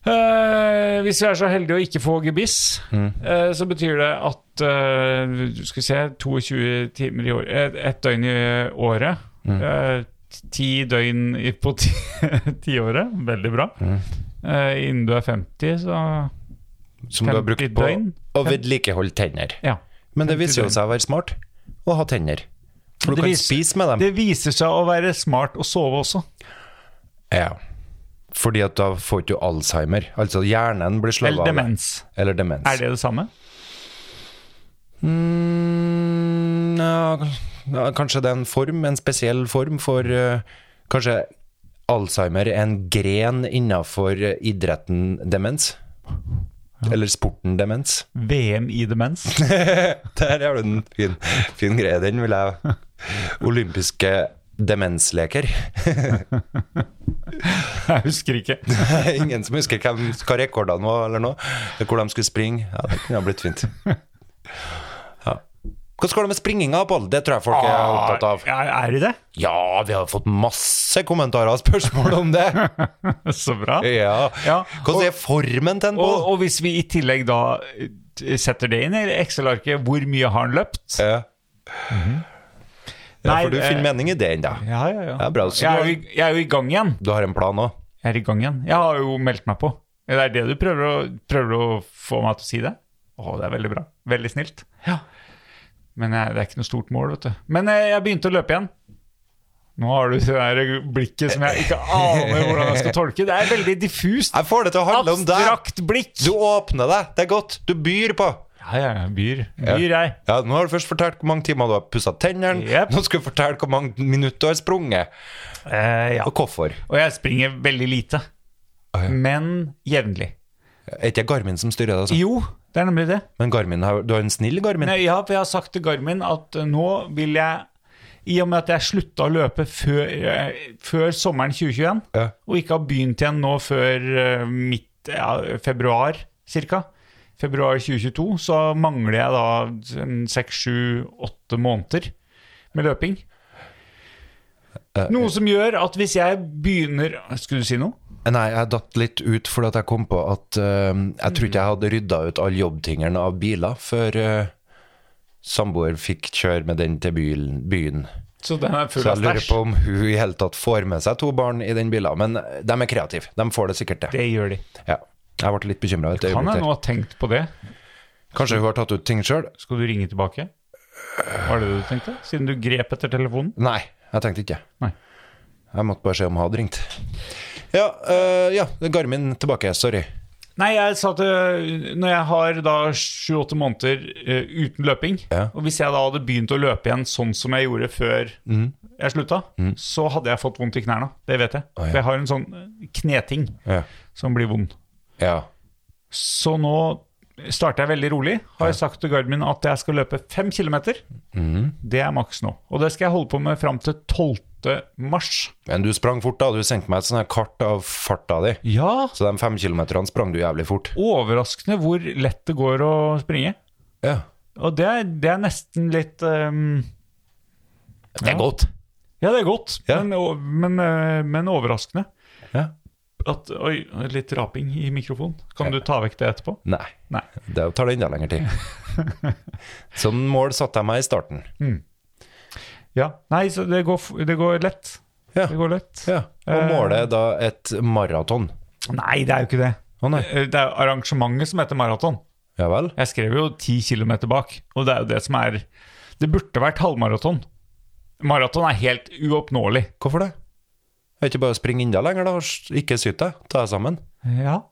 [SPEAKER 4] Eh, hvis vi er så heldige å ikke få gebiss,
[SPEAKER 2] Mm.
[SPEAKER 4] eh, så betyr det at eh, Skal vi se 22 timer i året Ett et døgn i året.
[SPEAKER 2] Mm.
[SPEAKER 4] Eh, ti døgn i, på ti- tiåret. Veldig bra.
[SPEAKER 2] Mm.
[SPEAKER 4] Eh, innen du er 50, så
[SPEAKER 2] Som du har brukt
[SPEAKER 4] 50
[SPEAKER 2] på
[SPEAKER 4] døgn.
[SPEAKER 2] å vedlikeholde tenner.
[SPEAKER 4] Ja.
[SPEAKER 2] Men det
[SPEAKER 4] 50
[SPEAKER 2] viser jo
[SPEAKER 4] døgn.
[SPEAKER 2] seg å være smart å ha tenner. For
[SPEAKER 4] Det
[SPEAKER 2] du kan
[SPEAKER 4] viser-
[SPEAKER 2] spise med dem.
[SPEAKER 4] Det viser seg å være smart å sove også.
[SPEAKER 2] Ja. Fordi at da får du ikke Alzheimer. Altså hjernen blir sløva
[SPEAKER 4] Eller demens.
[SPEAKER 2] Eller demens.
[SPEAKER 4] Er det det samme?
[SPEAKER 2] Mm, ja, ja, kanskje det er en form, en spesiell form for eh, Kanskje Alzheimer er en gren innafor idretten demens? Eller sporten demens?
[SPEAKER 4] VM i demens?
[SPEAKER 2] Der har du en fin, fin greie, den vil jeg Olympiske demensleker.
[SPEAKER 4] Jeg husker ikke.
[SPEAKER 2] Ingen som husker hvem, hva rekordene var, eller noe. Hvor de skulle springe. Ja, det kunne ha blitt fint. Ja. Hvordan går det med springinga, Pål? Det tror jeg folk er opptatt av.
[SPEAKER 4] Ja, er de det?
[SPEAKER 2] Ah, Ja, vi har fått masse kommentarer og spørsmål om det.
[SPEAKER 4] Så bra.
[SPEAKER 2] Ja.
[SPEAKER 4] Ja,
[SPEAKER 2] Hvordan er formen til en
[SPEAKER 4] Og,
[SPEAKER 2] Pål?
[SPEAKER 4] og hvis vi i tillegg da eh, setter det inn i Excel-arket, hvor mye har han løpt?
[SPEAKER 2] Ja. ja,
[SPEAKER 4] Nei,
[SPEAKER 2] for du
[SPEAKER 4] eh,
[SPEAKER 2] finner mening i den, da.
[SPEAKER 4] Ja, ja, ja.
[SPEAKER 2] Ja, bra,
[SPEAKER 4] jeg,
[SPEAKER 2] så du
[SPEAKER 4] er
[SPEAKER 2] har-
[SPEAKER 4] jo, i- jeg er jo i gang igjen.
[SPEAKER 2] Du har en plan òg?
[SPEAKER 4] Jeg er i gang igjen. Jeg har jo meldt meg på. Det er det du prøver å, prøver å få meg til å si det? Å, det er veldig bra. Veldig snilt. Ja. Men jeg, det er ikke noe stort mål, vet du. Men eh, jeg, jeg begynte å løpe igjen. Nå har du det der blikket som jeg ikke aner hvordan jeg skal tolke. Det er veldig diffust.
[SPEAKER 2] Jeg får det til å handle om deg.
[SPEAKER 4] Abstrakt blikk.
[SPEAKER 2] Du åpner deg, det er godt. Du byr på.
[SPEAKER 4] Ja, ja, ja. Byr. Byr, jeg.
[SPEAKER 2] Ja, Nå har du først fortalt hvor mange timer du har pussa tennene.
[SPEAKER 4] Jep.
[SPEAKER 2] Nå skal du fortelle hvor mange minutter du har sprunget,
[SPEAKER 4] Eh, ja.
[SPEAKER 2] og hvorfor.
[SPEAKER 4] Og jeg springer veldig lite. Men jevnlig.
[SPEAKER 2] Er ikke det Garmin som styrer det? Altså.
[SPEAKER 4] Jo, det er nemlig det.
[SPEAKER 2] Men Garmin, har- du har en snill Garmin?
[SPEAKER 4] Nei, ja, for jeg har sagt til Garmin at eh, nå vil jeg I og med at jeg slutta å løpe før, eh, før sommeren 2021,
[SPEAKER 2] Ja.
[SPEAKER 4] og ikke har begynt igjen nå før eh, midt ja, februar ca., februar 2022, så mangler jeg da en seks, sju, åtte måneder med løping. Noe som gjør at hvis jeg begynner Skulle du si noe?
[SPEAKER 2] Nei, jeg datt litt ut fordi at jeg kom på at eh, jeg tror ikke jeg hadde rydda ut alle jobbtingene av biler før eh, samboer fikk kjøre med den til byen. byen.
[SPEAKER 4] Så den er full
[SPEAKER 2] Så
[SPEAKER 4] av
[SPEAKER 2] jeg lurer
[SPEAKER 4] stæsj.
[SPEAKER 2] på om hun i hele tatt får med seg to barn i den bilen. Men eh, de er kreative, de får det sikkert til.
[SPEAKER 4] Det gjør de.
[SPEAKER 2] Ja. Jeg ble litt bekymra et
[SPEAKER 4] Kan
[SPEAKER 2] øyeblikk
[SPEAKER 4] jeg nå
[SPEAKER 2] der.
[SPEAKER 4] ha tenkt på det?
[SPEAKER 2] Kanskje hun har tatt ut ting sjøl?
[SPEAKER 4] Skal du ringe tilbake? Var det det du tenkte? Siden du grep etter telefonen?
[SPEAKER 2] Nei, jeg tenkte ikke
[SPEAKER 4] Nei.
[SPEAKER 2] Jeg måtte bare se om hun hadde ringt. Ja, eh, ja Garmin tilbake, sorry.
[SPEAKER 4] Nei, jeg sa til Når jeg har da sju-åtte måneder eh, uten løping,
[SPEAKER 2] Ja.
[SPEAKER 4] og hvis jeg da hadde begynt å løpe igjen sånn som jeg gjorde før
[SPEAKER 2] Mm.
[SPEAKER 4] jeg slutta, så hadde jeg fått vondt i knærne. Det vet jeg.
[SPEAKER 2] Å, ja.
[SPEAKER 4] For jeg har en sånn eh, kneting
[SPEAKER 2] Ja.
[SPEAKER 4] som blir vond.
[SPEAKER 2] ja.
[SPEAKER 4] Så nå starter jeg veldig rolig. Har jeg sagt til Garmin
[SPEAKER 2] Mm.
[SPEAKER 4] at jeg skal løpe fem kilometer. Det er maks nå. Og det skal jeg holde på med fram til 12. mars.
[SPEAKER 2] Men du sprang fort, da. Du sendte meg et sånt her kart av farta di.
[SPEAKER 4] Ja,
[SPEAKER 2] Så de fem kilometerne sprang du jævlig fort.
[SPEAKER 4] overraskende hvor lett det går å springe.
[SPEAKER 2] Ja.
[SPEAKER 4] Og det er, det er nesten litt ehm,
[SPEAKER 2] Det er godt.
[SPEAKER 4] Ja, det er godt,
[SPEAKER 2] Ja.
[SPEAKER 4] men, o- men, eh, men overraskende.
[SPEAKER 2] Ja.
[SPEAKER 4] At, oi, litt raping i mikrofonen. Kan du ta vekk det etterpå?
[SPEAKER 2] Nei.
[SPEAKER 4] Nei.
[SPEAKER 2] Det tar det enda lengre tid. Som mål satte jeg meg i starten.
[SPEAKER 4] Ja. Nei, så det går, f- det går lett.
[SPEAKER 2] Ja.
[SPEAKER 4] Det går lett.
[SPEAKER 2] Ja. Og
[SPEAKER 4] Eh.
[SPEAKER 2] målet er da et maraton.
[SPEAKER 4] Nei, det er jo ikke det.
[SPEAKER 2] Å nei.
[SPEAKER 4] Eh, Det er arrangementet som heter maraton.
[SPEAKER 2] Ja vel?
[SPEAKER 4] Jeg skrev jo 10 km bak, og det er jo det som er Det burde vært halvmaraton. Maraton er helt uoppnåelig.
[SPEAKER 2] Hvorfor det? Er det ikke bare å springe enda lenger, da? og s- Ikke syt deg. Ta deg sammen.
[SPEAKER 4] Ja.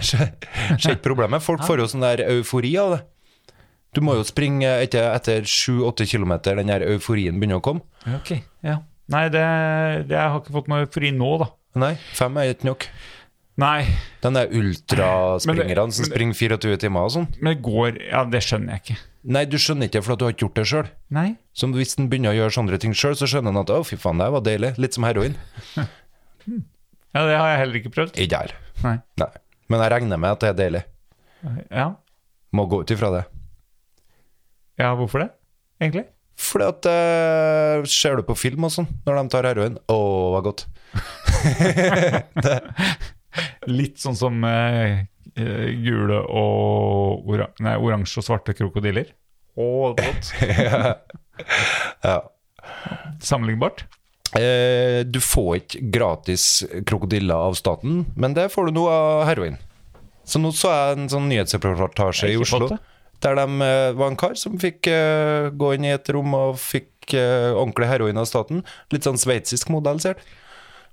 [SPEAKER 2] Ser ikke problemet. Folk får jo sånn der eufori av det. Du må jo springe etter, etter 7-8 km, den der euforien begynner å komme.
[SPEAKER 4] Ok. Ja. Nei, det, det jeg har ikke fått meg fri nå, da.
[SPEAKER 2] Nei, fem er ikke nok.
[SPEAKER 4] Nei,
[SPEAKER 2] Den der
[SPEAKER 4] Men det- men
[SPEAKER 2] ultraspringerne som
[SPEAKER 4] det-
[SPEAKER 2] springer 24 timer og sånn.
[SPEAKER 4] men det går Ja, det skjønner jeg ikke.
[SPEAKER 2] Nei, du skjønner ikke for at du har ikke gjort det sjøl.
[SPEAKER 4] Nei.
[SPEAKER 2] Som hvis den begynner å gjøre sånne ting sjøl, så skjønner han at 'å, fy faen, det her var deilig'. Litt som heroin.
[SPEAKER 4] Ja, det har jeg heller ikke prøvd.
[SPEAKER 2] Ikke her.
[SPEAKER 4] Nei.
[SPEAKER 2] Nei. Men jeg regner med at det er deilig.
[SPEAKER 4] Ja,
[SPEAKER 2] Må gå ut ifra det.
[SPEAKER 4] ja hvorfor det? Egentlig?
[SPEAKER 2] Fordi at eh, Ser du på film og sånn, når de tar heroin? Å, hva godt.
[SPEAKER 4] Litt sånn som eh, eh, gule og ora nei, oransje og svarte krokodiller. Og godt.
[SPEAKER 2] Ja.
[SPEAKER 4] Sammenlignbart.
[SPEAKER 2] Eh, du får ikke gratis krokodiller av staten, men det får du noe av heroin. Så nå så jeg en sånn nyhetsreportasje i
[SPEAKER 4] Jeg har ikke fått
[SPEAKER 2] Oslo
[SPEAKER 4] det.
[SPEAKER 2] der det var en kar som fikk eh, gå inn i et rom og fikk eh, ordentlig heroin av staten. Litt sånn sveitsisk modell, ser du.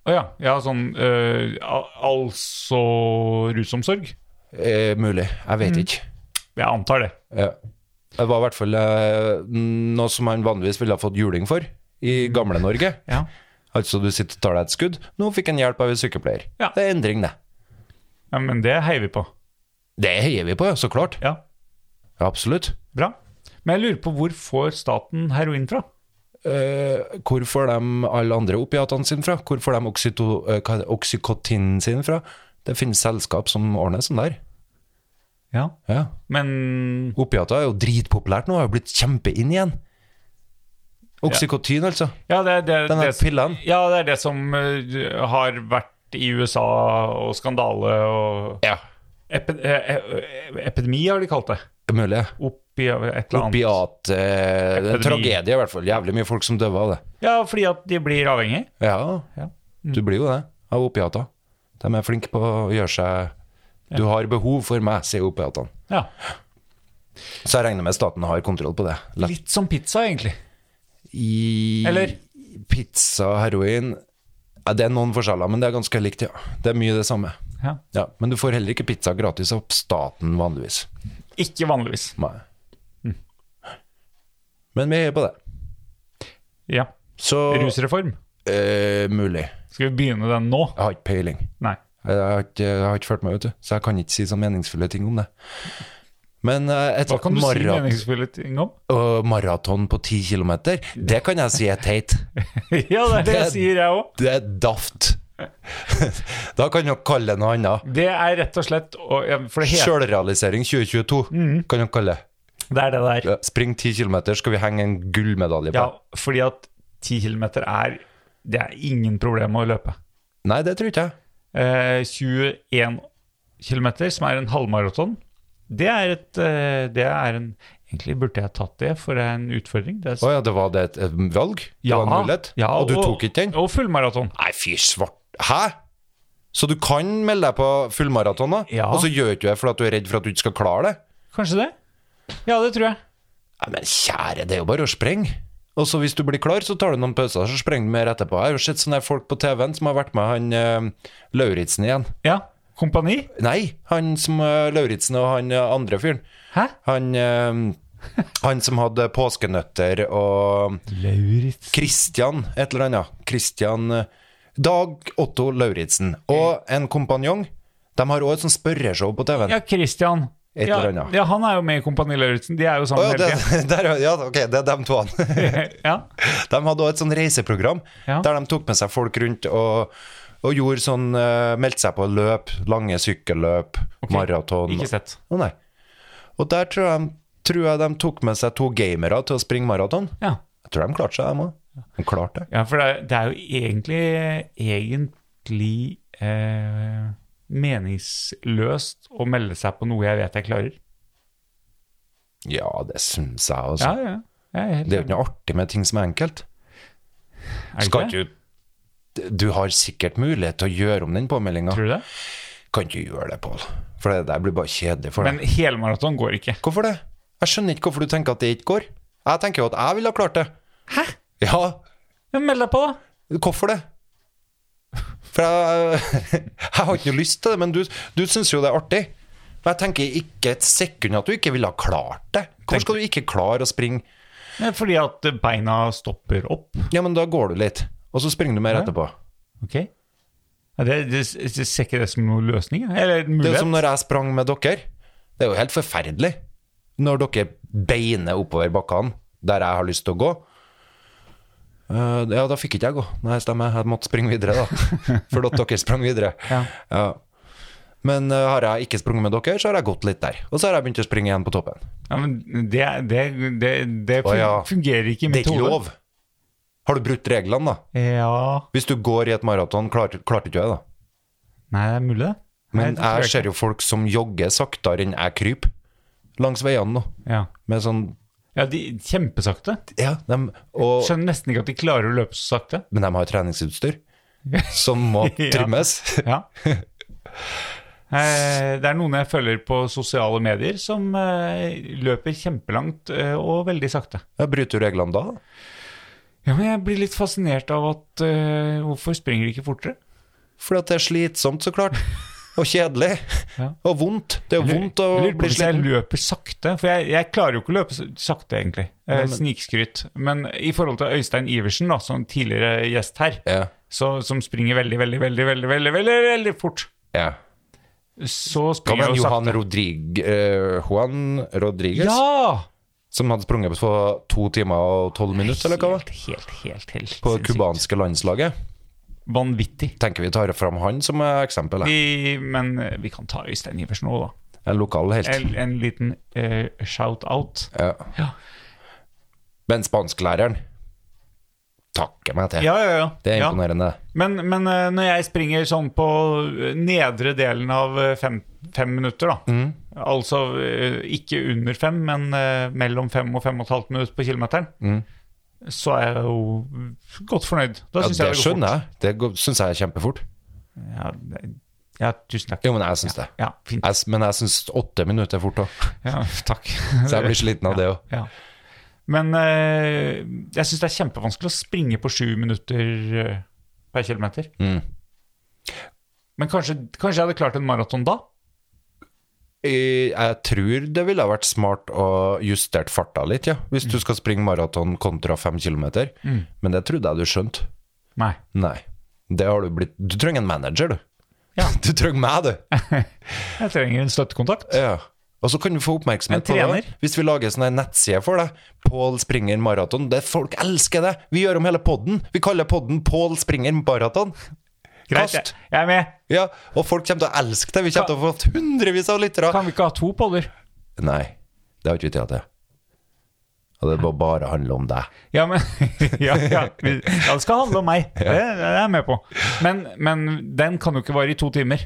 [SPEAKER 4] Å ja. Ja, sånn eh, al- Altså rusomsorg?
[SPEAKER 2] Eh, mulig. Jeg
[SPEAKER 4] Mm.
[SPEAKER 2] vet ikke.
[SPEAKER 4] Jeg antar det.
[SPEAKER 2] Ja. Det var i hvert fall eh, noe som han vanligvis ville ha fått juling for i
[SPEAKER 4] Mm.
[SPEAKER 2] gamle Norge.
[SPEAKER 4] Ja.
[SPEAKER 2] Altså du sitter og tar deg et skudd. Nå fikk han hjelp av en sykepleier.
[SPEAKER 4] Ja.
[SPEAKER 2] Det er endring, det.
[SPEAKER 4] ja men det heier vi på.
[SPEAKER 2] Det heier vi på, ja, så klart.
[SPEAKER 4] Ja,
[SPEAKER 2] Absolutt.
[SPEAKER 4] bra. Men jeg lurer på hvor får staten heroin fra?
[SPEAKER 2] Eh, hvor får de alle andre opiatene sine fra? Hvor får de oksyto, eh, hva er det, oksykotinen sin fra? Det finnes selskap som ordner sånn der.
[SPEAKER 4] Ja.
[SPEAKER 2] Ja.
[SPEAKER 4] Men
[SPEAKER 2] Opiater er jo dritpopulært nå, har jo blitt kjempeinn igjen. Oksykotin, altså.
[SPEAKER 4] Ja, det, er det,
[SPEAKER 2] Den der
[SPEAKER 4] det,
[SPEAKER 2] pillen.
[SPEAKER 4] Ja, det er det som eh, har vært i USA og skandale og
[SPEAKER 2] Ja.
[SPEAKER 4] Epi, eh, eh, Epidemi har de kalt det.
[SPEAKER 2] Mulig.
[SPEAKER 4] Oppi et eller annet.
[SPEAKER 2] Opiat eh, det er en
[SPEAKER 4] Epidemi.
[SPEAKER 2] Tragedie, i hvert fall. Jævlig mye folk som døver av det.
[SPEAKER 4] Ja, fordi at de blir avhengig.
[SPEAKER 2] Ja,
[SPEAKER 4] Ja.
[SPEAKER 2] du blir jo det av opiater. De er flinke på å gjøre seg Du har behov for meg, sier opiatene.
[SPEAKER 4] Ja.
[SPEAKER 2] Så jeg regner med staten har kontroll på det. Lett
[SPEAKER 4] Litt som pizza, egentlig.
[SPEAKER 2] I
[SPEAKER 4] Eller?
[SPEAKER 2] pizza og heroin ja, Det er noen forskjeller, men det er ganske likt, ja. Det er mye det samme.
[SPEAKER 4] Ja.
[SPEAKER 2] Ja, men du får heller ikke pizza gratis av staten vanligvis.
[SPEAKER 4] Ikke vanligvis.
[SPEAKER 2] Nei.
[SPEAKER 4] Mm.
[SPEAKER 2] Men vi heier på det.
[SPEAKER 4] Ja.
[SPEAKER 2] Så
[SPEAKER 4] Rusreform.
[SPEAKER 2] eh, mulig.
[SPEAKER 4] Skal vi begynne den nå?
[SPEAKER 2] Jeg har ikke peiling.
[SPEAKER 4] Nei.
[SPEAKER 2] Jeg har ikke, jeg har ikke følt meg, vet du. Så jeg kan ikke si så meningsfulle ting om det. Men eh, et
[SPEAKER 4] Hva kan du si
[SPEAKER 2] marat
[SPEAKER 4] meningsfulle ting om?
[SPEAKER 2] og maraton på ti kilometer, det kan jeg si er teit.
[SPEAKER 4] ja, det er det jeg
[SPEAKER 2] Det-
[SPEAKER 4] sier, jeg òg.
[SPEAKER 2] Det er daft. da kan du kalle det noe annet.
[SPEAKER 4] Det er rett og slett og, ja, For det heter Mm.
[SPEAKER 2] Sjølrealisering 2022 kan du kalle det.
[SPEAKER 4] Det er det der.
[SPEAKER 2] Ja, Spring ti kilometer, skal vi henge en gullmedalje på.
[SPEAKER 4] Ja, fordi at 10 km er Det er ingen problem å løpe.
[SPEAKER 2] Nei, det tror ikke jeg.
[SPEAKER 4] Eh, 21 km, som er en halvmaraton, det er et eh, Det er en Egentlig burde jeg tatt det for en utfordring. Det er,
[SPEAKER 2] Å ja, det var det et, et valg? Det var en mulighet?
[SPEAKER 4] ja,
[SPEAKER 2] og du tok ikke den?
[SPEAKER 4] Og fullmaraton.
[SPEAKER 2] Nei, fy svart. Hæ? Så du kan melde deg på fullmaraton, da?
[SPEAKER 4] Ja.
[SPEAKER 2] Og så gjør ikke du det fordi at du er redd for at du ikke skal klare det?
[SPEAKER 4] Kanskje det? Ja, det tror jeg.
[SPEAKER 2] Nei, men kjære, det er jo bare å sprenge. Og så hvis du blir klar, så tar du noen pauser, så sprenger du mer etterpå. Jeg har jo sett sånne her folk på TV-en som har vært med han eh, Lauritzen igjen.
[SPEAKER 4] Ja. Kompani?
[SPEAKER 2] Nei, han som uh, Lauritzen og han eh, andre fyren.
[SPEAKER 4] Hæ?
[SPEAKER 2] Han, eh, han som hadde påskenøtter og
[SPEAKER 4] Lauritz.
[SPEAKER 2] Christian et eller annet. Christian eh, Dag Otto Lauritzen og en kompanjong. De har òg et sånt spørreshow på TV-en.
[SPEAKER 4] Ja, Christian.
[SPEAKER 2] Et
[SPEAKER 4] Ja,
[SPEAKER 2] eller annet.
[SPEAKER 4] ja, han er jo med i Kompani Lauritzen. De er jo
[SPEAKER 2] Å
[SPEAKER 4] sammen
[SPEAKER 2] ja,
[SPEAKER 4] hele
[SPEAKER 2] det, der, ja, ja, ok, det er de to. De
[SPEAKER 4] tiden. ja.
[SPEAKER 2] hadde også et sånn reiseprogram
[SPEAKER 4] Ja.
[SPEAKER 2] der de tok med seg folk rundt og, og gjorde sånn eh, Meldte seg på løp, lange sykkelløp, maraton.
[SPEAKER 4] Ikke sett.
[SPEAKER 2] Å, nei. Og der tror jeg, tror jeg de tok med seg to gamere til å springe maraton.
[SPEAKER 4] Ja.
[SPEAKER 2] Jeg tror de klarte seg, de òg. De klarte det.
[SPEAKER 4] ja, for det er, det er jo egentlig, egentlig eh, meningsløst å melde seg på noe jeg vet jeg klarer.
[SPEAKER 2] Ja, det syns jeg, altså.
[SPEAKER 4] Ja, ja. Jeg er helt
[SPEAKER 2] Det er jo ikke
[SPEAKER 4] enig.
[SPEAKER 2] noe artig med ting som er enkelt.
[SPEAKER 4] Er det
[SPEAKER 2] Skal
[SPEAKER 4] ikke det?
[SPEAKER 2] ikke du- Du har sikkert mulighet til å gjøre om den påmeldinga.
[SPEAKER 4] Tror du det?
[SPEAKER 2] Kan ikke gjøre det, Pål. For det der blir bare kjedelig for deg.
[SPEAKER 4] Men helmaraton går ikke.
[SPEAKER 2] Hvorfor det? Jeg skjønner ikke hvorfor du tenker at det ikke går. Jeg tenker jo at jeg ville ha klart det.
[SPEAKER 4] Hæ?
[SPEAKER 2] Ja,
[SPEAKER 4] Men meld deg på, da!
[SPEAKER 2] hvorfor det? For jeg, jeg har ikke noe lyst til det, men du, du syns jo det er artig. Men jeg tenker ikke et sekund at du ikke ville ha klart det. Hvorfor skal du ikke klare å springe?
[SPEAKER 4] Nei, Fordi at beina stopper opp.
[SPEAKER 2] Ja, men da går du litt, og så springer du mer etterpå.
[SPEAKER 4] Ok? Ja, det, det, det ser ikke det som noen løsning, ja. eller en
[SPEAKER 2] Det er
[SPEAKER 4] mulighet.
[SPEAKER 2] jo som når jeg sprang med dere. Det er jo helt forferdelig når dere beiner oppover bakkene der jeg har lyst til å gå. Eh, ja, da fikk ikke jeg gå. Nei, stemmer. Jeg måtte springe videre, da. For at dere sprang videre.
[SPEAKER 4] Ja.
[SPEAKER 2] Ja. Men eh, har jeg ikke sprunget med dere, så har jeg gått litt der. Og så har jeg begynt å springe igjen på toppen.
[SPEAKER 4] Ja, men det, det, det, det
[SPEAKER 2] Å, ja.
[SPEAKER 4] fungerer ikke i
[SPEAKER 2] Det er
[SPEAKER 4] mitt
[SPEAKER 2] ikke
[SPEAKER 4] hode.
[SPEAKER 2] lov. Har du brutt reglene, da?
[SPEAKER 4] Ja
[SPEAKER 2] Hvis du går i et maraton, klarte klarte ikke jeg det, da.
[SPEAKER 4] Nei, det er mulig, det.
[SPEAKER 2] Men
[SPEAKER 4] Nei, det tror
[SPEAKER 2] jeg
[SPEAKER 4] ikke.
[SPEAKER 2] ser jo folk som jogger saktere enn jeg kryper langs veiene nå.
[SPEAKER 4] Ja,
[SPEAKER 2] Med sånn
[SPEAKER 4] ja de, kjempesakte.
[SPEAKER 2] Ja, dem, og
[SPEAKER 4] Skjønner nesten ikke at de klarer å løpe så sakte.
[SPEAKER 2] men de har treningsutstyr som må
[SPEAKER 4] Ja.
[SPEAKER 2] trimmes.
[SPEAKER 4] Ja. Eh, Det er noen jeg følger på sosiale medier som eh, løper kjempelangt eh, og veldig sakte.
[SPEAKER 2] Jeg bryter du reglene da?
[SPEAKER 4] Ja, men jeg blir litt fascinert av at eh, Hvorfor springer de ikke fortere?
[SPEAKER 2] Fordi at det er slitsomt, så klart. Og kjedelig.
[SPEAKER 4] Ja.
[SPEAKER 2] Og vondt. Det er jo vondt å
[SPEAKER 4] Jeg lurer på
[SPEAKER 2] bli
[SPEAKER 4] Hvis jeg
[SPEAKER 2] sliten.
[SPEAKER 4] løper sakte For jeg, jeg klarer jo ikke å løpe s- sakte, egentlig. Eh, Snikskryt. Men i forhold til Øystein Iversen, da, som tidligere gjest her,
[SPEAKER 2] Ja,
[SPEAKER 4] så, som springer veldig, veldig, veldig, veldig, veldig, veldig, veldig fort,
[SPEAKER 2] ja.
[SPEAKER 4] så
[SPEAKER 2] Hva
[SPEAKER 4] springer jeg
[SPEAKER 2] med
[SPEAKER 4] jo
[SPEAKER 2] Johan
[SPEAKER 4] sakte.
[SPEAKER 2] Rodrig, eh, Juan Rodriguez?
[SPEAKER 4] Ja!
[SPEAKER 2] Som hadde sprunget på to timer og tolv minutter, eller hva? det var,
[SPEAKER 4] Helt, helt, helt, helt
[SPEAKER 2] På
[SPEAKER 4] sinnssykt.
[SPEAKER 2] det kubanske landslaget.
[SPEAKER 4] Vanvittig.
[SPEAKER 2] Tenker vi tar fram han som eh, eksempel. eh.
[SPEAKER 4] Vi, men eh, vi kan ta Øystein Iversen òg, da.
[SPEAKER 2] En lokal helt.
[SPEAKER 4] En, en liten eh, shout-out.
[SPEAKER 2] Ja.
[SPEAKER 4] Ja.
[SPEAKER 2] Men spansklæreren takker meg til.
[SPEAKER 4] Ja, ja, ja.
[SPEAKER 2] Det er
[SPEAKER 4] ja.
[SPEAKER 2] imponerende.
[SPEAKER 4] Men, men eh, når jeg springer sånn på eh, nedre delen av eh, fem, fem minutter, da
[SPEAKER 2] Mm.
[SPEAKER 4] Altså eh, ikke under fem, men eh, mellom fem og fem og et halvt minutt på kilometeren,
[SPEAKER 2] Mm.
[SPEAKER 4] så er jeg jo godt fornøyd. Da
[SPEAKER 2] Ja,
[SPEAKER 4] syns
[SPEAKER 2] det
[SPEAKER 4] jeg det går
[SPEAKER 2] skjønner jeg. Det går- syns jeg er kjempefort.
[SPEAKER 4] fort. Ja, det- ja, tusen takk.
[SPEAKER 2] Jo, men jeg syns det.
[SPEAKER 4] Ja, fint.
[SPEAKER 2] Jeg, s- men jeg syns åtte minutter er fort òg,
[SPEAKER 4] Ja, takk.
[SPEAKER 2] så jeg blir sliten av det òg.
[SPEAKER 4] Ja. Men eh, jeg syns det er kjempevanskelig å springe på sju minutter eh, per kilometer.
[SPEAKER 2] Mm.
[SPEAKER 4] Men kanskje, kanskje jeg hadde klart en maraton da?
[SPEAKER 2] Eh, Jeg tror det ville ha vært smart å justere farta litt, ja. Hvis
[SPEAKER 4] Mm.
[SPEAKER 2] du skal springe maraton kontra fem kilometer. Men det trodde jeg du skjønte.
[SPEAKER 4] Nei.
[SPEAKER 2] Nei. Det har du blitt Du trenger en manager, du.
[SPEAKER 4] Ja.
[SPEAKER 2] Du trenger meg, du.
[SPEAKER 4] Jeg trenger en støttekontakt.
[SPEAKER 2] Ja. Og så kan du få oppmerksomhet
[SPEAKER 4] En
[SPEAKER 2] på det.
[SPEAKER 4] trener.
[SPEAKER 2] Hvis vi lager sånne nettsider for deg, Pål springer maraton det, Folk elsker det! Vi gjør om hele podden. Vi kaller podden Pål springer maraton.
[SPEAKER 4] Greit, jeg,
[SPEAKER 2] Kast.
[SPEAKER 4] jeg er med.
[SPEAKER 2] Ja, og folk kommer til å elske det. Vi kommer til å få hundrevis av lyttere.
[SPEAKER 4] Kan vi ikke ha to poller?
[SPEAKER 2] Nei, det har ikke vi tid til. Og det må bare handle om deg.
[SPEAKER 4] Ja, men ja, ja, vi, ja, det skal handle om meg. Det, det er jeg med på. Men, men den kan jo ikke vare i to timer.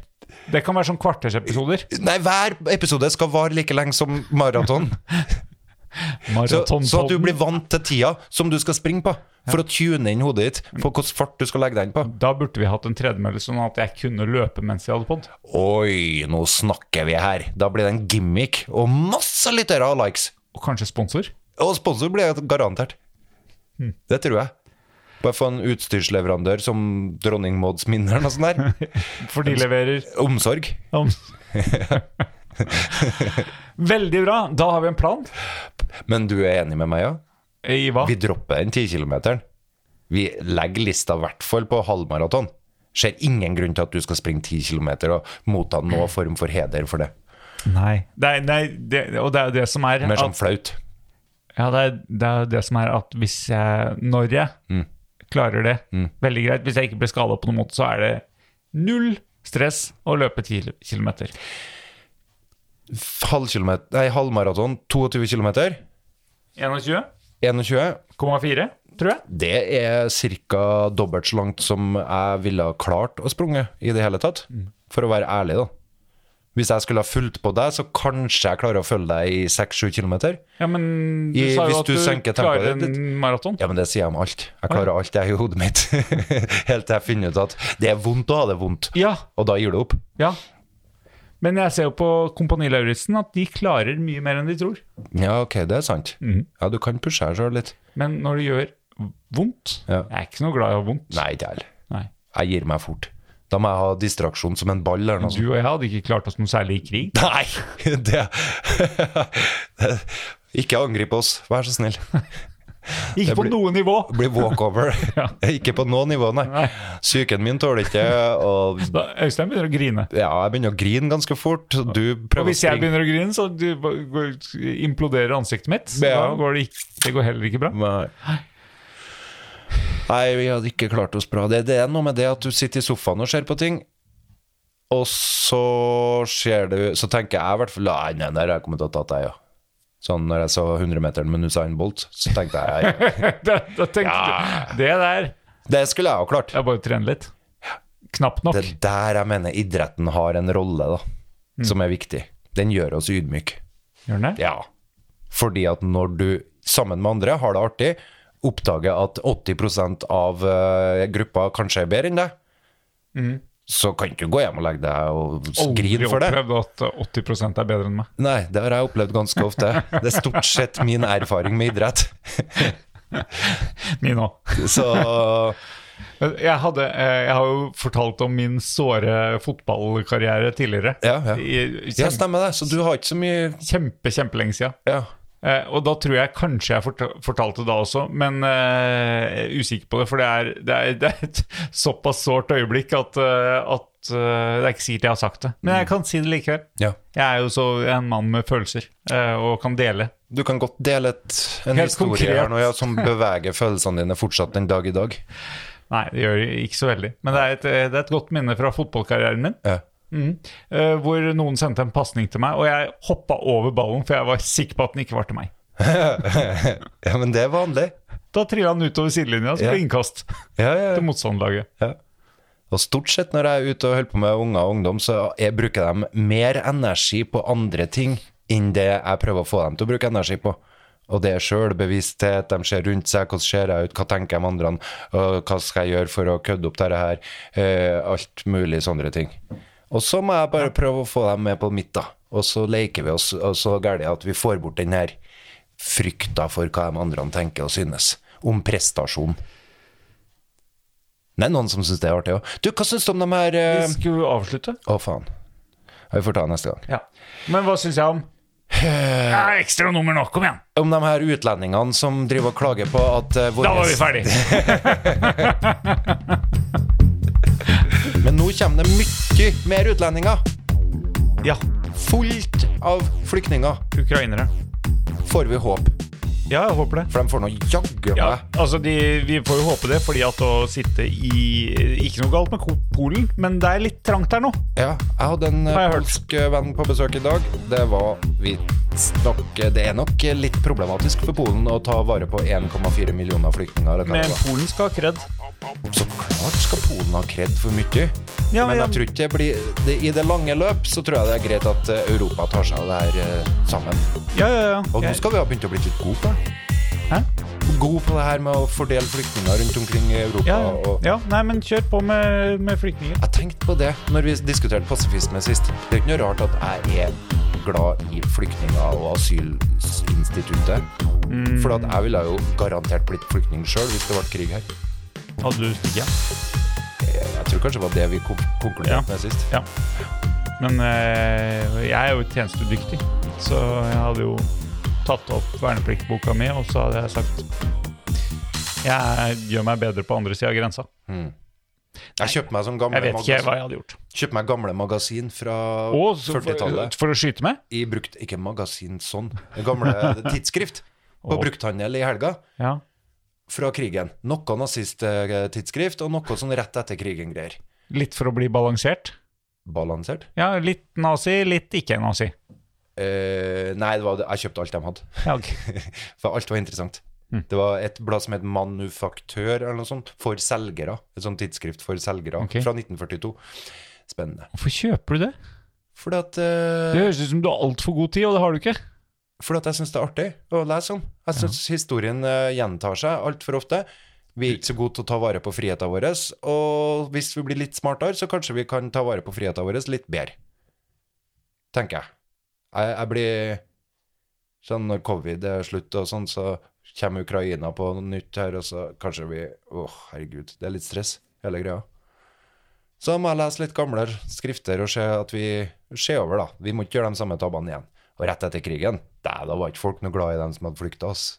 [SPEAKER 4] Det kan være sånn kvartersepisoder.
[SPEAKER 2] Nei, hver episode skal vare like lenge som maraton.
[SPEAKER 4] Altså,
[SPEAKER 2] Så, så at du blir vant til tida som du skal springe på. For å tune inn hodet ditt på hvilken fart du skal legge deg inn på.
[SPEAKER 4] Da burde vi hatt en tredemølle, sånn at jeg kunne løpe mens jeg hadde podd.
[SPEAKER 2] Oi, nå snakker vi her. Da blir det en gimmick og masse lyttere og likes.
[SPEAKER 4] Og kanskje sponsor.
[SPEAKER 2] Og sponsor blir jeg garantert. Det tror jeg. Bare få en utstyrsleverandør som dronning Mauds minner eller noe sånt der.
[SPEAKER 4] For de leverer
[SPEAKER 2] Omsorg.
[SPEAKER 4] om Veldig bra. Da har vi en plan.
[SPEAKER 2] Men du er enig med meg, ja?
[SPEAKER 4] I hva?
[SPEAKER 2] Vi dropper den 10 kilometeren. Vi legger lista i hvert fall på halvmaraton. Ser ingen grunn til at du skal springe 10 kilometer og motta noen form for heder for det.
[SPEAKER 4] Nei. Det er, nei det, og det er jo det som er
[SPEAKER 2] Mer sånn
[SPEAKER 4] at-
[SPEAKER 2] flaut.
[SPEAKER 4] Ja, det er, det er jo det som er at hvis jeg, når jeg
[SPEAKER 2] Mm.
[SPEAKER 4] klarer det, veldig greit, hvis jeg ikke blir skada på noen måte, så er det null stress å løpe 10 kilometer.
[SPEAKER 2] Halv kilometer, nei, halvmaraton, 22 km.
[SPEAKER 4] 21,4,
[SPEAKER 2] 21.
[SPEAKER 4] tror jeg.
[SPEAKER 2] Det er ca. dobbelt så langt som jeg ville ha klart å sprunge i det hele tatt. For å være ærlig, da. Hvis jeg skulle ha fulgt på deg, så kanskje jeg klarer å følge deg i 6-7 km.
[SPEAKER 4] Ja, men du
[SPEAKER 2] I-
[SPEAKER 4] sa
[SPEAKER 2] hvis
[SPEAKER 4] jo at
[SPEAKER 2] du
[SPEAKER 4] du,
[SPEAKER 2] senker tempoet
[SPEAKER 4] klarer
[SPEAKER 2] ditt-
[SPEAKER 4] en maraton.
[SPEAKER 2] Ja, men det sier jeg om alt. Jeg klarer alt jeg har i hodet mitt. Helt til jeg finner ut at det er vondt å ha det vondt.
[SPEAKER 4] Ja,
[SPEAKER 2] Og da gir du opp.
[SPEAKER 4] ja. Men jeg ser jo på Kompani Lauritzen at de klarer mye mer enn de tror.
[SPEAKER 2] Ja, ok, det er sant.
[SPEAKER 4] Mm.
[SPEAKER 2] Ja, du kan pushe deg sjøl litt.
[SPEAKER 4] Men når det gjør vondt
[SPEAKER 2] Ja.
[SPEAKER 4] Jeg er ikke noe glad i å ha vondt.
[SPEAKER 2] Nei, ikke heller.
[SPEAKER 4] Nei.
[SPEAKER 2] Jeg gir meg fort. Da må jeg ha distraksjon som en ball eller noe sånt.
[SPEAKER 4] Du og jeg hadde ikke klart oss noe særlig i krig.
[SPEAKER 2] Nei, det, det Ikke angrip oss, vær så snill.
[SPEAKER 4] Ikke på
[SPEAKER 2] blir-
[SPEAKER 4] noe nivå.
[SPEAKER 2] Bli walkover.
[SPEAKER 4] Ja.
[SPEAKER 2] Ikke på noe nivå, nei.
[SPEAKER 4] Nei.
[SPEAKER 2] Psyken min tåler ikke og
[SPEAKER 4] Da, Øystein begynner å grine.
[SPEAKER 2] ja, jeg begynner å grine ganske fort. så Du
[SPEAKER 4] Og
[SPEAKER 2] prøver å
[SPEAKER 4] hvis jeg
[SPEAKER 2] springe.
[SPEAKER 4] begynner å grine, så du, går- imploderer ansiktet mitt. Så
[SPEAKER 2] Ja.
[SPEAKER 4] Da går det, ikke, det går heller ikke bra.
[SPEAKER 2] Nei. Nei, vi hadde ikke klart oss bra. Det, det er noe med det at du sitter i sofaen og ser på ting, og så ser du Så tenker jeg i hvert fall Nei, nei, der har jeg kommet til å tatt deg, ja. Sånn når jeg så 100-meteren med Usain Bolt, så tenkte jeg ja, ja.
[SPEAKER 4] Da, da tenkte du Det der
[SPEAKER 2] Det skulle jeg ha klart.
[SPEAKER 4] Jeg bare trener litt. Knapt nok.
[SPEAKER 2] Det er der jeg mener idretten har en rolle, da, som er viktig. Den gjør oss ydmyke.
[SPEAKER 4] Gjør den det?
[SPEAKER 2] Ja. Fordi at når du sammen med andre har det artig, oppdager at 80 av eh, gruppa kanskje er bedre enn deg, så kan du ikke gå hjem og legge deg og s- grine for det.
[SPEAKER 4] Aldri opplevd at 80 er bedre enn meg.
[SPEAKER 2] Nei, det har jeg opplevd ganske ofte. Det er stort sett min erfaring med idrett.
[SPEAKER 4] Min òg.
[SPEAKER 2] Så
[SPEAKER 4] Jeg, hadde, eh, jeg har jo fortalt om min såre fotballkarriere tidligere.
[SPEAKER 2] Ja, ja.
[SPEAKER 4] I-
[SPEAKER 2] Ja,
[SPEAKER 4] Kjempe,
[SPEAKER 2] stemmer det. Så du har ikke så mye
[SPEAKER 4] kjempe, kjempelenge siden.
[SPEAKER 2] Ja.
[SPEAKER 4] Eh, og da tror jeg kanskje jeg forta- fortalte da også, men eh, jeg er usikker på det. For det er, det er, det er et såpass sårt øyeblikk at, eh, at eh, det er ikke sikkert jeg har sagt det. Men
[SPEAKER 2] Mm.
[SPEAKER 4] jeg kan si det likevel.
[SPEAKER 2] ja.
[SPEAKER 4] Jeg er jo så en mann med følelser, eh, og kan dele.
[SPEAKER 2] Du kan godt dele et, en
[SPEAKER 4] Helt
[SPEAKER 2] historie
[SPEAKER 4] konkret.
[SPEAKER 2] her nå, ja, som beveger følelsene dine fortsatt den dag i dag.
[SPEAKER 4] Nei, det gjør jeg ikke så veldig. Men det er et, eh, det er et godt minne fra fotballkarrieren min.
[SPEAKER 2] Ja.
[SPEAKER 4] Mm. Eh, hvor noen sendte en pasning til meg, og jeg hoppa over ballen, for jeg var sikker på at den ikke var til meg.
[SPEAKER 2] ja, men det er vanlig.
[SPEAKER 4] Da trilla den utover sidelinja, så ble
[SPEAKER 2] Ja.
[SPEAKER 4] det innkast
[SPEAKER 2] Ja, ja, ja.
[SPEAKER 4] til motstanderlaget.
[SPEAKER 2] Og stort sett når jeg er ute og holder på med unger og ungdom, så jeg bruker de mer energi på andre ting enn det jeg prøver å få dem til å bruke energi på. Og det er sjølbevissthet, de ser rundt seg, hvordan ser jeg ut, hva tenker de andre, øh, hva skal jeg gjøre for å kødde opp dette her, eh, alt mulig sånne ting. Og så må jeg bare prøve å få dem med på mitt, da. Og så leker vi oss og så gærent at vi får bort den her frykta for hva de andre tenker og synes om prestasjon. Det er noen som syns det er artig òg. Du, hva syns du om de her eh,
[SPEAKER 4] Vi skulle avslutte.
[SPEAKER 2] Å, faen. Vi får ta det neste gang.
[SPEAKER 4] Ja. Men hva syns jeg om Eh. ja, Ekstra nummer nå, kom igjen!
[SPEAKER 2] Om de her utlendingene som driver og klager på at
[SPEAKER 4] Da
[SPEAKER 2] eh, våres-
[SPEAKER 4] var vi ferdige.
[SPEAKER 2] Men nå kommer det mye mer utlendinger.
[SPEAKER 4] Ja,
[SPEAKER 2] Fullt av flyktninger,
[SPEAKER 4] ukrainere.
[SPEAKER 2] får vi håp.
[SPEAKER 4] Ja, jeg håper det.
[SPEAKER 2] For de får nå jaggu meg
[SPEAKER 4] Ja, altså de, Vi får jo håpe det, fordi at å sitte i Ikke noe galt med Ko- Polen, men det er litt trangt her nå.
[SPEAKER 2] Ja, jeg hadde en eh,
[SPEAKER 4] Har jeg hørt.
[SPEAKER 2] polsk eh, venn på besøk i dag. Det var visstnok Det er nok eh, litt problematisk for Polen å ta vare på 1,4 millioner flyktninger. Eller hva
[SPEAKER 4] Men
[SPEAKER 2] det var.
[SPEAKER 4] Polen skal ha kred.
[SPEAKER 2] Så klart skal Polen ha kred for mye.
[SPEAKER 4] Ja,
[SPEAKER 2] men
[SPEAKER 4] ja.
[SPEAKER 2] jeg tror ikke det blir det, I det lange løp så tror jeg det er greit at eh, Europa tar seg av det her eh, sammen.
[SPEAKER 4] Ja, ja, ja.
[SPEAKER 2] Og nå
[SPEAKER 4] Jeg-
[SPEAKER 2] skal vi ha begynt å bli litt gode på det.
[SPEAKER 4] Hæ?
[SPEAKER 2] Gode på det her med å fordele flyktninger rundt omkring i Europa.
[SPEAKER 4] Ja, ja.
[SPEAKER 2] Og
[SPEAKER 4] ja, nei, men kjør på med, med flyktninger.
[SPEAKER 2] jeg tenkte på det når vi diskuterte pasifisme sist. Det er ikke noe rart at jeg er glad i flyktninger og asylinstituttet.
[SPEAKER 4] Mm.
[SPEAKER 2] For at jeg ville jo garantert blitt flyktning sjøl hvis det ble krig her.
[SPEAKER 4] Hadde du stikket?
[SPEAKER 2] Jeg tror kanskje det var det vi kon- konkluderte
[SPEAKER 4] Ja.
[SPEAKER 2] med sist.
[SPEAKER 4] Ja. Men eh, jeg er jo tjenestedyktig, så jeg hadde jo tatt opp vernepliktboka mi, og så hadde jeg sagt Jeg gjør meg bedre på andre sida av grensa.
[SPEAKER 2] Mm. Jeg kjøpte meg sånn gamle
[SPEAKER 4] Jeg vet ikke hva
[SPEAKER 2] magasin,
[SPEAKER 4] jeg hadde gjort.
[SPEAKER 2] kjøpte meg gamle magasin fra
[SPEAKER 4] Og så for,
[SPEAKER 2] 40-tallet.
[SPEAKER 4] for å skyte med?
[SPEAKER 2] I brukt, ikke magasin sånn, gamle tidsskrift på
[SPEAKER 4] Å.
[SPEAKER 2] brukthandel i helga.
[SPEAKER 4] Ja.
[SPEAKER 2] Fra krigen. Noe nazisttidsskrift, og noe sånn rett etter krigen-greier.
[SPEAKER 4] Litt for å bli balansert?
[SPEAKER 2] Balansert?
[SPEAKER 4] Ja, litt nazi, litt ikke nazi.
[SPEAKER 2] Eh, nei, det var, det- jeg kjøpte alt de hadde.
[SPEAKER 4] Ja, ok.
[SPEAKER 2] For alt var interessant.
[SPEAKER 4] Mm.
[SPEAKER 2] Det var et blad som het Manufaktør eller noe sånt, for selgere. Et sånt tidsskrift for selgere
[SPEAKER 4] Ok.
[SPEAKER 2] fra 1942. Spennende.
[SPEAKER 4] Hvorfor kjøper du det?
[SPEAKER 2] Fordi at,
[SPEAKER 4] Det
[SPEAKER 2] eh,
[SPEAKER 4] høres ut som du har altfor god tid, og det har du ikke.
[SPEAKER 2] fordi at jeg syns det er artig å lese om. Jeg syns historien eh, gjentar seg altfor ofte. Vi er ikke så gode til å ta vare på friheten vår, og hvis vi blir litt smartere, så kanskje vi kan ta vare på friheten vår litt bedre. Tenker jeg. Jeg, jeg blir Sånn når covid er slutt og sånn, så kommer Ukraina på noe nytt her, og så kanskje vi Åh, herregud, det er litt stress, hele greia. Så må jeg lese litt gamle skrifter og se at vi Se over, da. Vi må ikke gjøre de samme tabbene igjen. Og rett etter krigen, da, da var ikke folk noe glad i dem som hadde flykta, ass.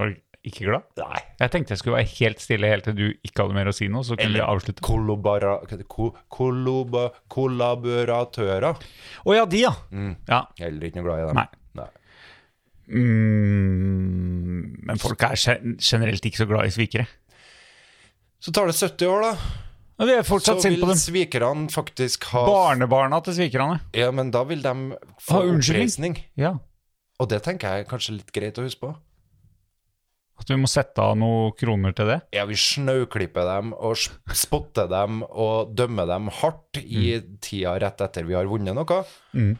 [SPEAKER 4] Var du ikke glad?
[SPEAKER 2] Nei.
[SPEAKER 4] Jeg tenkte jeg skulle være helt stille helt til du ikke hadde mer å si nå, så kunne vi avslutte.
[SPEAKER 2] Kollabora... hva heter det? Ko- Kollaba, kollaboratører.
[SPEAKER 4] Å ja, de, ja. ja.
[SPEAKER 2] Heller ikke noe glad i dem.
[SPEAKER 4] Nei. Mm, men folk er gen- generelt ikke så glad i svikere.
[SPEAKER 2] Så tar det 70 år, da.
[SPEAKER 4] Og de er
[SPEAKER 2] Så
[SPEAKER 4] fortsatt sint
[SPEAKER 2] vil
[SPEAKER 4] på dem.
[SPEAKER 2] svikerne faktisk ha
[SPEAKER 4] Barnebarna til svikerne.
[SPEAKER 2] Ja, men da vil de
[SPEAKER 4] Ha
[SPEAKER 2] få
[SPEAKER 4] unnskyldning.
[SPEAKER 2] oppreisning.
[SPEAKER 4] Ja.
[SPEAKER 2] Og det tenker jeg er kanskje litt greit å huske på.
[SPEAKER 4] At vi må sette av noen kroner til det.
[SPEAKER 2] Ja, vi snauklipper dem og s- spotter dem og dømmer dem hardt i
[SPEAKER 4] Mm.
[SPEAKER 2] tida rett etter vi har vunnet noe.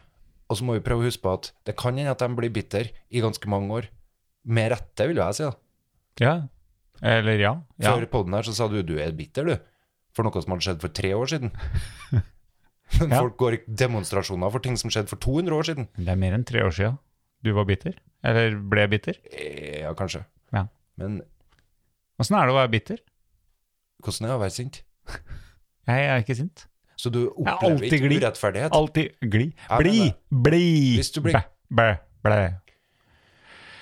[SPEAKER 2] Og så må vi prøve å huske på at det kan hende at de blir bitter i ganske mange år. Med rette, vil jeg si. da.
[SPEAKER 4] Ja. Eller ja. ja.
[SPEAKER 2] Før podden her så sa du du er bitter, du. For noe som hadde skjedd for tre år siden. Men
[SPEAKER 4] Ja.
[SPEAKER 2] folk går i demonstrasjoner for ting som skjedde for 200 år siden.
[SPEAKER 4] Det er mer enn tre år siden du var bitter. Eller ble bitter.
[SPEAKER 2] Eh, Ja, kanskje.
[SPEAKER 4] Ja.
[SPEAKER 2] Men
[SPEAKER 4] Åssen er det å være bitter?
[SPEAKER 2] hvordan er det å være sint?
[SPEAKER 4] Jeg er ikke sint.
[SPEAKER 2] Så du
[SPEAKER 4] er
[SPEAKER 2] opplever
[SPEAKER 4] alltid
[SPEAKER 2] ikke
[SPEAKER 4] glid.
[SPEAKER 2] urettferdighet?
[SPEAKER 4] Alltid gli.
[SPEAKER 2] Ja, men
[SPEAKER 4] Bli! Bli!
[SPEAKER 2] Hvis du blir-
[SPEAKER 4] Bæ, bæ, blæ.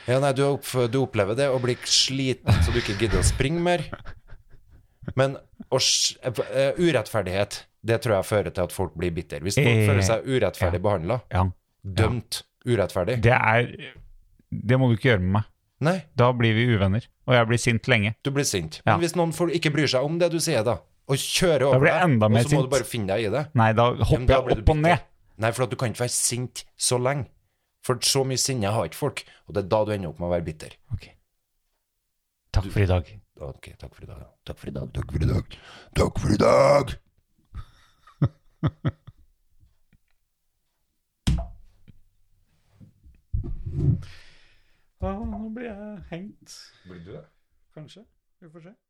[SPEAKER 2] Ja, nei, du, opp- du opplever det og blir sliten så du ikke gidder å springe mer. Men og, s- eh, urettferdighet, det tror jeg fører til at folk blir bitter. Hvis folk
[SPEAKER 4] Eh,
[SPEAKER 2] føler seg urettferdig behandla,
[SPEAKER 4] Ja.
[SPEAKER 2] dømt urettferdig
[SPEAKER 4] Det er Det må du ikke gjøre med meg.
[SPEAKER 2] Nei,
[SPEAKER 4] Da blir vi uvenner. Og jeg blir sint lenge.
[SPEAKER 2] du blir sint.
[SPEAKER 4] Ja.
[SPEAKER 2] Men hvis noen folk ikke bryr seg om det du sier, da, og kjører over
[SPEAKER 4] blir jeg enda
[SPEAKER 2] deg,
[SPEAKER 4] mer
[SPEAKER 2] og så må
[SPEAKER 4] sint.
[SPEAKER 2] du bare finne deg i det
[SPEAKER 4] Nei, da
[SPEAKER 2] Ja,
[SPEAKER 4] hopper
[SPEAKER 2] men da blir
[SPEAKER 4] jeg
[SPEAKER 2] du
[SPEAKER 4] opp og
[SPEAKER 2] bitter.
[SPEAKER 4] ned.
[SPEAKER 2] Nei, for at du kan ikke være sint så lenge. For så mye sinne har ikke folk, og det er da du ender opp med å være bitter.
[SPEAKER 4] Ok. Takk for i dag.
[SPEAKER 2] Ok, takk for i dag. Takk for i dag. Takk for i dag. Takk for i dag.
[SPEAKER 4] nå blir jeg hengt.
[SPEAKER 2] Blir du det?
[SPEAKER 4] Kanskje. Vi får se.